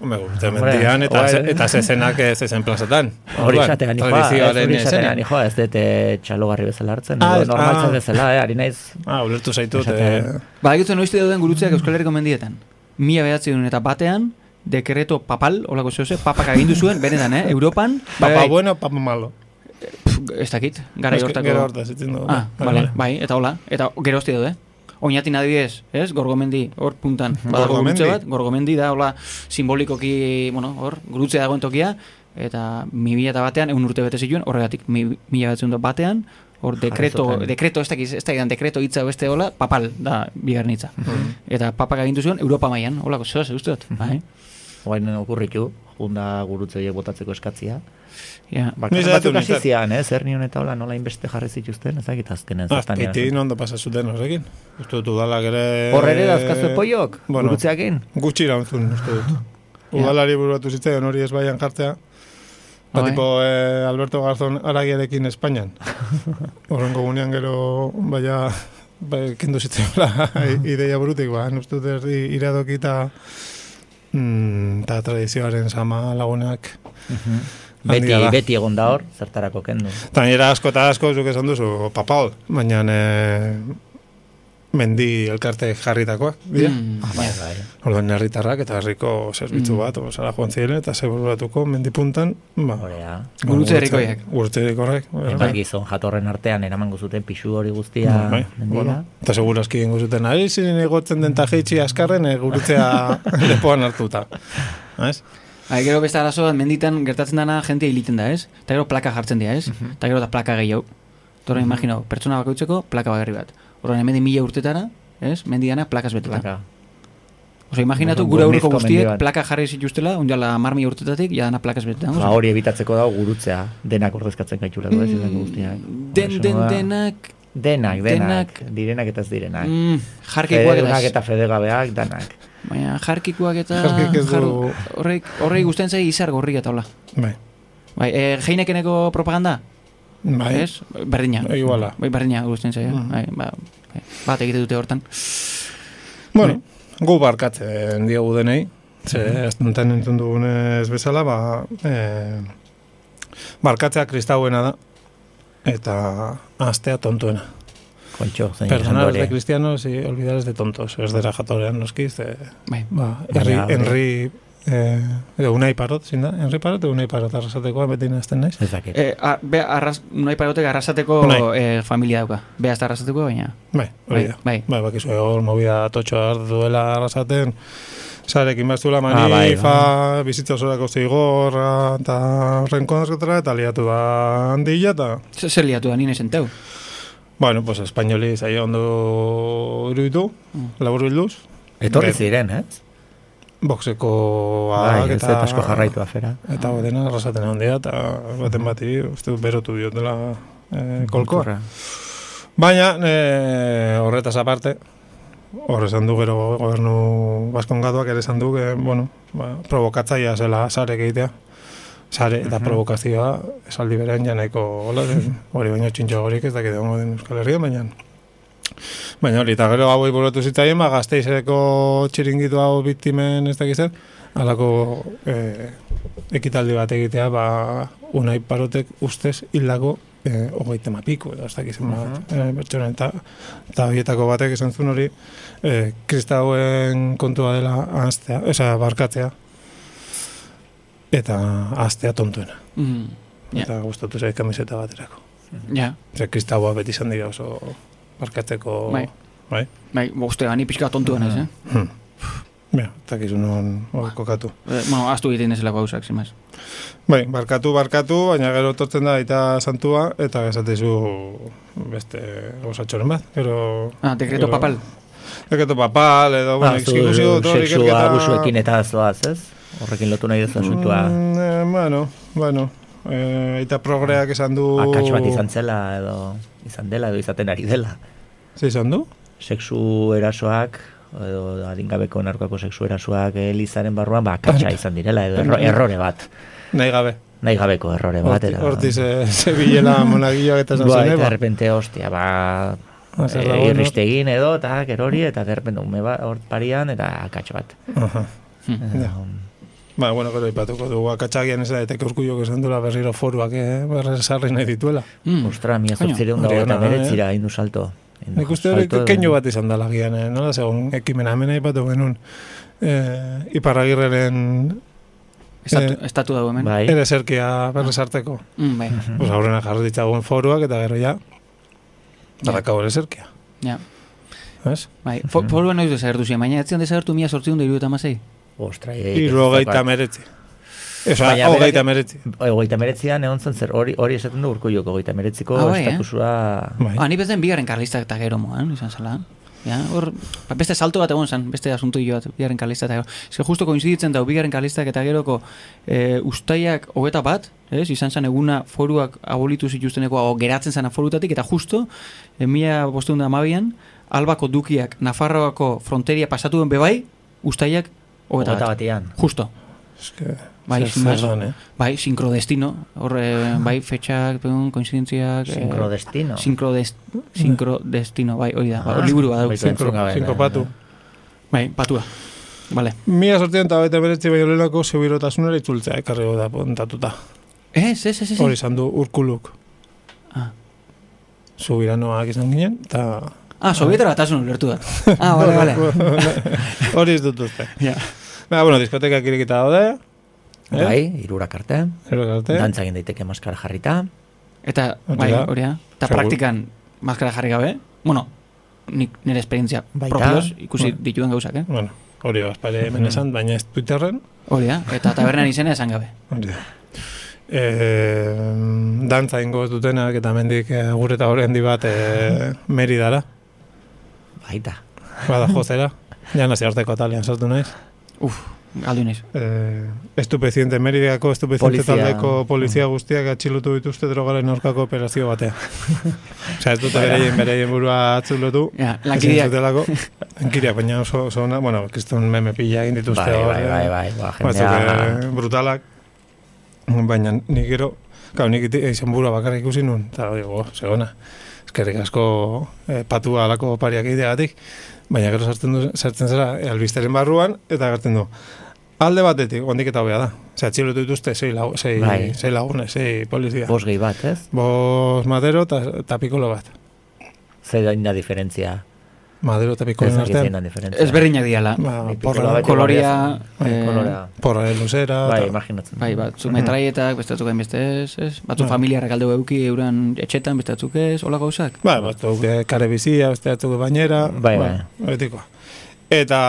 [SPEAKER 3] Hombre, gurte
[SPEAKER 4] Hombre,
[SPEAKER 3] mendian eta,
[SPEAKER 4] bai.
[SPEAKER 3] ze- eta zezenak ez ezen plazatan.
[SPEAKER 4] Hori
[SPEAKER 3] Orduan,
[SPEAKER 4] izatean nijoa, ez
[SPEAKER 3] tradizioaren
[SPEAKER 4] hori izatean
[SPEAKER 3] izenean.
[SPEAKER 4] nijoa, ez dut eh, txalogarri bezala hartzen,
[SPEAKER 3] Ah,
[SPEAKER 4] edo
[SPEAKER 3] ez-
[SPEAKER 4] normaltzat
[SPEAKER 3] ah.
[SPEAKER 4] bezala, eh, ari naiz,
[SPEAKER 3] Ah, ulertu zaitut.
[SPEAKER 4] Esatean.
[SPEAKER 3] Eh,
[SPEAKER 1] Badakizu Ba, noiztik dauden gurutzeak Euskal Herriko mendietan. Mila behatzen eta batean, dekreto papal, olako zehose, papak agindu zuen, benetan, eh? Europan, bai,
[SPEAKER 3] papa
[SPEAKER 1] bai,
[SPEAKER 3] bueno, papa malo.
[SPEAKER 1] pf, ez dakit, gara
[SPEAKER 3] Eske-
[SPEAKER 1] hortako...
[SPEAKER 3] Gero hortaz, itzen dugu.
[SPEAKER 1] Ah, vale, bai, eta hola, eta gero hostia daude. Oinatin adibidez, ez? Gorgomendi, hor puntan, badago
[SPEAKER 3] Gorgomendi.
[SPEAKER 1] gurutze bat, gorgomendi da, hola, simbolikoki, bueno, hor, gurutze dagoen tokia, eta mi eta batean, egun urte bete zituen, horregatik, mi, mila batzen batean, hor, dekreto,
[SPEAKER 4] zuten.
[SPEAKER 1] dekreto, ez dakiz, ez dakidan, dekreto hitza beste hola, papal, da, bigarren hitza. Eta papak agintu zuen, Europa mailan, holako zeo, uste dut, bai?
[SPEAKER 4] guain okurritu, junda gurutze horiek botatzeko eskatzia.
[SPEAKER 1] Ja.
[SPEAKER 4] Bakarren
[SPEAKER 3] Nizatu,
[SPEAKER 4] batzuk hasi
[SPEAKER 3] nizatu.
[SPEAKER 4] zian, eh, zer nion eta hola nola inbeste jarri zituzten, ez dakit azkenen zaztanean.
[SPEAKER 3] Azpeitin Ah, ondo pasa zuten horrekin. Uste dut udalak ere...
[SPEAKER 4] Hor ere dauzkazu poiok,
[SPEAKER 3] eh, Bueno.
[SPEAKER 4] gurutzeakin.
[SPEAKER 3] Gutxi irauntzun, uste dut. Udalari buruatu zitzaion hori ez baian jartzea. Ba,
[SPEAKER 1] Bai.
[SPEAKER 3] tipo, eh, Alberto Garzón aragiarekin Espainian. Horrengo gunean gero, baina, bai, kendu zitzaiola ideia burutik, ba, han uste dut erdi iradokita mm, eta tradizioaren sama lagunak.
[SPEAKER 4] Beti,
[SPEAKER 3] Handia da.
[SPEAKER 4] beti egon da hor, zertarako kendu.
[SPEAKER 3] Tainera asko eta asko, zuk esan duzu, papal, baina eh, mendi elkarte jarritakoak, dira.
[SPEAKER 1] Mm,
[SPEAKER 4] Bai, bai.
[SPEAKER 3] Orduan herritarrak eta herriko zerbitzu bat, mm. osara joan ziren eta zebururatuko mendipuntan, ba,
[SPEAKER 4] Horea.
[SPEAKER 1] Gurutze herrikoiak. Bai.
[SPEAKER 3] Gurutze herrikoiak.
[SPEAKER 4] Eta gizon jatorren artean eramango zuten pisu hori guztia
[SPEAKER 3] Bai, bueno.
[SPEAKER 4] mendira.
[SPEAKER 3] Eta segurazki ingo zuten, ari ziren egotzen den ta jeitsi askarren eh, gurutzea lepoan hartuta. Ez?
[SPEAKER 1] Bai, gero beste arazoa, menditan gertatzen dana jentia hiliten da, ez? Eta gero plaka jartzen dira, ez? Eta
[SPEAKER 4] Mhm.
[SPEAKER 1] gero da plaka gehiago. Torre, imaginau, pertsona bakoitzeko plaka bakarri bat. Horren, hemen mila urtetara, ez? Mendidana plakas beteta.
[SPEAKER 4] Plaka.
[SPEAKER 1] Oso, imaginatu
[SPEAKER 4] Orduan,
[SPEAKER 1] gure aurreko
[SPEAKER 4] gurnizko
[SPEAKER 1] guztiek
[SPEAKER 4] mendian.
[SPEAKER 1] plaka jarri zituztela, ondiala mar mila urtetatik, jadana plakas beteta.
[SPEAKER 4] Ba, hori ebitatzeko dago gurutzea, denak ordezkatzen gaitulako, ez izango guztiak.
[SPEAKER 1] Mm, Den,
[SPEAKER 4] Horrexen
[SPEAKER 1] den,
[SPEAKER 4] da.
[SPEAKER 1] denak...
[SPEAKER 4] Denak, denak,
[SPEAKER 1] Denak.
[SPEAKER 4] direnak eta ez direnak.
[SPEAKER 1] Mm, jarkikoak eta...
[SPEAKER 4] Fededunak
[SPEAKER 1] ez.
[SPEAKER 4] eta fedegabeak, danak.
[SPEAKER 1] Baina jarkikoak eta...
[SPEAKER 3] Jarkik ez du-
[SPEAKER 1] jar- Horrek, horrek guztien zei izar gorri eta hola.
[SPEAKER 3] Bai.
[SPEAKER 1] Bai, e, Heinekeneko propaganda?
[SPEAKER 3] Bai.
[SPEAKER 1] Ez? Berdina.
[SPEAKER 3] Iguala. Mm.
[SPEAKER 1] Bai, berdina gusten zaio. Bai, ba, bai. bat egite dute hortan.
[SPEAKER 3] Bueno,
[SPEAKER 1] Bai.
[SPEAKER 3] gu barkatzen diogu denei. Ze,
[SPEAKER 1] Mm-hmm.
[SPEAKER 3] astuntan entzun dugunez bezala, ba, eh, barkatzea kristauena da. Eta astea tontuena.
[SPEAKER 4] Kontxo, zein
[SPEAKER 3] Perdonaros
[SPEAKER 4] izango
[SPEAKER 3] de
[SPEAKER 4] ere.
[SPEAKER 3] cristianos y olvidaros de tontos. Ez dira jatorean noski, ze...
[SPEAKER 1] Bai.
[SPEAKER 3] Ba,
[SPEAKER 4] Baina,
[SPEAKER 3] Henry,
[SPEAKER 4] hombre.
[SPEAKER 3] Henry, eh, edo unai parot, zin da? Henry parot edo unai parot arrasatekoa beti nazten naiz.
[SPEAKER 4] Ez dakit.
[SPEAKER 1] E, a, be, arras, nahi pagotek arrasateko
[SPEAKER 3] Unai.
[SPEAKER 1] eh, familia dauka. Be, hasta arrasateko, baina.
[SPEAKER 3] Bai, hori da.
[SPEAKER 1] Bai,
[SPEAKER 3] Bai,
[SPEAKER 1] bai.
[SPEAKER 3] bai, bakizu hor movida totxoa har duela arrasaten, sarekin baztuela manifa,
[SPEAKER 4] Ah, bai,
[SPEAKER 3] bizitza osorako zigorra, eta renkontzatara, eta liatu da handila, eta...
[SPEAKER 1] Zer zer liatu da, nina esenteu.
[SPEAKER 3] Bueno, pues espainoli zaio ondo iruditu,
[SPEAKER 4] Mm.
[SPEAKER 3] labur bilduz,
[SPEAKER 4] Etorri
[SPEAKER 3] Bet.
[SPEAKER 4] ziren, ez?
[SPEAKER 3] boxeko ah,
[SPEAKER 4] Bai, ez dut asko jarraitu afera.
[SPEAKER 3] Eta ah. dena arrasaten handia eta baten bati uste dut berotu diotela eh, kolkoa.
[SPEAKER 4] Kulturra.
[SPEAKER 3] Baina eh, horretaz aparte, hor esan du gero gobernu baskongatuak ere esan du, eh, bueno, ba, provokatzaia zela sare egitea. Sare eta provokazioa esaldi berean ja nahiko hola, eh, hori baino txintxo horik ez dakit egongo den Euskal Herrian, baina Baina hori, eta gero hauei buratu zitzaien, ba, gazteizeko txiringitu hau biktimen ez dakit zer, halako eh, ekitaldi bat egitea, ba, unai parotek ustez hildako eh, hogeita mapiko, edo ez dakizen bat,
[SPEAKER 1] Mhm.
[SPEAKER 3] eh, pertsona, eta, eta horietako batek esan zuen hori, eh, kristauen kontua dela aztea, esa, barkatzea, eta aztea tontuena,
[SPEAKER 1] Mm, Ja.
[SPEAKER 3] eta gustatu zait kamiseta baterako.
[SPEAKER 1] ja.
[SPEAKER 3] Zer, kristaua beti izan dira oso barkatzeko...
[SPEAKER 1] Bai. ba,
[SPEAKER 3] Bai. Ah.
[SPEAKER 1] Bai, bo, uste, ni pixka tontu ganez, eh?
[SPEAKER 3] Hmm. Ba. Bea, eta gizu non hor kokatu.
[SPEAKER 1] Eh, bueno, astu egiten ezelako hausak, zimaz.
[SPEAKER 3] Bai, barkatu, barkatu, baina gero tortzen da eta santua, eta esatizu beste gauzatxoren bat. Gero,
[SPEAKER 1] Ah, dekreto
[SPEAKER 3] gero-
[SPEAKER 1] papal.
[SPEAKER 3] Dekreto papal, edo,
[SPEAKER 4] Ba,
[SPEAKER 3] bueno,
[SPEAKER 4] zu
[SPEAKER 3] ikusi dut hor
[SPEAKER 4] sexua
[SPEAKER 3] ikerketa-
[SPEAKER 4] abusuekin eta zoaz, ez? Horrekin lotu nahi duzu asuntua.
[SPEAKER 3] Mm, eh, bueno, bueno. Eh, eta progreak esan du...
[SPEAKER 4] Ah, Akats bat izan zela edo izan dela edo izaten ari dela.
[SPEAKER 3] Ze izan du?
[SPEAKER 4] Sexu erasoak edo adingabeko narkoako sexu erasoak elizaren barruan ba akatsa izan direla edo erro- errore bat.
[SPEAKER 3] Nahi gabe.
[SPEAKER 4] Nahi gabeko errore bat.
[SPEAKER 3] Horti- Hortiz, eh, zebilela monagiloak eta esan
[SPEAKER 4] Ba,
[SPEAKER 3] zen,
[SPEAKER 4] eta
[SPEAKER 3] eh, ba.
[SPEAKER 4] derrepente, hostia, ba...
[SPEAKER 3] Ah, zer dago,
[SPEAKER 4] E,
[SPEAKER 3] no?
[SPEAKER 4] irristegin edo, eta gerori, eta derrepente ume bat, hor parian, eta akatxo bat.
[SPEAKER 3] Aha. Ba, bueno, gero ipatuko dugu akatsagian ez da, eta urkuiok esan duela berriro foruak, eh, berre sarri nahi dituela.
[SPEAKER 1] Mm.
[SPEAKER 4] Ostra, mila
[SPEAKER 1] Coño,
[SPEAKER 4] zortzireun dago
[SPEAKER 3] Hmm. hori
[SPEAKER 4] eta
[SPEAKER 3] ona,
[SPEAKER 4] beretzira egin du salto. Egin du
[SPEAKER 3] Nik uste
[SPEAKER 4] salto
[SPEAKER 3] hori
[SPEAKER 4] edo-
[SPEAKER 3] keinu bat izan dela gian, eh, nola, segun, ekimen hemen aipatu genuen, eh, iparragirreren
[SPEAKER 1] Estatu,
[SPEAKER 3] Eh,
[SPEAKER 1] estatu dago hemen.
[SPEAKER 4] Bai,
[SPEAKER 3] ere zerkia berre sarteko.
[SPEAKER 1] Mm, bai.
[SPEAKER 3] Pues aurrena jarri ditzagun foruak eta gero ja, darrakau ere zerkia,
[SPEAKER 1] Ja.
[SPEAKER 3] ez?
[SPEAKER 1] Bai. Fo- Foruen noiz desagertu ziren, baina etzian desagertu mila sortzion da iruditu amasei.
[SPEAKER 4] ostra, eh,
[SPEAKER 1] Eh,
[SPEAKER 3] Irurogeita meretzi. Osa,
[SPEAKER 4] Baina,
[SPEAKER 3] hogeita
[SPEAKER 4] berak-
[SPEAKER 3] meretzi.
[SPEAKER 4] Ogeita meretzian Bai, egon zen zer, hori hori esaten du urko joko, ogeita meretziko
[SPEAKER 1] Ah, bai, eh?
[SPEAKER 4] estatusua...
[SPEAKER 3] Bai.
[SPEAKER 1] Ah, ni bezen bigarren karlista eta gero moan, izan zela. Ja, hor, ba, beste salto bat egon zen, beste asuntu jo bat, bigarren karlista eta gero. Ez que justo koinziditzen dau, bigarren karlistak eta geroko e, ustaiak hogeta bat, ez, izan zen eguna foruak abolitu zituzteneko, o, geratzen zen forutatik, eta justo, e, mila bosteun da amabian, albako dukiak Nafarroako fronteria pasatu duen bebai, ustaiak hogeta
[SPEAKER 4] Ogeita
[SPEAKER 1] bat.
[SPEAKER 4] batean.
[SPEAKER 1] Justo.
[SPEAKER 3] Eske,
[SPEAKER 1] Bai,
[SPEAKER 3] zer-
[SPEAKER 1] sin más.
[SPEAKER 3] zer dan, eh?
[SPEAKER 1] Bai, sinkrodestino, hor, eh, bai, fetxak, pegun, koinzidentziak... eh,
[SPEAKER 4] Sinkrodestino.
[SPEAKER 1] Sinkrodest, sinkrodestino, bai, hori da,
[SPEAKER 4] Ah.
[SPEAKER 1] ba, hor liburu badau.
[SPEAKER 4] Baitu entzun gabe.
[SPEAKER 1] eh.
[SPEAKER 3] Sinkopatu.
[SPEAKER 1] Bai, batua. Vale.
[SPEAKER 3] Mila sortien eta baita beretzi baino lehenako zebirotasunera itzultzea ekarri da pontatuta.
[SPEAKER 1] Ez, ez, ez, ez.
[SPEAKER 3] Hori izan du urkuluk.
[SPEAKER 1] Ah.
[SPEAKER 3] Subiranoak izan ginen, eta...
[SPEAKER 1] Ah, sobietara batasun ulertu da. Ah, vale, vale.
[SPEAKER 3] Hori ez dut uste.
[SPEAKER 1] Ja.
[SPEAKER 3] Na, bueno, diskotekak irekita daude. Eh?
[SPEAKER 4] Bai, irurak arte.
[SPEAKER 3] Gero arte.
[SPEAKER 4] Dantza egin daiteke maskara jarrita.
[SPEAKER 1] Eta,
[SPEAKER 3] Eta
[SPEAKER 1] bai,
[SPEAKER 3] da.
[SPEAKER 1] hori da. Eta
[SPEAKER 3] Segur.
[SPEAKER 1] praktikan maskara jarri gabe, bueno, nik nire esperientzia
[SPEAKER 4] Baita.
[SPEAKER 1] propioz ikusi
[SPEAKER 3] Bueno.
[SPEAKER 1] dituen gauzak, eh?
[SPEAKER 3] Bueno, hori bazpare
[SPEAKER 1] Mm.
[SPEAKER 3] hemen
[SPEAKER 4] Mhm.
[SPEAKER 3] esan, baina ez Twitterren.
[SPEAKER 1] Hori da, eta tabernan izena esan gabe.
[SPEAKER 3] Hori da. Eh, dantza ingo ez dutenak eta mendik eh, gure eta hori handi bat eh, meridara,
[SPEAKER 4] Baita.
[SPEAKER 3] bada jozera. Ja nazioarteko talian sartu naiz.
[SPEAKER 1] Uf, galdu inez.
[SPEAKER 3] Eh, estupeziente, Meridiako estupeziente
[SPEAKER 4] Polizia. Mm.
[SPEAKER 3] taldeko polizia guztiak atxilotu dituzte drogaren aurkako operazio batea. Osea, ez dute bereien, bereien burua atzulotu.
[SPEAKER 1] Ja,
[SPEAKER 3] Ezin
[SPEAKER 1] lankideak.
[SPEAKER 3] zutelako. Lankideak, baina oso, oso ona, bueno, kriston meme pila egin dituzte.
[SPEAKER 4] Bai,
[SPEAKER 3] hor,
[SPEAKER 4] bai,
[SPEAKER 3] eh,
[SPEAKER 4] bai, bai, ba,
[SPEAKER 3] Batzuk
[SPEAKER 4] jendea...
[SPEAKER 3] eh, brutalak. Baina nik gero, gau, nik iti- izen burua bakarra ikusi nun, eta digo, segona, eskerrik asko eh, patua alako pariak egiteagatik, baina gero sartzen, du, sartzen zara eh, albisteren barruan, eta gertzen du, alde batetik, ondik eta hobea da. Osea, atxilotu dituzte, sei, lau, sei,
[SPEAKER 4] Bai.
[SPEAKER 3] sei lagune, sei polizia.
[SPEAKER 4] Bos gehi bat, ez?
[SPEAKER 3] Bos madero eta eta pikolo bat.
[SPEAKER 4] Zer da inda diferentzia.
[SPEAKER 3] Madero eta
[SPEAKER 4] Ez
[SPEAKER 3] pikolo
[SPEAKER 4] dakit zein Bai,
[SPEAKER 3] artean.
[SPEAKER 4] da diferentzia.
[SPEAKER 1] Ezberdinak diala.
[SPEAKER 3] Ba,
[SPEAKER 4] Ni pikolo
[SPEAKER 3] porra,
[SPEAKER 4] bat
[SPEAKER 1] Koloria,
[SPEAKER 4] Bai,
[SPEAKER 1] eh,
[SPEAKER 4] kolorea.
[SPEAKER 3] porra luzera.
[SPEAKER 4] Bai,
[SPEAKER 3] eta-
[SPEAKER 4] imaginatzen.
[SPEAKER 1] Bai, batzuk metraietak, bestatzuk beste ez, ez? Batzuk
[SPEAKER 3] Bai.
[SPEAKER 1] familiarrak alde eduki euran etxetan, bestatzuk ez, hola gauzak.
[SPEAKER 3] Ba, batzuk eh, kare bizia, beste batzuk bainera.
[SPEAKER 4] Bai,
[SPEAKER 3] ba,
[SPEAKER 4] bai.
[SPEAKER 3] betikoa. Eta,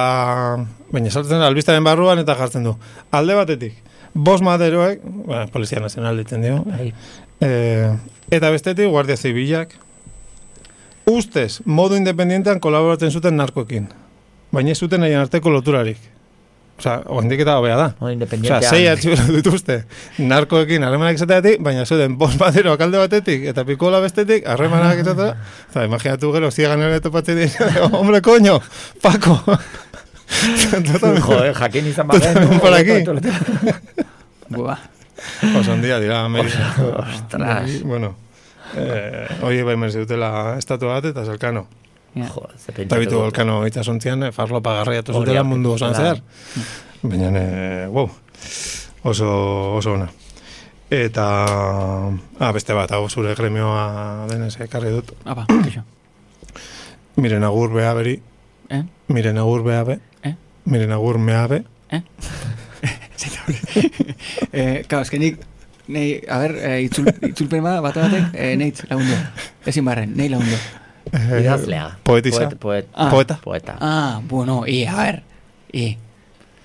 [SPEAKER 3] baina sartzen da, albistaren barruan eta jartzen du. Alde batetik, bos maderoek, ba, Polizia Nazional ditzen dio,
[SPEAKER 4] Bai.
[SPEAKER 3] eh, eta bestetik Guardia Zibilak, ustez, modu independientean kolaboratzen zuten narkoekin. Baina ez zuten haien arteko loturarik. Osa, oendik eta hobea da.
[SPEAKER 4] Modu
[SPEAKER 3] Osa,
[SPEAKER 4] Bai, independientean.
[SPEAKER 3] sei atxilo dituzte narkoekin harremanak izateatik, baina zuten bost bateroak alde batetik eta pikola bestetik harremanak izatera. Eta imaginatu gero, ziegan ere topatzen dira, hombre, koño, Paco. Totalmente.
[SPEAKER 4] Jo, eh, jakin izan baden.
[SPEAKER 3] Totalmente por aquí.
[SPEAKER 4] Bai.
[SPEAKER 1] Buah.
[SPEAKER 3] Oso handia dira, Amerika.
[SPEAKER 4] Ostras.
[SPEAKER 3] Bueno, eh, oie bai merezi dutela estatua bat eta zelkano.
[SPEAKER 1] Ja.
[SPEAKER 4] Jo, ze
[SPEAKER 3] Eta
[SPEAKER 4] pentsatu
[SPEAKER 3] bitu
[SPEAKER 4] dut.
[SPEAKER 3] volkano itxasontzian, eh, farlo pagarriatu
[SPEAKER 4] Hori
[SPEAKER 3] zutela
[SPEAKER 4] da,
[SPEAKER 3] mundu osan
[SPEAKER 4] da.
[SPEAKER 3] zehar. Baina, eh, wow, oso, oso ona. Eta, ah, beste bat, hau zure gremioa denez ekarri dut.
[SPEAKER 1] Apa, kaixo.
[SPEAKER 3] Miren agur beha beri,
[SPEAKER 1] Eh?
[SPEAKER 3] miren agur beha be,
[SPEAKER 1] Eh?
[SPEAKER 3] miren agur mea be.
[SPEAKER 1] Zeta hori. eh, kau, eskenik, nei, a ber, eh, itzul, itzulpen bada, bat batek, eh, neitz lagundu. Ezin barren, nei lagundu.
[SPEAKER 3] Eh,
[SPEAKER 4] Idazlea.
[SPEAKER 3] Poetisa.
[SPEAKER 4] Poet, poet,
[SPEAKER 1] Ah.
[SPEAKER 3] Poeta.
[SPEAKER 4] poeta.
[SPEAKER 1] Ah, bueno, i, a ber, i,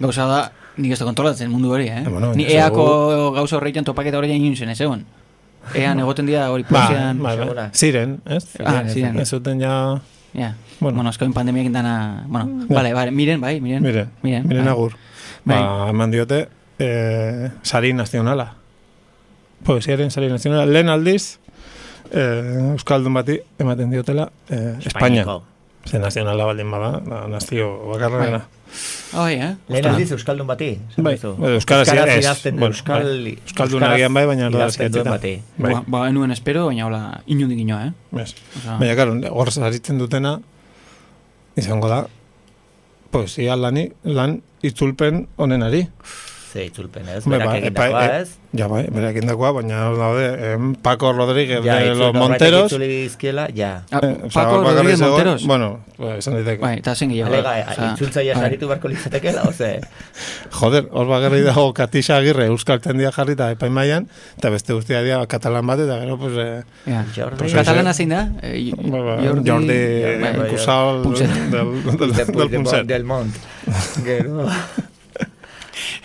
[SPEAKER 1] Gauza da, nik ez da kontrolatzen mundu hori, eh?
[SPEAKER 3] Eh, bueno,
[SPEAKER 1] Ni
[SPEAKER 3] ez
[SPEAKER 1] eako
[SPEAKER 3] dago-
[SPEAKER 1] gauza horreitan topaketa horreitan inuntzen, ez egon? Ean egoten dira hori
[SPEAKER 3] Ba,
[SPEAKER 1] polizian...
[SPEAKER 3] ba, ba.
[SPEAKER 4] segura.
[SPEAKER 3] Ziren, ez?
[SPEAKER 1] Ah, ziren.
[SPEAKER 3] Ez zuten ja...
[SPEAKER 1] Ja.
[SPEAKER 3] Bueno.
[SPEAKER 1] Bueno, bueno azkoen pandemiak dana... Bueno,
[SPEAKER 3] Ja.
[SPEAKER 1] vale, vale, miren, bai, miren.
[SPEAKER 3] Mire,
[SPEAKER 1] miren,
[SPEAKER 3] miren
[SPEAKER 1] bai.
[SPEAKER 3] agur. Ba, eman diote, eh, sari nazionala. Poesiaren sari nazionala. Lehen aldiz, eh, Euskaldun bati ematen diotela eh, Espainia.
[SPEAKER 4] Espainiako.
[SPEAKER 3] Ze nazionala baldin bada, da, nazio bakarrena.
[SPEAKER 1] Ah, bai, eh?
[SPEAKER 4] Lehen
[SPEAKER 3] Ostras.
[SPEAKER 4] aldiz Euskaldun bati. esan
[SPEAKER 3] Bai,
[SPEAKER 4] duzu.
[SPEAKER 3] edo euskaraz ira- ez.
[SPEAKER 4] idazten du,
[SPEAKER 3] Bueno,
[SPEAKER 4] Euskal,
[SPEAKER 3] bai. Euskaldun agian bai, baina erdaraz
[SPEAKER 4] idazten duen
[SPEAKER 3] idatzita.
[SPEAKER 4] bati.
[SPEAKER 3] Bai.
[SPEAKER 1] Ba, ba, enuen espero, baina hola, inundik inoa, eh?
[SPEAKER 3] Bez.
[SPEAKER 1] Osa,
[SPEAKER 3] Baina, karo, hor saritzen dutena, izango da, poesia lani, lan itzulpen onenari.
[SPEAKER 4] Ze itzulpen ez,
[SPEAKER 3] Hombre,
[SPEAKER 4] berak
[SPEAKER 3] ba,
[SPEAKER 4] egindakoa
[SPEAKER 3] epa- e-
[SPEAKER 4] ez.
[SPEAKER 3] Ja, bai, berak indakoa, baina hor daude, em, Paco Rodríguez
[SPEAKER 4] Ja,
[SPEAKER 3] de
[SPEAKER 4] itzul-
[SPEAKER 3] eh, los
[SPEAKER 4] norbaitek
[SPEAKER 3] Monteros.
[SPEAKER 4] Itzuli dizkiela, ja.
[SPEAKER 1] Ah,
[SPEAKER 3] Eh, o sea,
[SPEAKER 1] Paco
[SPEAKER 3] bakarrik
[SPEAKER 1] Rodríguez
[SPEAKER 3] zegoen-
[SPEAKER 1] Monteros.
[SPEAKER 3] Bueno, ba, esan diteke.
[SPEAKER 1] Bai, eta zen gehiago.
[SPEAKER 4] Alega,
[SPEAKER 1] Osea,
[SPEAKER 4] itzultzaia
[SPEAKER 1] bai.
[SPEAKER 4] saritu beharko litzatekeela, oze?
[SPEAKER 3] Joder, hor bagarri dago Katixa Agirre Euskal Tendia jarri eta epaimaian, eta beste guztia dira katalan bat, eta gero, pues, eh,
[SPEAKER 1] Ja.
[SPEAKER 4] Jordi-
[SPEAKER 1] Pues Katalana zein da? Eh, i-
[SPEAKER 3] ba, ba,
[SPEAKER 1] Jordi...
[SPEAKER 3] Jordi,
[SPEAKER 4] Bai, bai,
[SPEAKER 3] Cusal
[SPEAKER 1] Punset.
[SPEAKER 3] del, del, del,
[SPEAKER 4] De Puig de Mont-
[SPEAKER 3] Punset.
[SPEAKER 4] Del Mont. Gero.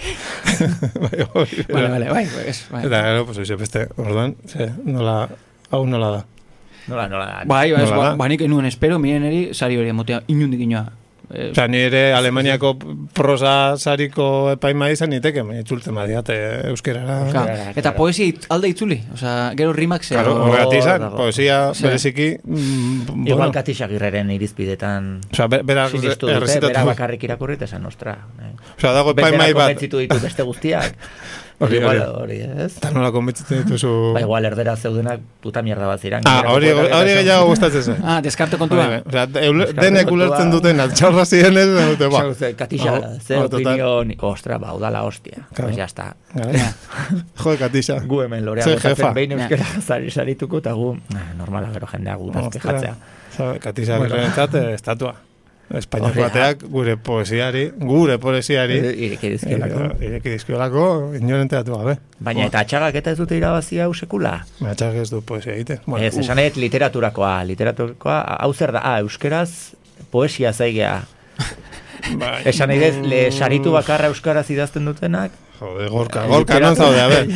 [SPEAKER 3] Bai, hori era.
[SPEAKER 1] Vale, vale, bai, bai, ez, bai.
[SPEAKER 3] Eta gero, pues, oize, beste, orduan, ze, nola, hau nola da.
[SPEAKER 4] Nola, nola.
[SPEAKER 1] Bai, bai, ez,
[SPEAKER 3] Nola da?
[SPEAKER 1] ba, ba, nik enuen espero, miren eri, sari hori emotea, inundik inoa. Eh,
[SPEAKER 3] Osa, ni ere Alemaniako prosa sariko epaima izan niteke, baina itzultzen badiate euskerara.
[SPEAKER 1] ka,
[SPEAKER 3] Claro,
[SPEAKER 4] Claro,
[SPEAKER 1] eta
[SPEAKER 4] claro.
[SPEAKER 1] poesia it- alde itzuli, osea, gero rimak zera.
[SPEAKER 4] Claro.
[SPEAKER 3] horregatik izan,
[SPEAKER 4] dago.
[SPEAKER 3] poesia
[SPEAKER 1] Ze.
[SPEAKER 3] bereziki, mm,
[SPEAKER 4] Igual
[SPEAKER 3] bueno,
[SPEAKER 4] Katisa Girreren irizpidetan
[SPEAKER 3] osa, berak
[SPEAKER 4] sinistu dute,
[SPEAKER 3] errezitatu.
[SPEAKER 4] bera bakarrik irakurri eta esan, ostra. eh.
[SPEAKER 3] Osa, dago epaimai
[SPEAKER 4] Berbera
[SPEAKER 3] bat,
[SPEAKER 4] konbentzitu ditu beste guztiak.
[SPEAKER 3] Bai, Hori,
[SPEAKER 4] Igual,
[SPEAKER 3] hori.
[SPEAKER 4] hori, ez?
[SPEAKER 3] eta nola konbentzitzen dituzu...
[SPEAKER 4] Ba, igual erdera zeudenak puta mierda bat ziren.
[SPEAKER 3] Ah, hori, hori gehiago gustatzen zen.
[SPEAKER 1] Ah, deskarte
[SPEAKER 3] Hori,
[SPEAKER 1] kontua.
[SPEAKER 3] Osea, eule-
[SPEAKER 4] Euskal
[SPEAKER 3] denek
[SPEAKER 4] Ba. kontua-
[SPEAKER 3] ulertzen duten altxarra ziren ez, dute, ba.
[SPEAKER 4] Katixa,
[SPEAKER 3] Hau-
[SPEAKER 4] ze
[SPEAKER 3] hau total.
[SPEAKER 4] opinion, ostra, ba, udala hostia.
[SPEAKER 3] Claro.
[SPEAKER 4] Pues ya está.
[SPEAKER 3] Gara. Jo, katixa.
[SPEAKER 4] Gu hemen lorea
[SPEAKER 3] Ze
[SPEAKER 4] botatzen
[SPEAKER 3] jefa.
[SPEAKER 4] behin
[SPEAKER 1] Ja.
[SPEAKER 4] euskera zari sarituko, eta gu, ah, normala gero jendea gu, tazke jatzea.
[SPEAKER 3] Sabe, Katixa Agirrerentzat eh, estatua. Espainiak
[SPEAKER 4] Hori da.
[SPEAKER 3] bateak gure poesiari, gure poesiari
[SPEAKER 4] Ireki dizkiolako.
[SPEAKER 3] eh, ireki dizkiolako inoren teatu gabe.
[SPEAKER 4] Baina eta atxagak eta ez dute irabazi hau sekula.
[SPEAKER 3] Matxak ez du poesia egiten.
[SPEAKER 4] ez,
[SPEAKER 3] uf,
[SPEAKER 4] esan ez literaturakoa, literaturakoa, hau zer da, ah, euskeraz poesia zaigea.
[SPEAKER 3] bai.
[SPEAKER 4] Esan nahi dut, le saritu bakarra euskaraz idazten dutenak,
[SPEAKER 3] Jode, gorka,
[SPEAKER 4] Eh,
[SPEAKER 3] gorka
[SPEAKER 4] literatura-
[SPEAKER 3] non zaude, a ber.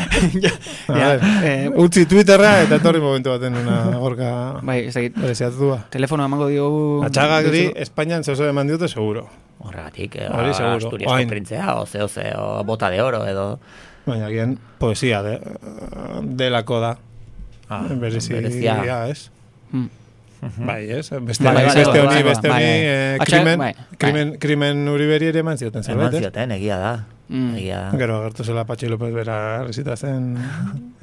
[SPEAKER 3] A
[SPEAKER 1] ja,
[SPEAKER 3] ber,
[SPEAKER 1] eh,
[SPEAKER 3] Utzi Twitterra eta etorri momentu baten una gorka
[SPEAKER 1] Bai, ez dakit,
[SPEAKER 3] poesiatua.
[SPEAKER 1] telefono emango diogu...
[SPEAKER 3] Atxaga gri, ba. Espainian zehozo eman diote seguro.
[SPEAKER 4] horregatik, eh,
[SPEAKER 3] Hori seguro,
[SPEAKER 4] Asturiasko
[SPEAKER 3] oain.
[SPEAKER 4] printzea, oze, oze, eh, o, bota de oro, edo,
[SPEAKER 3] Baina, gian, poesia de, delako da.
[SPEAKER 4] ah,
[SPEAKER 3] Berezia,
[SPEAKER 4] berezia.
[SPEAKER 3] ez?
[SPEAKER 1] Mm.
[SPEAKER 3] Bai, ez? Beste
[SPEAKER 1] Bai,
[SPEAKER 3] bai,
[SPEAKER 1] bai,
[SPEAKER 3] beste
[SPEAKER 1] bai,
[SPEAKER 3] honi,
[SPEAKER 1] bai,
[SPEAKER 3] beste
[SPEAKER 1] bai,
[SPEAKER 3] honi,
[SPEAKER 1] bai.
[SPEAKER 3] eh,
[SPEAKER 1] Atxa-
[SPEAKER 3] krimen,
[SPEAKER 1] bai,
[SPEAKER 3] krimen, krimen uriberi ere eman zioten
[SPEAKER 4] Eman
[SPEAKER 3] zerbait, eh? ez?
[SPEAKER 4] zioten, egia da,
[SPEAKER 1] Mm.
[SPEAKER 4] egia da.
[SPEAKER 3] Gero agertu zela Patxi López bera rezitatzen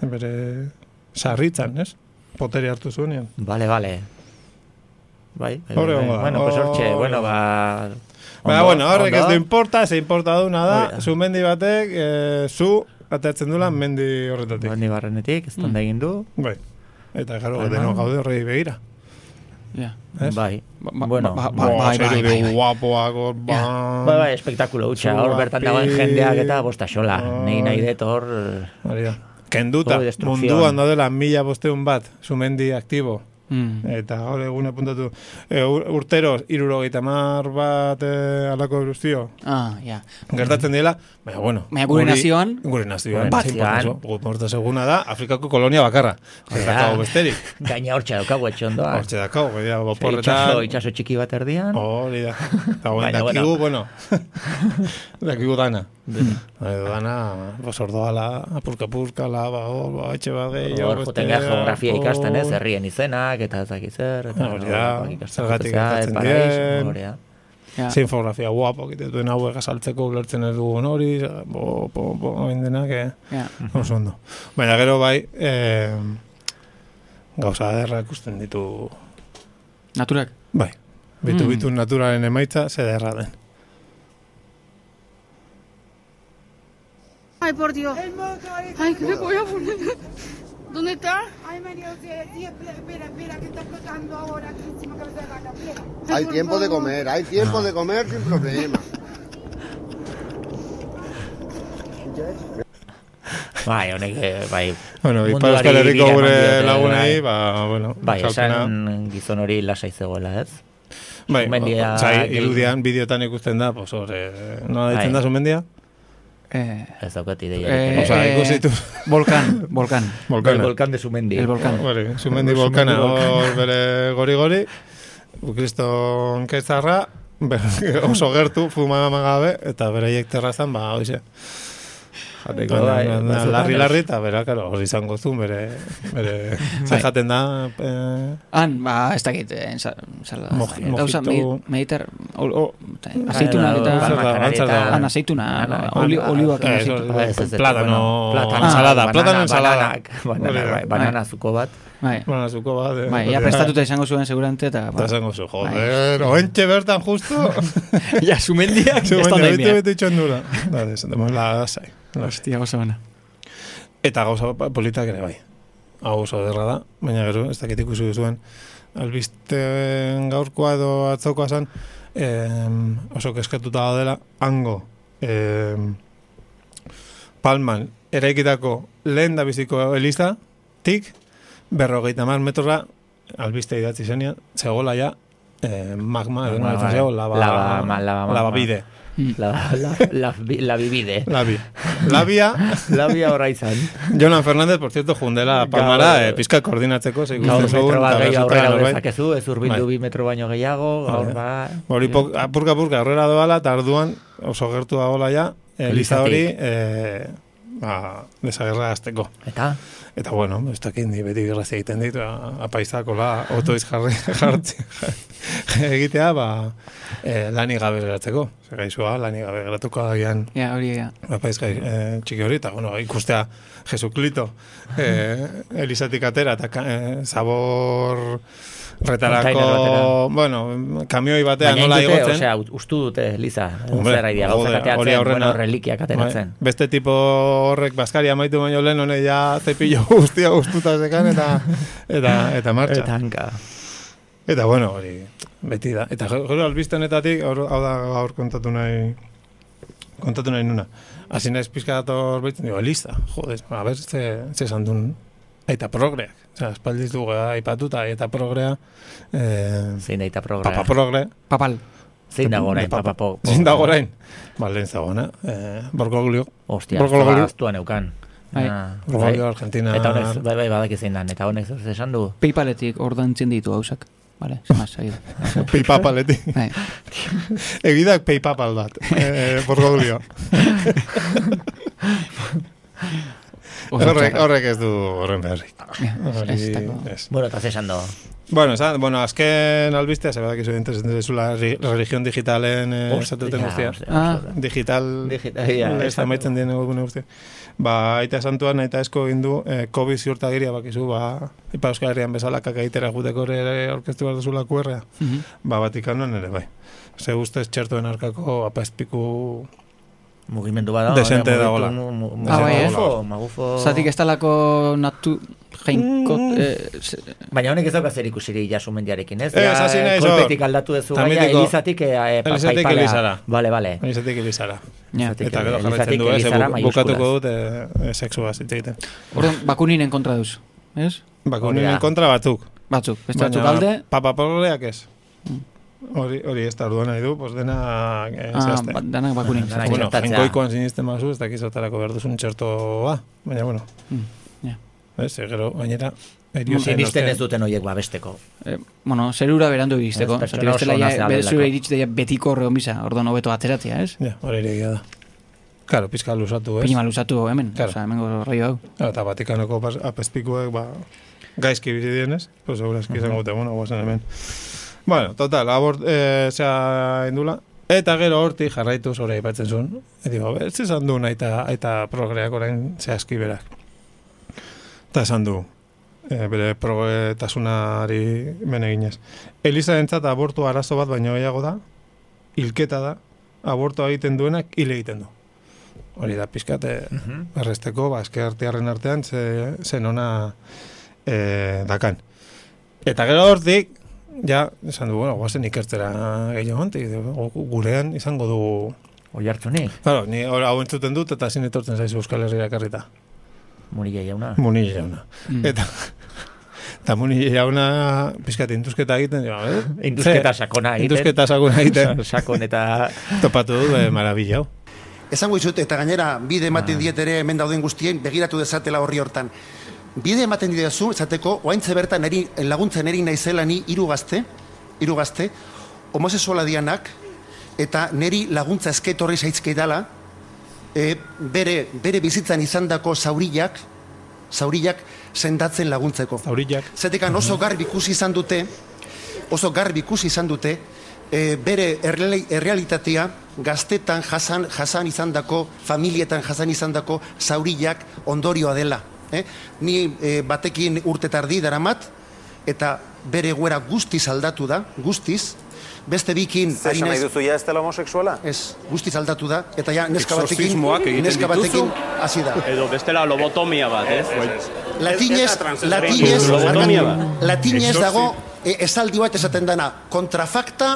[SPEAKER 3] bere sarritzan, ez? Poteri hartu zuenean.
[SPEAKER 4] Vale, vale. Bai, bai,
[SPEAKER 3] Hor
[SPEAKER 4] bai,
[SPEAKER 3] egongo
[SPEAKER 4] bai.
[SPEAKER 3] da.
[SPEAKER 4] Bueno, pues hortxe,
[SPEAKER 3] Hor
[SPEAKER 4] bueno,
[SPEAKER 3] egongo
[SPEAKER 4] ba...
[SPEAKER 3] Baina,
[SPEAKER 4] ondo-
[SPEAKER 3] bueno, horrek ez
[SPEAKER 4] ondo.
[SPEAKER 3] du importa, ze importa duna
[SPEAKER 4] Hori
[SPEAKER 3] da,
[SPEAKER 4] da.
[SPEAKER 3] zumendi batek, eh, zu, atatzen dula mendi horretatik.
[SPEAKER 4] Bandi barrenetik, ez tanda egin du.
[SPEAKER 3] Bai. Eta, gero,
[SPEAKER 4] Bai,
[SPEAKER 3] denok
[SPEAKER 4] bai.
[SPEAKER 3] gaude horrei begira.
[SPEAKER 1] Ja.
[SPEAKER 3] Ez?
[SPEAKER 4] Bai.
[SPEAKER 1] Ba- ba-
[SPEAKER 4] bueno,
[SPEAKER 1] ba- ba-
[SPEAKER 3] Bai, bai, bai,
[SPEAKER 1] bai, bai.
[SPEAKER 3] guapoak, hor,
[SPEAKER 4] Bai, bai,
[SPEAKER 3] ban.
[SPEAKER 4] espektakulo hutsa, hor bertan dagoen
[SPEAKER 3] Zuapi. jendeak
[SPEAKER 4] jendeak
[SPEAKER 3] eta
[SPEAKER 4] eta
[SPEAKER 3] bostaxola.
[SPEAKER 4] bostaxola.
[SPEAKER 3] Nei
[SPEAKER 4] Nei
[SPEAKER 3] nahi
[SPEAKER 4] nahi
[SPEAKER 3] dut
[SPEAKER 4] dut hor...
[SPEAKER 3] Hori da. Kenduta,
[SPEAKER 4] Todo destrucción.
[SPEAKER 3] munduan daudela mila bosteun bat, zumendi aktibo.
[SPEAKER 1] Mm.
[SPEAKER 3] Eta hor egun apuntatu, e, ur- urtero irurogeita mar bat e, alako eruzio
[SPEAKER 1] Ah, ja.
[SPEAKER 3] gertatzen dela, baina bueno.
[SPEAKER 1] Baina gure
[SPEAKER 3] guri-
[SPEAKER 1] nazioan-
[SPEAKER 3] Gure nazioan,
[SPEAKER 4] Gure
[SPEAKER 3] bat
[SPEAKER 4] nazioan.
[SPEAKER 3] importa, gu- importa seguna da, Afrikako kolonia bakarra. Ez
[SPEAKER 4] Hori da.
[SPEAKER 3] dakau besterik.
[SPEAKER 4] Gaina hortxe daukagu etxondoa.
[SPEAKER 3] Hortxe dakau, hori da,
[SPEAKER 4] Bai. Itxaso,
[SPEAKER 3] boporretan.
[SPEAKER 4] itxaso txiki bat erdian.
[SPEAKER 3] Hori da. Eta guen
[SPEAKER 4] Baina,
[SPEAKER 3] dakigu, bueno, dakigu dana.
[SPEAKER 4] Mm.
[SPEAKER 3] Ba, Edo dana, pues ordoala, apurka-apurka, laba, hor, ba, etxe bat gehiago.
[SPEAKER 4] Hor joten gara
[SPEAKER 3] bestea,
[SPEAKER 4] geografia ikasten, ez,
[SPEAKER 3] hor.
[SPEAKER 4] herrien izenak, eta ez dakit zer, eta
[SPEAKER 3] Hori
[SPEAKER 4] hor,
[SPEAKER 3] da,
[SPEAKER 4] hor ikasten
[SPEAKER 3] zergatik
[SPEAKER 4] joatea,
[SPEAKER 3] gertatzen
[SPEAKER 4] el paraíso,
[SPEAKER 3] diren.
[SPEAKER 4] hori da.
[SPEAKER 1] Ja.
[SPEAKER 3] Ze infografia guapo, egiten hau saltzeko ulertzen ez dugun hori, bo, bo, bo, hain denak, eh?
[SPEAKER 1] Ja.
[SPEAKER 3] Oso ondo. Baina gero bai, eh, gauza derra ikusten ditu,
[SPEAKER 1] Naturak.
[SPEAKER 3] bai, bitu
[SPEAKER 1] Mm.
[SPEAKER 3] bitu naturaren emaitza, ze derra den.
[SPEAKER 5] Ay, por Dios. Ay, que me voy a poner. ¿Dónde está?
[SPEAKER 6] Ay, María, José, sí, espera, espera, espera, que está flotando ahora aquí encima cabeza de vaca, espera.
[SPEAKER 5] Ay,
[SPEAKER 7] Hay
[SPEAKER 5] por
[SPEAKER 7] tiempo de
[SPEAKER 5] favor.
[SPEAKER 7] comer, hay tiempo de comer sin problema.
[SPEAKER 4] Bai, honek, eh, bai,
[SPEAKER 3] Bueno, Ipar
[SPEAKER 4] munduari
[SPEAKER 3] Euskal Herriko
[SPEAKER 4] bira eman
[SPEAKER 3] gure
[SPEAKER 4] diote,
[SPEAKER 3] lagunei,
[SPEAKER 4] bai.
[SPEAKER 3] ba, bueno,
[SPEAKER 4] Bai,
[SPEAKER 3] azalpena-
[SPEAKER 4] esan gizon hori lasai zegoela, ez?
[SPEAKER 3] Bai,
[SPEAKER 4] Sumendia-
[SPEAKER 3] o, osea, irudian, bideotan ikusten da, pues, horre, nola ditzen
[SPEAKER 4] Bai.
[SPEAKER 3] da sumendia?
[SPEAKER 1] Eh,
[SPEAKER 4] Ez daukat ideia.
[SPEAKER 1] eh,
[SPEAKER 3] Osea,
[SPEAKER 1] eh,
[SPEAKER 3] ikusi du.
[SPEAKER 1] Volkan, volkan.
[SPEAKER 4] El
[SPEAKER 3] Volkana.
[SPEAKER 4] volcán de Sumendi.
[SPEAKER 1] El volcán.
[SPEAKER 3] Hori, sumendi volkana, hor bere gori-gori, kriston kezarra, ber- oso gertu, fuma gabe, eta bereiek terrazan, ba, hoxe.
[SPEAKER 1] Ba,
[SPEAKER 3] Jateko,
[SPEAKER 4] Bai,
[SPEAKER 3] na- na-
[SPEAKER 4] batzutan
[SPEAKER 3] larri-larri,
[SPEAKER 4] ez.
[SPEAKER 3] eta bera, karo, hori izango zuen, bere, bere, zer
[SPEAKER 1] Bai.
[SPEAKER 3] jaten da, eh,
[SPEAKER 1] Han, ba, ez dakit, eh, ensa- ensalada.
[SPEAKER 3] Moj-
[SPEAKER 1] Gauza,
[SPEAKER 3] mojito.
[SPEAKER 1] medi- meditar, ol- ol-
[SPEAKER 4] Ah,
[SPEAKER 1] aceituna eta... Han aceituna,
[SPEAKER 4] Banana.
[SPEAKER 1] oli- olioak
[SPEAKER 3] Eh,
[SPEAKER 1] aceituna.
[SPEAKER 3] eso-
[SPEAKER 4] Ba, ez, ez, ez,
[SPEAKER 3] Plátano-
[SPEAKER 4] bueno, plátano
[SPEAKER 3] ensalada,
[SPEAKER 4] banana,
[SPEAKER 3] plátano ensalada.
[SPEAKER 4] bananak, Banana,
[SPEAKER 3] Hori da.
[SPEAKER 4] bai, banana zuko bat.
[SPEAKER 1] Bai,
[SPEAKER 3] bueno, zuko bat. eh,
[SPEAKER 1] bai,
[SPEAKER 3] hori
[SPEAKER 1] ja
[SPEAKER 3] da.
[SPEAKER 1] prestatuta Bai. izango zuen segurante eta... ba,
[SPEAKER 3] Eta esango zu, joder, oentxe bertan justo.
[SPEAKER 1] Ja, sumendiak
[SPEAKER 3] Zumen,
[SPEAKER 1] da
[SPEAKER 3] bete bete itxon dura. Da, ez, demon, la lasai. lasai.
[SPEAKER 1] Hostia, gozo bana.
[SPEAKER 3] Eta gauza pa- politak ere bai. Hau oso derra da, baina gero, ez dakit ikusi duzuen. Albisten gaurkoa edo atzokoa zan, em, oso keskatuta dela, hango, em, palman, eraikitako lehen da biziko eliza, tik, berrogeita mar metrora, albiste idatzi zenian, zegoela ja, eh, magma, edo
[SPEAKER 4] Magma,
[SPEAKER 3] nola ditzen
[SPEAKER 4] bai.
[SPEAKER 3] zaio, lava,
[SPEAKER 4] Lava- ma- lava-
[SPEAKER 3] lava bide.
[SPEAKER 4] La, la, la, bi- la bibide.
[SPEAKER 3] Labi. Labia,
[SPEAKER 4] Labia horra izan.
[SPEAKER 3] Jonan Fernandez, por cierto, jundela palmara, eh, pizka koordinatzeko, ze ikusten
[SPEAKER 4] Gaur metro
[SPEAKER 3] zegoen,
[SPEAKER 4] bat
[SPEAKER 3] eta
[SPEAKER 4] gehi
[SPEAKER 3] resulta
[SPEAKER 4] aurrera
[SPEAKER 3] norbait.
[SPEAKER 4] dezakezu, ez urbildu
[SPEAKER 3] Bai.
[SPEAKER 4] bi metro baino gehiago, gaur
[SPEAKER 3] Hori da.
[SPEAKER 4] ba...
[SPEAKER 3] Hori pok- apurka apurka aurrera doala, eta arduan oso gertu dagoela ja, eh, liza hori
[SPEAKER 4] Elizatik.
[SPEAKER 3] eh, ba, desagerra azteko.
[SPEAKER 4] Eta,
[SPEAKER 3] Eta bueno, ez dakit ni beti grazia egiten ditu, a- apaizako la, otoiz jarri, jartzi, egitea, ba, eh, lanik gabe geratzeko. Zer gaizua, lanik gabe geratuko agian
[SPEAKER 1] Ja, hori, ja.
[SPEAKER 3] Apaiz gai, eh, txiki hori, eta bueno, ikustea Jesuklito eh, Elizatik atera, eta ka- eh, zabor
[SPEAKER 4] Kontainer
[SPEAKER 3] retarako,
[SPEAKER 4] batera.
[SPEAKER 3] bueno, kamioi batean
[SPEAKER 4] baina
[SPEAKER 3] nola
[SPEAKER 4] indute,
[SPEAKER 3] igotzen.
[SPEAKER 4] osea, ut- ustu dute, Liza,
[SPEAKER 3] Hombre,
[SPEAKER 4] zer ari
[SPEAKER 3] joder,
[SPEAKER 4] gauzak
[SPEAKER 3] hori
[SPEAKER 4] ateatzen,
[SPEAKER 3] aurrena-
[SPEAKER 4] bueno, relikiak ateratzen.
[SPEAKER 3] Bai, beste tipo horrek bazkari amaitu baino lehen honek ja zepillo guztia guztuta zekan eta eta eta martxa.
[SPEAKER 4] Eta hanka.
[SPEAKER 3] Eta bueno, hori beti da. Eta gero gero albiste honetatik, hor- hau da gaur kontatu nahi kontatu nahi nuna. Hasi naiz pizka dator baitzen, digo, Eliza, joder, a ber, ze, ze esan duen Aita progreak. Osea, espaldiz dugu aipatuta aita progrea, eh,
[SPEAKER 4] Zein daita programa.
[SPEAKER 3] papa progre,
[SPEAKER 1] Papal.
[SPEAKER 4] Zein dago orain,
[SPEAKER 3] De papa-
[SPEAKER 4] papa po.
[SPEAKER 3] Zein da gorain? Ba, lehen zegoena, eh, Borgoglio,
[SPEAKER 4] Ostia,
[SPEAKER 3] Borgoglio.
[SPEAKER 4] aztua- aztua neukan.
[SPEAKER 1] Bai.
[SPEAKER 4] Ah, bai.
[SPEAKER 3] Borgoglio, Argentina.
[SPEAKER 4] Eta honek, bai, bai, badak izin dan, eta honek zer esan du.
[SPEAKER 1] Paypaletik ordaintzen ditu hausak. Vale, sin más, ahí.
[SPEAKER 3] Peipapaletik.
[SPEAKER 1] Bai.
[SPEAKER 3] Egidak peipapal bat, eh, Borgoglio.
[SPEAKER 1] Oso
[SPEAKER 3] Horrek,
[SPEAKER 1] txarra.
[SPEAKER 3] horrek eh. ez du horren beharrik.
[SPEAKER 1] Ja, ez, tako.
[SPEAKER 3] Ez.
[SPEAKER 4] Bueno, eta zer esan du.
[SPEAKER 3] Bueno, esan, bueno, azken albistea, ze badak izu interesatzen zaizula ri- religion digitalen eh, esatuten guztia.
[SPEAKER 1] Ah.
[SPEAKER 3] Digital,
[SPEAKER 4] Digital, ja,
[SPEAKER 3] ez
[SPEAKER 4] esatu.
[SPEAKER 3] amaitzen dien egune guztia. Ba, aita santuan, aita esko egin du, eh, COVID ziurtagiria bakizu, ba, Ipa Euskal Herrian bezala kakaitera juteko ere orkestu behar duzula kuerrea.
[SPEAKER 1] Mhm.
[SPEAKER 3] Ba, Vatikanoan ere, bai. Ze ustez txertoen arkako apaizpiku
[SPEAKER 4] Mugimendu bada.
[SPEAKER 3] Desente
[SPEAKER 4] hori,
[SPEAKER 3] dagoela.
[SPEAKER 4] mugitu- mu- mu-
[SPEAKER 3] Ah, bai, eh?
[SPEAKER 4] Magufo, magufo.
[SPEAKER 1] Zatik ez talako natu jainko...
[SPEAKER 3] Mm.
[SPEAKER 1] eh, ze-
[SPEAKER 4] Baina honek ez dauka zer ikusiri jasumendiarekin, ez?
[SPEAKER 3] Ez,
[SPEAKER 4] Ja,
[SPEAKER 3] hasi naiz hor.
[SPEAKER 4] Kolpetik aldatu ez gaia,
[SPEAKER 3] Tamitiko-
[SPEAKER 4] elizatik eh, eh, pa-
[SPEAKER 3] Elizatik
[SPEAKER 4] paipalea.
[SPEAKER 3] elizara.
[SPEAKER 4] Vale, vale.
[SPEAKER 3] Anizatik ibizara.
[SPEAKER 1] Ja.
[SPEAKER 4] Zatik-
[SPEAKER 3] Eta gero
[SPEAKER 4] Elizatik
[SPEAKER 3] jarraitzen du, ez,
[SPEAKER 4] elizara
[SPEAKER 3] bu-
[SPEAKER 4] maiuskulaz.
[SPEAKER 3] bukatuko dut eh, sexua zitzegiten.
[SPEAKER 1] Orduan, bakuninen kontra duz. Ez?
[SPEAKER 3] Bakuninen
[SPEAKER 4] da.
[SPEAKER 3] Ba, kontra batzuk.
[SPEAKER 1] Batzuk. Beste batzuk alde. Mm.
[SPEAKER 3] Papa Pobreak ez. Hori, hori ez da orduan nahi du, pues dena eh,
[SPEAKER 1] Ah,
[SPEAKER 3] zehazten.
[SPEAKER 1] ba- danak bakunin.
[SPEAKER 4] Danak
[SPEAKER 3] bueno,
[SPEAKER 4] txertatzea.
[SPEAKER 3] jainkoikoan sinisten mazu, ez dakiz otarako behar duzun txertoa, baina bueno,
[SPEAKER 1] Ja.
[SPEAKER 3] ez, gero, gainera, eriotza
[SPEAKER 4] Sinisten
[SPEAKER 3] inosten.
[SPEAKER 4] ez duten horiek ba, babesteko.
[SPEAKER 1] Eh, bueno, zerura berandu iristeko. Zati
[SPEAKER 4] Ez, pertsona
[SPEAKER 1] bestela
[SPEAKER 4] oso
[SPEAKER 1] ja,
[SPEAKER 4] nazional
[SPEAKER 1] be-
[SPEAKER 4] delako.
[SPEAKER 1] zure iritsi daia betiko horre onbiza. Orduan, hobeto ateratzea, ez?
[SPEAKER 3] Ja, hori ere egia da. Claro, pizka luzatu, ez?
[SPEAKER 1] Pini maluzatu hemen.
[SPEAKER 3] Claro.
[SPEAKER 1] Osa, hemen rollo hau.
[SPEAKER 3] Eta Vatikanoko pas- apezpikuek, ba, gaizki bizi dienez, pues segurazki izango dute, bueno, guazen hemen. Bueno, total, abort, eh, zea indula, eta gero horti jarraitu zure aipatzen zuen. E digo, ez esan du nahi eta, eta progreak orain zehazki berak. Eta esan du, eh, bere progoetasunari mene ginez. Eliza entzat abortu arazo bat baino gehiago da, hilketa da, abortua egiten duenak hil egiten du. Hori da pixkat, eh, erresteko, ba, eske artearen artean, ze, zen ona eh, dakan. Eta gero hortik, ja, esan du, bueno, guazen ikertzera gehiago, hontik, gu- gurean izango du...
[SPEAKER 4] Oi hartzunik,
[SPEAKER 3] Claro, ni hor- hau entzuten dut eta zin etortzen zaizu Euskal Herriak karrita.
[SPEAKER 4] Murilla jauna.
[SPEAKER 3] Munile jauna.
[SPEAKER 1] Mm.
[SPEAKER 3] Eta, Eta muni jauna, pizkat intuzketa egiten, jo, eh?
[SPEAKER 4] Induzketa
[SPEAKER 3] Ze,
[SPEAKER 4] sakona egiten.
[SPEAKER 3] Induzketa sakona egiten.
[SPEAKER 4] Sakon eta...
[SPEAKER 3] Topatu du, eh, marabillau.
[SPEAKER 8] Esango izut, eta gainera, bide ematen diet ere hemen dauden guztien, begiratu dezatela horri hortan. Bide ematen didazu, esateko, oaintze bertan eri, laguntzen eri naizela ni hiru gazte, hiru gazte, homosexuala dianak, eta neri laguntza esketorri zaizkidala, e, bere, bere bizitzan izandako zauriak, zauriak sendatzen laguntzeko.
[SPEAKER 3] Zauriak.
[SPEAKER 8] Zetekan oso garbi ikusi izan dute, oso garbi ikusi izan dute, e, bere errele- errealitatea gaztetan jasan, jasan izan dako, familietan jasan izan dako, zauriak ondorioa dela. Eh? Ni e, batekin urte tardi daramat, eta bere guera guztiz aldatu da, guztiz, beste bikin...
[SPEAKER 9] Zer
[SPEAKER 8] ari
[SPEAKER 9] esan nahi
[SPEAKER 8] naiz-
[SPEAKER 9] duzu ja ez dela homosexuala?
[SPEAKER 8] Ez, guztiz aldatu da, eta ja neska batekin,
[SPEAKER 10] Exorcismoak egiten
[SPEAKER 8] neska
[SPEAKER 10] dituzu?
[SPEAKER 8] batekin hasi da.
[SPEAKER 10] Edo bestela lobotomia bat, ez?
[SPEAKER 8] Latinez,
[SPEAKER 9] Ez da transgenderismo.
[SPEAKER 8] latinez,
[SPEAKER 10] Lobotomia
[SPEAKER 8] barkatu,
[SPEAKER 10] da.
[SPEAKER 8] latinez dago
[SPEAKER 10] Exorcismo.
[SPEAKER 8] e, esaldi bat esaten dana, kontrafakta,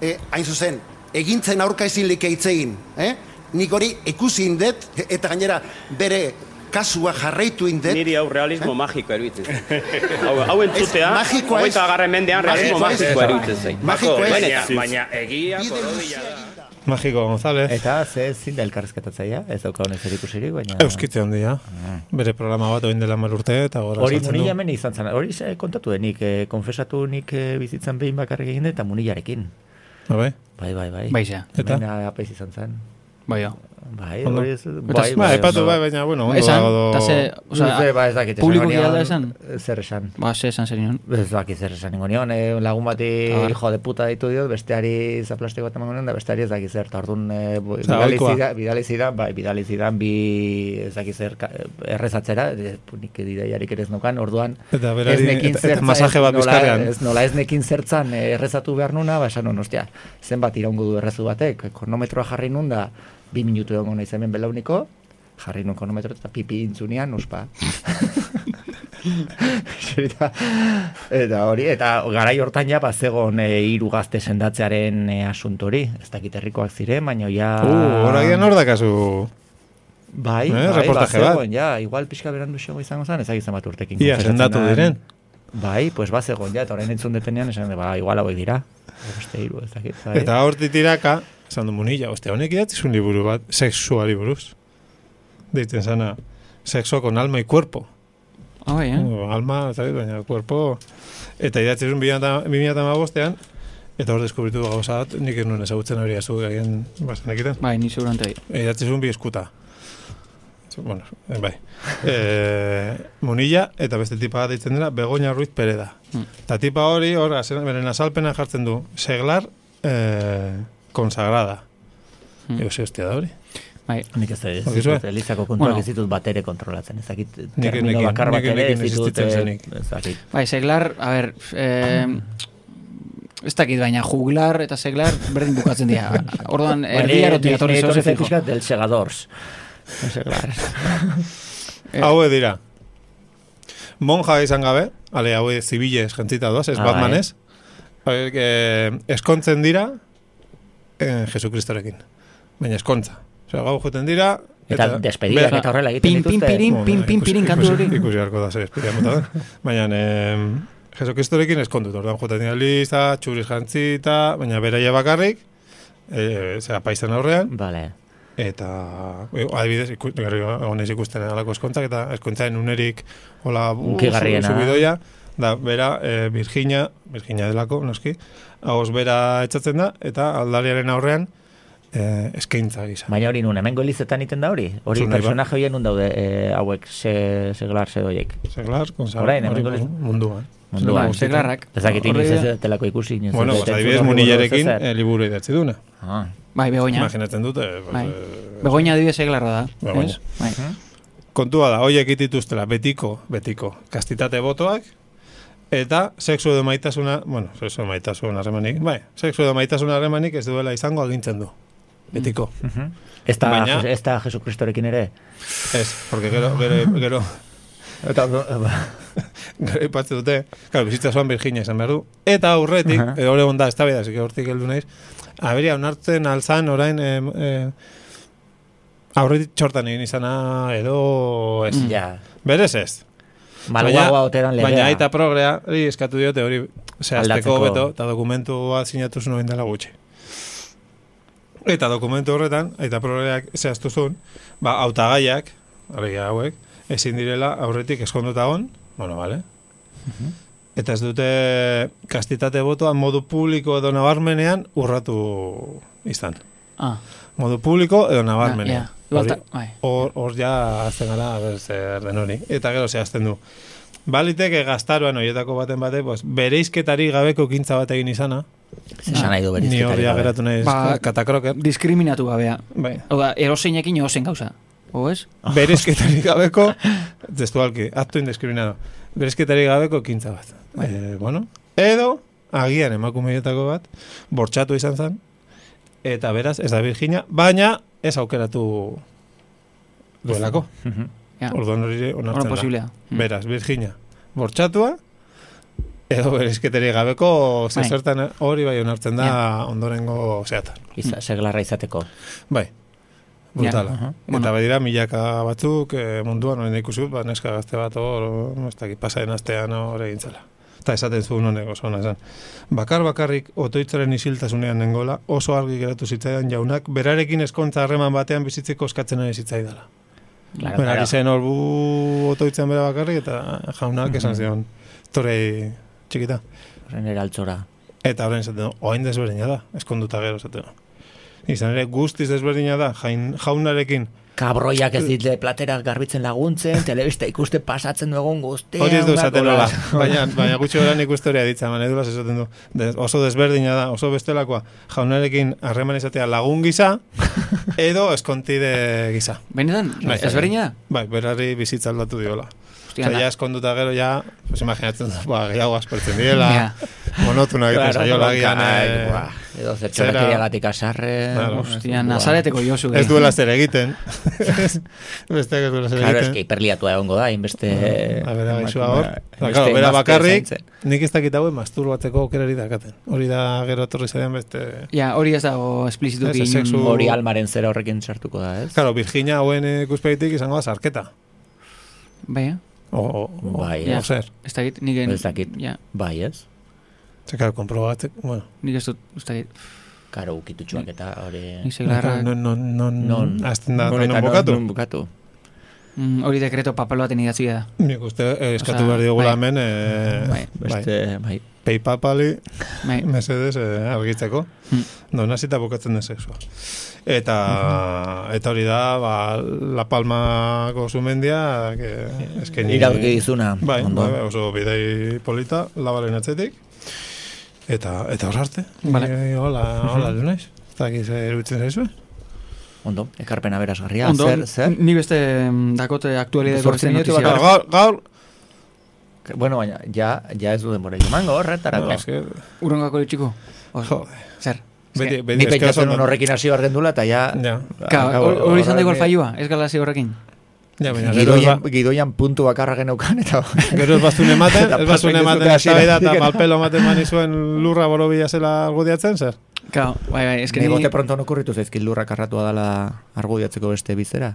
[SPEAKER 8] e, hain zuzen, egintzen aurka ezin likeitzein, eh? Nik hori ikusi indet, e- eta gainera bere kasua jarraitu indet,
[SPEAKER 10] Niri hau realismo magikoa eruditzen zait. Hau, hau entzutea,
[SPEAKER 8] Ez, magikoa ez.
[SPEAKER 10] hogeita garren mendean realismo
[SPEAKER 8] Magikoa ez.
[SPEAKER 10] magikoa eruditzen zait.
[SPEAKER 8] Magikoa ez.
[SPEAKER 10] Benetan.
[SPEAKER 9] Baina egia,
[SPEAKER 8] bide
[SPEAKER 9] korodia
[SPEAKER 8] luzea
[SPEAKER 9] da.
[SPEAKER 8] egin da.
[SPEAKER 3] Magiko González.
[SPEAKER 4] Eta ze zin da elkarrezketatzaia, ez dauka honen zer ikusirik, baina...
[SPEAKER 3] Euskitze handia. Bere programa bat oin dela hamar urte eta gora
[SPEAKER 4] Hori
[SPEAKER 3] saltzen
[SPEAKER 4] munila
[SPEAKER 3] du.
[SPEAKER 4] hemen izan zen, hori ze kontatu denik, eh, konfesatu nik eh, bizitzan behin bakarrik egin dut, eta munilarekin.
[SPEAKER 3] Bai.
[SPEAKER 4] Bai, bai, bai.
[SPEAKER 1] Bai, zea.
[SPEAKER 3] Eta?
[SPEAKER 4] Hemen apaiz izan zen.
[SPEAKER 1] Bai, jo.
[SPEAKER 4] Bai,
[SPEAKER 3] Ondo.
[SPEAKER 4] hori ez...
[SPEAKER 3] Bai, bai, aipatu bai, baina, bueno, ondo
[SPEAKER 1] Esan,
[SPEAKER 3] dago do-
[SPEAKER 1] eta ze,
[SPEAKER 4] Osa,
[SPEAKER 1] osea,
[SPEAKER 4] ba, ez dakit,
[SPEAKER 1] publikoki
[SPEAKER 4] nion-
[SPEAKER 1] alda esan?
[SPEAKER 4] Zer esan.
[SPEAKER 1] Ba, ze esan zer nion.
[SPEAKER 4] Ez dakit zer esan ningo nion, eh, lagun bati
[SPEAKER 1] Ah, vale.
[SPEAKER 4] hijo de puta ditu diot, besteari zaplastiko bat emango nion, da besteari ez dakit zer, eta orduan eh, bo-
[SPEAKER 3] Eta
[SPEAKER 4] bidali
[SPEAKER 3] ohikoa.
[SPEAKER 4] zida- bidali zidan, bai, bidali zidan bi ez dakit zer ka- errezatzera, eh, nik didaiarik ere ez nokan, orduan
[SPEAKER 3] Eta berari-
[SPEAKER 4] ez nekin
[SPEAKER 3] eta- eta
[SPEAKER 4] zertza,
[SPEAKER 3] masaje bat
[SPEAKER 4] ez nola-
[SPEAKER 3] bizkarrean.
[SPEAKER 4] Ez nola ez nekin zertzan eh, errezatu behar nuna, ba, esan nuen, ostia, zenbat iraungo du errezu batek, kronometroa jarri nun da, bi minutu egongo naiz hemen belauniko, jarri nun kronometro eta pipi intzunean, ospa. Eta, eta hori, eta garai hortan ja bazegon eh, hiru gazte sendatzearen e, asuntori. Ez dakit herrikoak ziren, baina ja...
[SPEAKER 3] Uh,
[SPEAKER 1] Ah.
[SPEAKER 3] horagian hor dakazu.
[SPEAKER 4] Bai,
[SPEAKER 3] eh,
[SPEAKER 4] bai,
[SPEAKER 3] reportaje
[SPEAKER 4] bazegon,
[SPEAKER 3] bat.
[SPEAKER 4] ja, igual pixka berandu xego izango zen, ez dakit zenbat urtekin.
[SPEAKER 3] Ia,
[SPEAKER 4] konfesatzen
[SPEAKER 3] sendatu
[SPEAKER 4] den.
[SPEAKER 3] diren.
[SPEAKER 4] Bai, pues bazegon ja, eta orain entzun detenean, esan, ba, igual hauek dira. Beste hiru, ez dakit. Bai.
[SPEAKER 3] Eta horti tiraka, esan du munila, ostia, honek idatzizun liburu bat, sexuari buruz. Deitzen zana, sexo con alma y cuerpo.
[SPEAKER 1] Ah, bai, eh?
[SPEAKER 3] O, alma, ez dakit, baina cuerpo... Eta idatzizun 2008an, eta hor deskubritu gauza bat, nik ez nuen ezagutzen hori azu gaien bastanekiten.
[SPEAKER 1] Bai, ni segurante bai.
[SPEAKER 3] Idatzizun bi eskuta. Bueno, eh, bai. E, Munilla eta beste tipa bat deitzen dela Begoña Ruiz Pereda. Eta tipa hori, hor, azena- beren azalpena jartzen du. Seglar eh, consagrada. Mm. Ego hostia da hori.
[SPEAKER 1] Bai,
[SPEAKER 4] Nik ez ez
[SPEAKER 3] Badakizue?
[SPEAKER 4] ditut, elizako kontuak
[SPEAKER 1] Bueno.
[SPEAKER 4] ez ditut bat ere kontrolatzen, ez dakit
[SPEAKER 3] eh? Nik
[SPEAKER 4] termino
[SPEAKER 3] enekin,
[SPEAKER 4] bakar bat
[SPEAKER 3] nik
[SPEAKER 4] ere ez
[SPEAKER 3] enekin
[SPEAKER 4] ditut,
[SPEAKER 3] existitzen
[SPEAKER 4] eh,
[SPEAKER 3] zenik.
[SPEAKER 4] ez dakit.
[SPEAKER 1] bai, seglar, a ber, eh, ez dakit baina juglar eta seglar berdin bukatzen dira. Orduan, erdi
[SPEAKER 4] Eh,
[SPEAKER 1] arotik atorri zeu ze fijo.
[SPEAKER 4] fijo. Del segadors. No sé, claro.
[SPEAKER 1] Eh.
[SPEAKER 3] Hauek dira. Monja izan gabe, ale, haue zibiles jentzita doaz, ez
[SPEAKER 4] Ah,
[SPEAKER 3] Batmanez. Hauek, eh, eskontzen dira eh, Jesukristorekin. Baina eskontza. Osea, gau juten dira...
[SPEAKER 4] Eta despedidak
[SPEAKER 3] bera-
[SPEAKER 4] eta horrela
[SPEAKER 1] Pin,
[SPEAKER 4] egiten
[SPEAKER 1] pin,
[SPEAKER 4] dituzte.
[SPEAKER 1] pirin,
[SPEAKER 3] Bueno,
[SPEAKER 1] pin, pin,
[SPEAKER 3] ikusi-
[SPEAKER 1] pirin kantu
[SPEAKER 3] ikusi-
[SPEAKER 1] hori.
[SPEAKER 3] Ikusi harko da zer espiria mota den. Baina, em, Jesokristorekin eskondut, orduan joten dira lista, txuriz jantzita, baina beraia bakarrik, e, zera paizan aurrean,
[SPEAKER 4] Vale.
[SPEAKER 3] eta e, adibidez, iku- gero honez ikusten alako eskontzak, eta eskontzaren unerik hola bu-
[SPEAKER 4] Hunkigarriena.
[SPEAKER 3] zu- zubidoia, da bera e, Virginia, Virginia delako, noski, hauz bera etxatzen da, eta aldariaren aurrean e, eskaintza gisa.
[SPEAKER 4] Baina hori nun, hemengo elizetan iten da hori? Hori
[SPEAKER 3] Zure nahi ba.
[SPEAKER 4] personaje horien nun daude eh, hauek se, seglar sedoiek.
[SPEAKER 3] Seglar, konzal,
[SPEAKER 4] Orain,
[SPEAKER 3] hori
[SPEAKER 4] hemengo liz-
[SPEAKER 3] munduan.
[SPEAKER 1] Bai,
[SPEAKER 4] Munduan.
[SPEAKER 1] seglarrak.
[SPEAKER 4] Ez dakit
[SPEAKER 1] Horri-
[SPEAKER 4] inoiz ez delako ikusi. inoiz ez
[SPEAKER 3] Bueno,
[SPEAKER 4] dut
[SPEAKER 3] pues,
[SPEAKER 4] entzun
[SPEAKER 3] adibidez,
[SPEAKER 4] horri buruz
[SPEAKER 3] munillarekin
[SPEAKER 4] ezer.
[SPEAKER 3] eh, liburu idatzi duna.
[SPEAKER 4] Ah.
[SPEAKER 1] Bai, begoña.
[SPEAKER 3] Imaginatzen dut, eh, pues,
[SPEAKER 1] Bai.
[SPEAKER 3] eh,
[SPEAKER 1] Begoña adibidez seglarra da.
[SPEAKER 3] Begoña.
[SPEAKER 1] ez? Bai.
[SPEAKER 3] kontua da, hoiek dituztela betiko, betiko, kastitate botoak, eta sexu edo maitasuna, bueno, sexu edo maitasuna harremanik, bai, sexu edo maitasuna harremanik ez duela izango agintzen du. Betiko.
[SPEAKER 4] Mhm. Ez da,
[SPEAKER 3] Baina-
[SPEAKER 4] ez da Jesukristorekin ere.
[SPEAKER 3] Ez, porque gero, gero, gero,
[SPEAKER 4] Eta,
[SPEAKER 3] gero ipatze dute, claro, bizitza zoan Virginia izan behar du, eta aurretik, uh
[SPEAKER 4] Aha.
[SPEAKER 3] -huh. hori onda, ez da beda, zike hortik heldu naiz, aberia, onartzen alzan, orain, em, eh, aurretik txortan egin izana, edo, ez.
[SPEAKER 4] ja.
[SPEAKER 3] Berez ez.
[SPEAKER 4] Malguagoa oteran legea.
[SPEAKER 3] Baina aita progrea, eskatu diote hori, osea, azteko
[SPEAKER 4] Aldatzeko.
[SPEAKER 3] beto, eta dokumentua sinatu zuen dela gutxi. Eta dokumentu horretan, aita progreak zehaztu zuen, ba, hautagaiak, hori hauek, ezin direla aurretik eskonduta on, bueno, vale,
[SPEAKER 4] Mhm.
[SPEAKER 3] Eta ez dute kastitate botoa modu publiko edo nabarmenean urratu izan.
[SPEAKER 1] Ah.
[SPEAKER 3] Modu publiko edo nabarmenean.
[SPEAKER 1] Ja, ja. Ah, Igual
[SPEAKER 3] Hori-
[SPEAKER 1] ta- bai.
[SPEAKER 3] Hor hor ja azten gara a ber, zer den hori. Eta gero zehazten du. Baliteke gaztaroan horietako baten bate, pues, bere izketari gabeko kintza bat egin izana.
[SPEAKER 4] Esan nahi du bere
[SPEAKER 3] Ni hor
[SPEAKER 4] hizketari
[SPEAKER 3] ja
[SPEAKER 4] gabe.
[SPEAKER 3] geratu nahi
[SPEAKER 1] Ba-
[SPEAKER 3] katakroker.
[SPEAKER 1] Diskriminatu gabea.
[SPEAKER 3] Bai.
[SPEAKER 1] Oda, eroseinekin ozen gauza. O ez?
[SPEAKER 3] Bere izketari gabeko, testualki, acto indiscriminado. Bere izketari gabeko kintza bat.
[SPEAKER 1] Bai.
[SPEAKER 3] Eh, bueno, edo, agian emakumeietako bat, bortxatu izan zen, eta beraz, ez da Virginia, baina ez aukeratu duelako.
[SPEAKER 1] Ja.
[SPEAKER 3] Orduan hori
[SPEAKER 1] Bueno,
[SPEAKER 3] onartzen da.
[SPEAKER 1] posiblea. Mm.
[SPEAKER 3] Beraz, Virginia, bortxatua, edo berezketeri gabeko
[SPEAKER 1] Bai.
[SPEAKER 3] zezertan hori bai onartzen da ondorengo zeatan.
[SPEAKER 4] Iza, seglarra izateko.
[SPEAKER 3] Bai, brutala.
[SPEAKER 1] Ja.
[SPEAKER 3] Eta
[SPEAKER 1] Bueno.
[SPEAKER 3] badira milaka batzuk eh, munduan horren ikusi dut, ba, neska gazte bat hor, mm, ez dakit pasaren astean hor egin zela. Eta esaten zuen honek oso ona esan. Bakar bakarrik otoitzaren isiltasunean nengola, oso argi geratu zitzaidan jaunak, berarekin eskontza harreman batean bizitzeko eskatzen ari zitzaidala.
[SPEAKER 4] Claro,
[SPEAKER 3] Bera,
[SPEAKER 4] claro.
[SPEAKER 3] zen hor bu otoitzen bera bakarrik eta jaunak
[SPEAKER 4] Mm.
[SPEAKER 3] esan zion, torei txikita.
[SPEAKER 4] Horren eraltzora.
[SPEAKER 3] Eta horren esaten du, oain desberdina da, eskonduta gero esaten du. Izan ere guztiz desberdina da, jain, jaunarekin
[SPEAKER 4] Kabroiak ez ditle platera garbitzen laguntzen, telebista ikuste pasatzen dugun guztia.
[SPEAKER 3] Hori ez du esaten nola,
[SPEAKER 4] hola.
[SPEAKER 3] baina, baina gutxi gora nik ustoria ditza, baina edulaz esaten du. De, oso desberdina da, oso bestelakoa, jaunarekin harreman izatea lagun gisa, edo eskontide gisa.
[SPEAKER 1] Hmm. Benetan,
[SPEAKER 3] Bai.
[SPEAKER 1] ezberdina da?
[SPEAKER 3] Bai, berari bizitza aldatu diola.
[SPEAKER 1] Hostia,
[SPEAKER 3] Osea,
[SPEAKER 1] da.
[SPEAKER 3] ja eskonduta gero, ja, pues imaginatzen da, ba, gehiago aspertzen direla,
[SPEAKER 1] Ja.
[SPEAKER 3] monotuna egiten
[SPEAKER 4] Claro,
[SPEAKER 3] zaiola gian,
[SPEAKER 4] ai,
[SPEAKER 3] eh,
[SPEAKER 4] buah. Edo
[SPEAKER 3] zera-
[SPEAKER 4] zertxorrak iriagatik asarre.
[SPEAKER 3] Claro.
[SPEAKER 1] Hostia,
[SPEAKER 4] Buah.
[SPEAKER 1] nazareteko josu.
[SPEAKER 3] ez duela zer egiten. Besteak ez duela zer
[SPEAKER 4] Claro, eski,
[SPEAKER 3] egiten.
[SPEAKER 4] hiperliatua egongo da, inbeste...
[SPEAKER 3] A bera gaixoa
[SPEAKER 4] emakume-
[SPEAKER 3] hor. Ba,
[SPEAKER 4] inbeste
[SPEAKER 3] Claro, bera
[SPEAKER 4] emazte
[SPEAKER 3] bakarrik,
[SPEAKER 4] zaintzen.
[SPEAKER 3] nik ez dakit hauen masturbatzeko aukerari dakaten. Hori da gero torri zarean beste...
[SPEAKER 1] Ja, hori ez dago esplizituki.
[SPEAKER 3] Ez, ez, sexu-
[SPEAKER 1] inon-
[SPEAKER 4] Hori almaren zera horrekin sartuko da, ez?
[SPEAKER 3] Claro, Virginia hauen eh, ikuspegitik izango da sarketa.
[SPEAKER 1] Bai, eh?
[SPEAKER 3] O, o, o,
[SPEAKER 4] Bai,
[SPEAKER 3] o
[SPEAKER 1] Ja.
[SPEAKER 3] zer.
[SPEAKER 1] Ez dakit, nik... en-
[SPEAKER 4] Ez dakit.
[SPEAKER 1] Ja,
[SPEAKER 4] Bai, ez?
[SPEAKER 3] Ze, claro, komprobatzek, bueno.
[SPEAKER 1] nik ez dut, ez dakit.
[SPEAKER 4] Eh. Karo, ukitutxuak eta hori...
[SPEAKER 1] Nik seglarra...
[SPEAKER 3] Non, non, non, non,
[SPEAKER 4] Non.
[SPEAKER 3] azten da,
[SPEAKER 4] Hori
[SPEAKER 3] non
[SPEAKER 4] eta
[SPEAKER 3] bukatu.
[SPEAKER 4] non bukatu.
[SPEAKER 1] Mm, Hori dekreto papel baten idatzia da.
[SPEAKER 3] Nik uste, eh, eskatu
[SPEAKER 1] Osea,
[SPEAKER 3] behar diogula
[SPEAKER 1] bai.
[SPEAKER 3] hemen, eh,
[SPEAKER 1] Bai.
[SPEAKER 3] bai,
[SPEAKER 4] Beste, bai.
[SPEAKER 3] peipapali,
[SPEAKER 1] Bai.
[SPEAKER 3] mesedez, eh, argitzeko.
[SPEAKER 1] Mm.
[SPEAKER 3] Non, hasita bukatzen den sexua. Eta, eta hori da, ba, La Palmako zumendia, que, eskeni...
[SPEAKER 4] Iradoki dizuna.
[SPEAKER 3] Bai,
[SPEAKER 4] ondo.
[SPEAKER 3] bai, bai, oso bidei polita, labaren atzetik. Eta, eta horarte.
[SPEAKER 1] Vale.
[SPEAKER 3] Ni, hola, hola, lunaiz. Eta giz eruditzen zaizu.
[SPEAKER 4] Ondo, ekarpena berazgarria.
[SPEAKER 1] Ondo,
[SPEAKER 4] zer, zer?
[SPEAKER 1] ni beste mm, dakote aktualidade
[SPEAKER 4] Zortzi
[SPEAKER 1] kortzen
[SPEAKER 4] minutu
[SPEAKER 1] notizia.
[SPEAKER 4] bakarrik.
[SPEAKER 3] Gaur, gaur,
[SPEAKER 4] Bueno, baina, ja, ja ez du denbora emango horretarako.
[SPEAKER 3] no, es que,
[SPEAKER 1] Urrengako litxiko.
[SPEAKER 3] Joder.
[SPEAKER 1] Zer?
[SPEAKER 3] beti, beti,
[SPEAKER 4] Ni
[SPEAKER 3] eske oso
[SPEAKER 4] pentsatzen
[SPEAKER 3] ondo.
[SPEAKER 4] un horrekin hasi behar gendula, eta ja...
[SPEAKER 3] Ja.
[SPEAKER 1] Ka,
[SPEAKER 4] Gau-
[SPEAKER 1] hor- hori izan da igual
[SPEAKER 4] horrekin-
[SPEAKER 1] faiua, ez galazi horrekin.
[SPEAKER 3] Ja, baina, gero ez
[SPEAKER 4] Gidoian,
[SPEAKER 3] ba-
[SPEAKER 4] gidoian puntu bakarra geneukan, eta...
[SPEAKER 3] Gero ez baztun ematen,
[SPEAKER 4] Eta
[SPEAKER 3] ez baztun
[SPEAKER 4] pasok ez
[SPEAKER 3] ematen
[SPEAKER 4] dute
[SPEAKER 3] ez da eta
[SPEAKER 4] hasieratik.
[SPEAKER 3] malpelo ematen mani zuen lurra borobila zela argudiatzen, zer?
[SPEAKER 1] Ka, bai, bai, ez que
[SPEAKER 4] Ni
[SPEAKER 1] ni...
[SPEAKER 4] bote pronto nokurritu zaizkit lurrak arratua dala argudiatzeko beste bizera.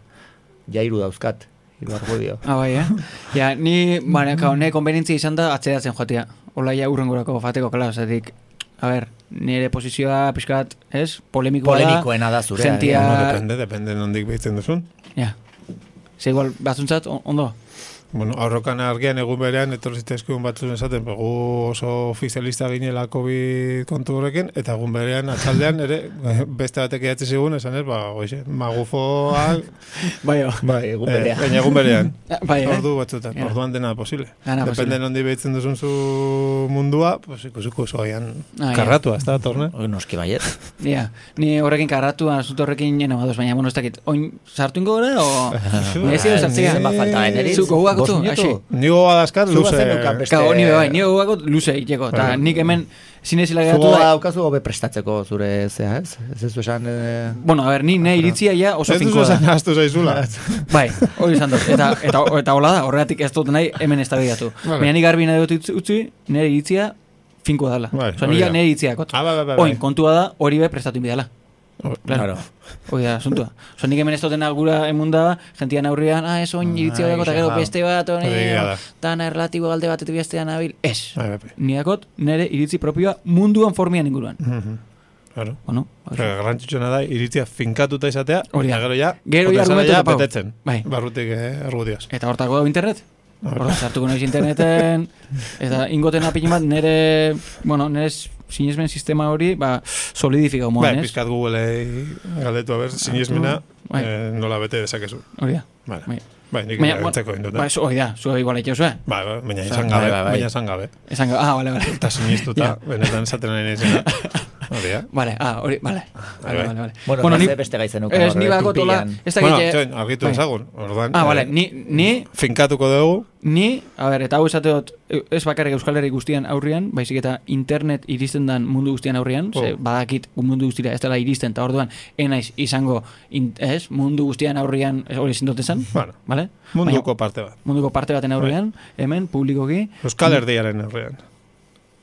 [SPEAKER 4] Ja hiru dauzkat, hiru argudio.
[SPEAKER 1] Ah, bai, eh? Ja, ni, baina, ka, ne konbenientzia izan da atzeratzen joatea. Ola ja urrengorako fateko, kala, zetik, a ber, nire posizioa pixkat, ez? Polemikoa da.
[SPEAKER 4] Polemikoena da zurea,
[SPEAKER 1] Sentia...
[SPEAKER 4] eh?
[SPEAKER 3] Bueno, depende, depende nondik behitzen duzun.
[SPEAKER 1] Ja. Ze igual, batzuntzat, on- ondo.
[SPEAKER 3] Bueno, aurrokan argian egun berean etorri zitezkun batzuen esaten, begu oso ofizialista ginela COVID kontu horrekin, eta egun berean atxaldean ere beste batek idatzi zigun, esan ez, ba, oixe, magufoa,
[SPEAKER 1] Bai,
[SPEAKER 4] Bai, egun
[SPEAKER 3] eh,
[SPEAKER 4] berea.
[SPEAKER 3] baina egun berean.
[SPEAKER 1] bai, eh?
[SPEAKER 3] Ordu batzutan,
[SPEAKER 1] Ja.
[SPEAKER 3] orduan dena posible.
[SPEAKER 1] Dena
[SPEAKER 3] Depende
[SPEAKER 1] posible.
[SPEAKER 3] nondi behitzen duzun zu mundua, pues ikusiko oso haian
[SPEAKER 1] Ah, ja.
[SPEAKER 3] karratua, ez da, torne?
[SPEAKER 4] Oi, Noski baiet.
[SPEAKER 1] Ja, ni horrekin karratu, asunto horrekin nena badoz, baina, bueno, ez dakit, oin sartu ingo gara, o... Ni ez dira sartzea.
[SPEAKER 4] Zenbat falta da, neri?
[SPEAKER 1] Zuko guak
[SPEAKER 4] Bost
[SPEAKER 1] otu,
[SPEAKER 4] minutu?
[SPEAKER 1] aixi.
[SPEAKER 3] Ni gogoa dazkat,
[SPEAKER 4] Zu
[SPEAKER 3] luze...
[SPEAKER 4] bazeneukan beste-
[SPEAKER 1] Ka, honi bai, ni guak otu luze iteko,
[SPEAKER 3] Bai.
[SPEAKER 1] eta nik hemen sinezila
[SPEAKER 4] Zugo
[SPEAKER 1] geratu da...
[SPEAKER 4] daukazu hobe prestatzeko zure zea, ez? Ez ez esan... eh,
[SPEAKER 1] Bueno, a ber, ni nahi iritzia ja oso
[SPEAKER 3] Ez duzu
[SPEAKER 1] finkoa da.
[SPEAKER 3] esan ahaztu zaizula.
[SPEAKER 1] Bai, hori izan dut. Eta, eta, eta hola da, horregatik ez dut nahi hemen ez da bidatu.
[SPEAKER 3] Vale.
[SPEAKER 1] Baina nik garbi nahi dut utzi- utzi, nire iritzia finkoa dela.
[SPEAKER 3] Bai,
[SPEAKER 1] Osa,
[SPEAKER 3] hori
[SPEAKER 1] nire
[SPEAKER 3] da.
[SPEAKER 1] nire iritzia kotu.
[SPEAKER 3] Ah, bai, bai, bai, bai.
[SPEAKER 1] Oin, kontua da, hori be prestatu inbidala. Claro. Hoi da, asuntua. Oso, nik hemen ez dutena gura emunda, jentian aurrian, ah, ez oin iritzio dago, eta
[SPEAKER 3] Ai,
[SPEAKER 1] gero
[SPEAKER 3] ja.
[SPEAKER 1] beste bat,
[SPEAKER 3] Hori da.
[SPEAKER 1] honi, dana erlatibo galde batetik bestean abil. Ez.
[SPEAKER 3] Bai, bai.
[SPEAKER 1] Niakot, nire iritzi propioa munduan formian inguruan.
[SPEAKER 3] Mhm. Claro.
[SPEAKER 1] Bueno,
[SPEAKER 3] Pero garrantzitsuna da, iritzia finkatuta izatea,
[SPEAKER 1] Hori da.
[SPEAKER 3] eta gero ja,
[SPEAKER 1] Gero ja
[SPEAKER 3] ote zara
[SPEAKER 1] argumentu
[SPEAKER 3] ja
[SPEAKER 1] topau.
[SPEAKER 3] betetzen.
[SPEAKER 1] Bai.
[SPEAKER 3] Barrutik eh, argudioz.
[SPEAKER 1] Eta hortako dago internet. Hortaz, hartuko noiz interneten, eta ingoten apin bat, nire, bueno, nire sinesmen sistema hori, ba, solidifikau
[SPEAKER 3] Bai,
[SPEAKER 1] moan, ez?
[SPEAKER 3] pizkat Google-ei galdetu, aber, sinismena,
[SPEAKER 1] Bai.
[SPEAKER 3] eh, nola bete dezakezu.
[SPEAKER 1] Hori da.
[SPEAKER 3] Vale.
[SPEAKER 1] Bai.
[SPEAKER 3] Bai, nik
[SPEAKER 1] Baina,
[SPEAKER 3] erabiltzeko
[SPEAKER 1] bueno,
[SPEAKER 3] induta.
[SPEAKER 1] Ba, zu- hori da, zue igual eitxo zue.
[SPEAKER 3] Bai, bai, baina
[SPEAKER 1] Osa,
[SPEAKER 3] izan gabe,
[SPEAKER 1] bai, bai, bai.
[SPEAKER 3] baina izan gabe.
[SPEAKER 1] Esan gabe, ah, bale, bale.
[SPEAKER 3] Eta sinistuta,
[SPEAKER 1] Ja.
[SPEAKER 3] benetan esaten ari naizena. Hori eh. da.
[SPEAKER 1] Bale, ah, hori, bale. Bale,
[SPEAKER 3] bai.
[SPEAKER 1] bale, bale.
[SPEAKER 4] Bueno, beste- beste gai zenukan
[SPEAKER 1] Ez,
[SPEAKER 4] hor,
[SPEAKER 1] ni
[SPEAKER 4] eh,
[SPEAKER 1] bako tola,
[SPEAKER 4] pipilan.
[SPEAKER 1] ez da
[SPEAKER 3] Bueno,
[SPEAKER 1] gite...
[SPEAKER 3] txoin, argitu ezagun. Orduan,
[SPEAKER 1] Ah,
[SPEAKER 3] eh,
[SPEAKER 1] bale, ni, ni,
[SPEAKER 3] Finkatuko dugu,
[SPEAKER 1] ni, a ber, eta hau esateot, ez bakarrik Euskal Herri guztian aurrian, baizik eta internet iristen dan mundu guztian aurrian,
[SPEAKER 3] Oh.
[SPEAKER 1] ze badakit mundu guztira ez dela iristen, eta orduan, enaiz izango, in, ez, mundu guztian aurrian, ez hori zindote zen,
[SPEAKER 3] Bueno.
[SPEAKER 1] bale?
[SPEAKER 3] munduko Bai. parte bat.
[SPEAKER 1] Baina, munduko parte baten aurrean, hemen, publikoki,
[SPEAKER 3] Euskal Herdiaren herrian.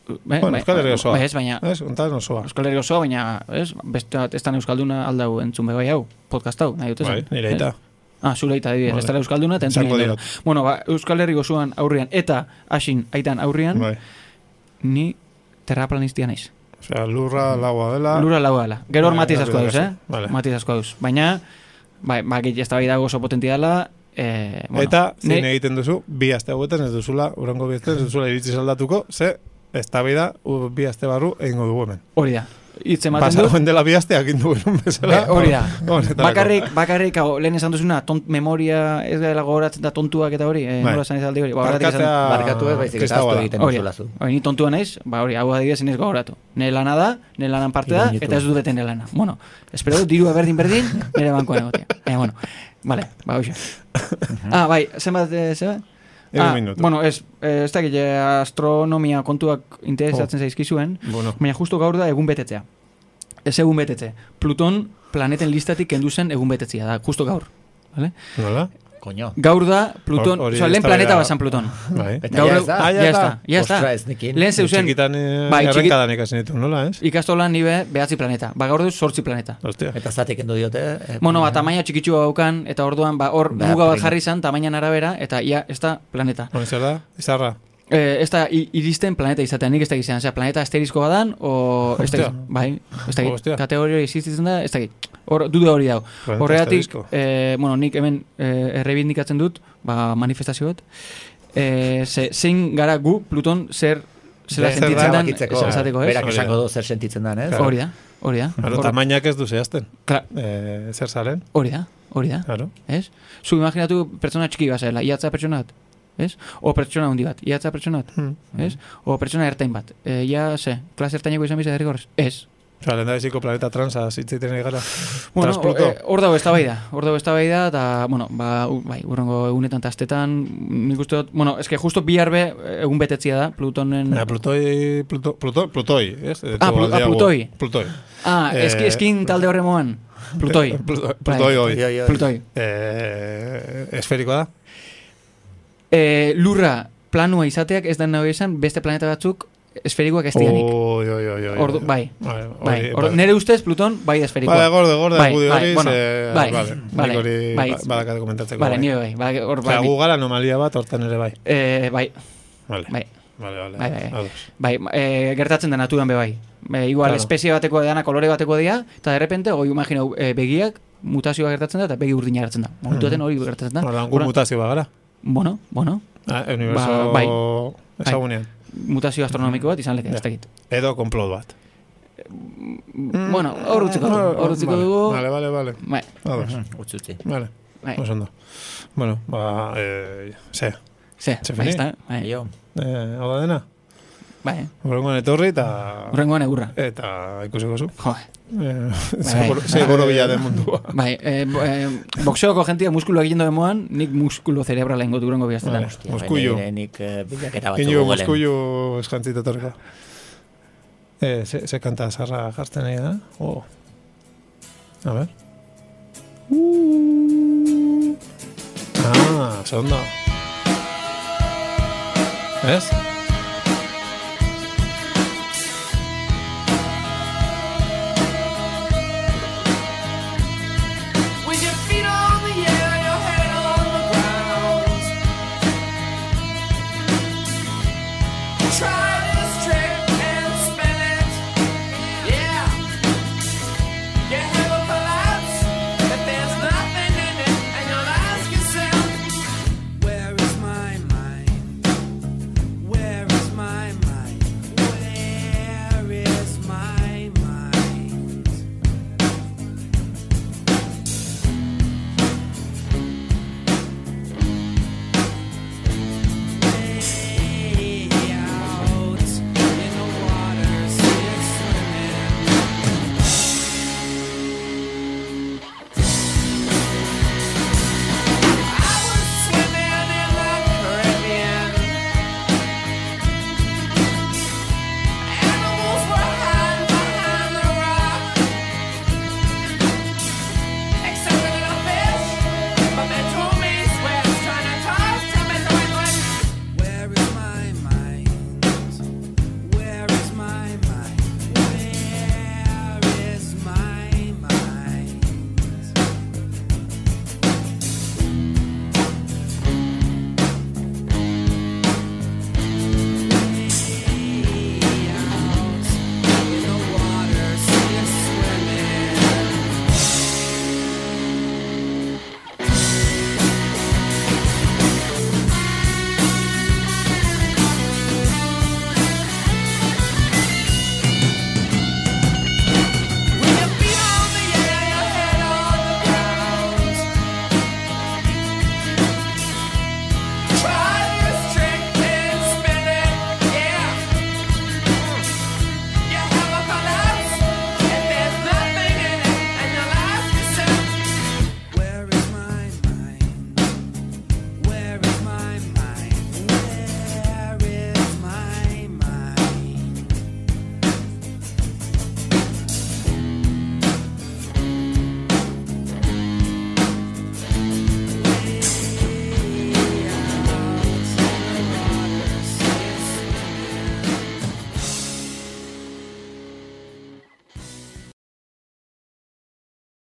[SPEAKER 1] eh,
[SPEAKER 3] Bueno, Euskal Herri osoa. Eh.
[SPEAKER 1] bai, ez, baina,
[SPEAKER 3] Ez, ontan osoa.
[SPEAKER 1] Euskal Herri osoa, baina, ez, beste bat, ez dan Euskalduna aldau entzun bebai hau, podcast hau, nahi dut esan.
[SPEAKER 3] Bai, nire eta.
[SPEAKER 1] Ez? Ah, zure eta adibidez,
[SPEAKER 3] Vale.
[SPEAKER 1] ez dara Euskalduna, eta entzun
[SPEAKER 3] Esango
[SPEAKER 1] egin dut.
[SPEAKER 3] diot.
[SPEAKER 1] Bueno, ba, Euskal Herri osoan aurrian, eta asin aitan aurrian,
[SPEAKER 3] Bai.
[SPEAKER 1] ni terraplanistia naiz.
[SPEAKER 3] Osea, lurra laua dela.
[SPEAKER 1] Lura laua dela. Gero hor
[SPEAKER 3] Bai,
[SPEAKER 1] matiz
[SPEAKER 3] bai,
[SPEAKER 1] asko dauz,
[SPEAKER 3] bai,
[SPEAKER 1] eh?
[SPEAKER 3] bai.
[SPEAKER 1] Matiz asko dauz. Baina, bai, bai, ez da bai dago oso potentia dela, eh, bueno,
[SPEAKER 3] Eta, zin
[SPEAKER 1] ni-
[SPEAKER 3] egiten duzu, bi aste hauetan ez duzula, urango bi aste ez duzula iritsi aldatuko, ze, ez da bi aste barru egingo dugu hemen.
[SPEAKER 1] hori da. Hitz ematen du,
[SPEAKER 3] Pasagoen dela bi aste hakin duen bezala.
[SPEAKER 1] Be, hori da.
[SPEAKER 3] Honetarako. Bai.
[SPEAKER 1] Bakarrik, bakarrik, hau, lehen esan duzuna, tont, memoria ez gara gogoratzen da tontuak eta hori, eh,
[SPEAKER 3] Bai.
[SPEAKER 1] nola esan izaldi hori. Ba, horregatik esan-
[SPEAKER 3] Barkatzea-
[SPEAKER 4] Barkatu ez, baizik eta
[SPEAKER 3] kristaua
[SPEAKER 4] aztu
[SPEAKER 3] da.
[SPEAKER 4] egiten
[SPEAKER 1] Hori,
[SPEAKER 4] duzula zu.
[SPEAKER 1] hori, ni tontua naiz, ba hori, hau adibidez inez gogoratu. Nire lana da, nire lanan parte da,
[SPEAKER 4] Irainitu.
[SPEAKER 1] eta ez dut bete nire lana. Bueno, espero dut dirua berdin berdin, nire bankoan egotea. Baina, bueno, vale, ba hoxe. ah, bai, zenbat, eh, zenbat?
[SPEAKER 3] Hiru minutu.
[SPEAKER 1] bueno, ez, eh, ez dakit, eh, astronomia kontuak interesatzen zaizkizuen,
[SPEAKER 3] Oh. Bueno.
[SPEAKER 1] baina justu gaur da egun betetzea. Ez egun betetze. Pluton planeten listatik kendu zen egun betetzea da, justu gaur. Vale?
[SPEAKER 3] Nola?
[SPEAKER 4] Koño.
[SPEAKER 1] Gaur da Pluton,
[SPEAKER 3] Hor- hori
[SPEAKER 1] oza, lehen
[SPEAKER 3] eztabaida-
[SPEAKER 1] planeta bazan Pluton.
[SPEAKER 3] Bai.
[SPEAKER 4] Eta
[SPEAKER 1] Gaur
[SPEAKER 4] ja
[SPEAKER 1] egun-
[SPEAKER 4] ez da.
[SPEAKER 1] Ah, ya, está, ya está.
[SPEAKER 4] Ostra, ez nekin.
[SPEAKER 1] Lehen zeuzen...
[SPEAKER 3] Txikitan eh,
[SPEAKER 1] Bai, txiki-
[SPEAKER 3] errenkadan ikasen ditu, nola, ez?
[SPEAKER 1] ikastolan nibe behatzi planeta. Ba, gaur duz sortzi planeta.
[SPEAKER 3] Ostia.
[SPEAKER 4] Eta zatik endu diote. eh,
[SPEAKER 1] Bueno, ba, tamaina txikitsua daukan, eta orduan, ba, hor
[SPEAKER 4] Ba,
[SPEAKER 1] muga bat
[SPEAKER 4] prin-
[SPEAKER 1] jarri zan, tamainan arabera, eta ia, ez da planeta.
[SPEAKER 3] Hori zer da? Izarra.
[SPEAKER 1] Eh, ez da i- iristen planeta izatean, nik ez da gizan, osea, planeta asterisko badan, o... Ez da
[SPEAKER 3] Hostia.
[SPEAKER 1] bai, ez da
[SPEAKER 3] Hostia.
[SPEAKER 1] kategoria hori existitzen da, ez da Hor, duda hori dago.
[SPEAKER 3] Planeta
[SPEAKER 1] Horregatik,
[SPEAKER 3] asterisko.
[SPEAKER 1] eh, bueno, nik hemen eh, errebindikatzen dut, ba, manifestazio bat, eh, ze, zein gara gu Pluton zer, zela
[SPEAKER 3] Zer
[SPEAKER 1] sentitzen
[SPEAKER 3] da,
[SPEAKER 1] dan,
[SPEAKER 4] erabakitzeko.
[SPEAKER 1] esan esateko, ez?
[SPEAKER 4] Berak
[SPEAKER 3] Hori da.
[SPEAKER 4] esango du zer sentitzen dan, ez?
[SPEAKER 1] Hori da, hori da.
[SPEAKER 3] Claro,
[SPEAKER 1] Hor-
[SPEAKER 3] tamainak ez du zehazten.
[SPEAKER 1] Kla-
[SPEAKER 3] Eh, zer zaren?
[SPEAKER 1] Hori da, hori da.
[SPEAKER 3] Claro.
[SPEAKER 1] Ez? Zu imaginatu pertsona txiki bazela, iatza pertsona bat. Ez? O pertsona handi bat, iatza pertsona bat.
[SPEAKER 3] Hmm.
[SPEAKER 1] Ez? O pertsona ertain bat. E, ia, ze, klase ertaineko izan biza derrigorrez. Ez.
[SPEAKER 3] Osa, lehen da biziko planeta transa, zitzeiten gara.
[SPEAKER 1] Bueno,
[SPEAKER 3] Trans
[SPEAKER 1] hor
[SPEAKER 3] Pluto.
[SPEAKER 1] e, hor dago ez da, hor dago ez da, eta, bueno, ba, u- bai, urrengo egunetan eta astetan, nik uste dut, bueno, eske justo bihar be, egun betetzia da, Plutonen...
[SPEAKER 3] Na, Eh, Plutoi, Pluto, Pluto, Plutoi, ez? Eh,
[SPEAKER 1] mm. Ah, Plu- ah,
[SPEAKER 3] Diagu.
[SPEAKER 1] Plutoi.
[SPEAKER 3] Plutoi.
[SPEAKER 1] ah,
[SPEAKER 3] eh,
[SPEAKER 1] eski, eskin talde horre moan. Plutoi. Bai.
[SPEAKER 3] Pluto- Plutoi hoi.
[SPEAKER 4] Oi, oi, oi.
[SPEAKER 1] Plutoi.
[SPEAKER 3] Eh, esferikoa da?
[SPEAKER 1] E, lurra planua izateak ez da nahi esan, beste planeta batzuk esferikoak ez dianik.
[SPEAKER 3] Oi, oi, oi, oi.
[SPEAKER 1] Ordu- bai.
[SPEAKER 3] Vale,
[SPEAKER 1] Bai,
[SPEAKER 3] hori-
[SPEAKER 1] or, nere ustez Pluton bai da esferikoa.
[SPEAKER 3] Bale, gorde, gorde,
[SPEAKER 1] Bai,
[SPEAKER 3] gudi
[SPEAKER 1] bai,
[SPEAKER 3] hori,
[SPEAKER 1] bueno,
[SPEAKER 3] ze-
[SPEAKER 1] bai,
[SPEAKER 3] eh, vale,
[SPEAKER 1] bai,
[SPEAKER 3] nik hori
[SPEAKER 1] bai.
[SPEAKER 3] ba- badakat komentatzeko.
[SPEAKER 1] Bale,
[SPEAKER 3] bai.
[SPEAKER 1] nire bai, bai, hor
[SPEAKER 3] Osea,
[SPEAKER 1] bai.
[SPEAKER 3] gu gara anomalia bat, hortan ere bai.
[SPEAKER 1] Eh, bai,
[SPEAKER 3] Vale,
[SPEAKER 1] bai,
[SPEAKER 3] vale, vale.
[SPEAKER 1] bai, bai, bai,
[SPEAKER 3] Ados.
[SPEAKER 1] bai, eh, gertatzen da naturan be bai. Eh, igual,
[SPEAKER 3] Claro.
[SPEAKER 1] espezie bateko dana, kolore bateko dira, eta de repente, goi imaginau, eh, begiak, mutazioa gertatzen da, eta begi urdina gertzen
[SPEAKER 3] Mm-hmm.
[SPEAKER 1] da. Momentuaten hori gertatzen da.
[SPEAKER 3] Ordan, gu
[SPEAKER 1] Orduan-
[SPEAKER 3] mutazio bat gara.
[SPEAKER 1] Bueno, bueno,
[SPEAKER 3] Ah,
[SPEAKER 1] Ba, bai.
[SPEAKER 3] Universo ezagunean.
[SPEAKER 1] mutazio astronomiko bat izan leke, ez dakit.
[SPEAKER 3] Edo complot bat.
[SPEAKER 1] Bueno, hor utziko dugu, hor utziko
[SPEAKER 3] Mm-hmm. Vale,
[SPEAKER 1] dugu.
[SPEAKER 3] Vale, vale, vale.
[SPEAKER 1] Bai,
[SPEAKER 3] Ados.
[SPEAKER 4] Utzi, utzi.
[SPEAKER 3] Vale.
[SPEAKER 1] bai,
[SPEAKER 3] Oso ondo. Bueno, ba, eh, ze,
[SPEAKER 1] ze,
[SPEAKER 3] Se
[SPEAKER 1] bai,
[SPEAKER 3] fini.
[SPEAKER 1] ezta, bai,
[SPEAKER 4] Aio.
[SPEAKER 3] eh, hau da dena?
[SPEAKER 1] bai,
[SPEAKER 3] Horrengoan etorri eta...
[SPEAKER 1] urrengoan egurra.
[SPEAKER 3] Eta ikusiko zu.
[SPEAKER 1] Jo,
[SPEAKER 3] Eh, ze bor- ze borobila den mundua.
[SPEAKER 1] Bai, eh, bo- eh, boxeoko jentia muskulo egiten duen moan, nik muskulo cerebrala ingotu durango bihaztela.
[SPEAKER 3] Vale.
[SPEAKER 4] bai,
[SPEAKER 3] Moskullu.
[SPEAKER 4] Baina, Nik eh, bilaketa batzu
[SPEAKER 3] Inigo
[SPEAKER 4] googleen.
[SPEAKER 3] Moskullu eskantzita torreka. Eh, ze, ze kanta zarra jartzen nahi da? Oh. A ver. Ah, sondo. Ez?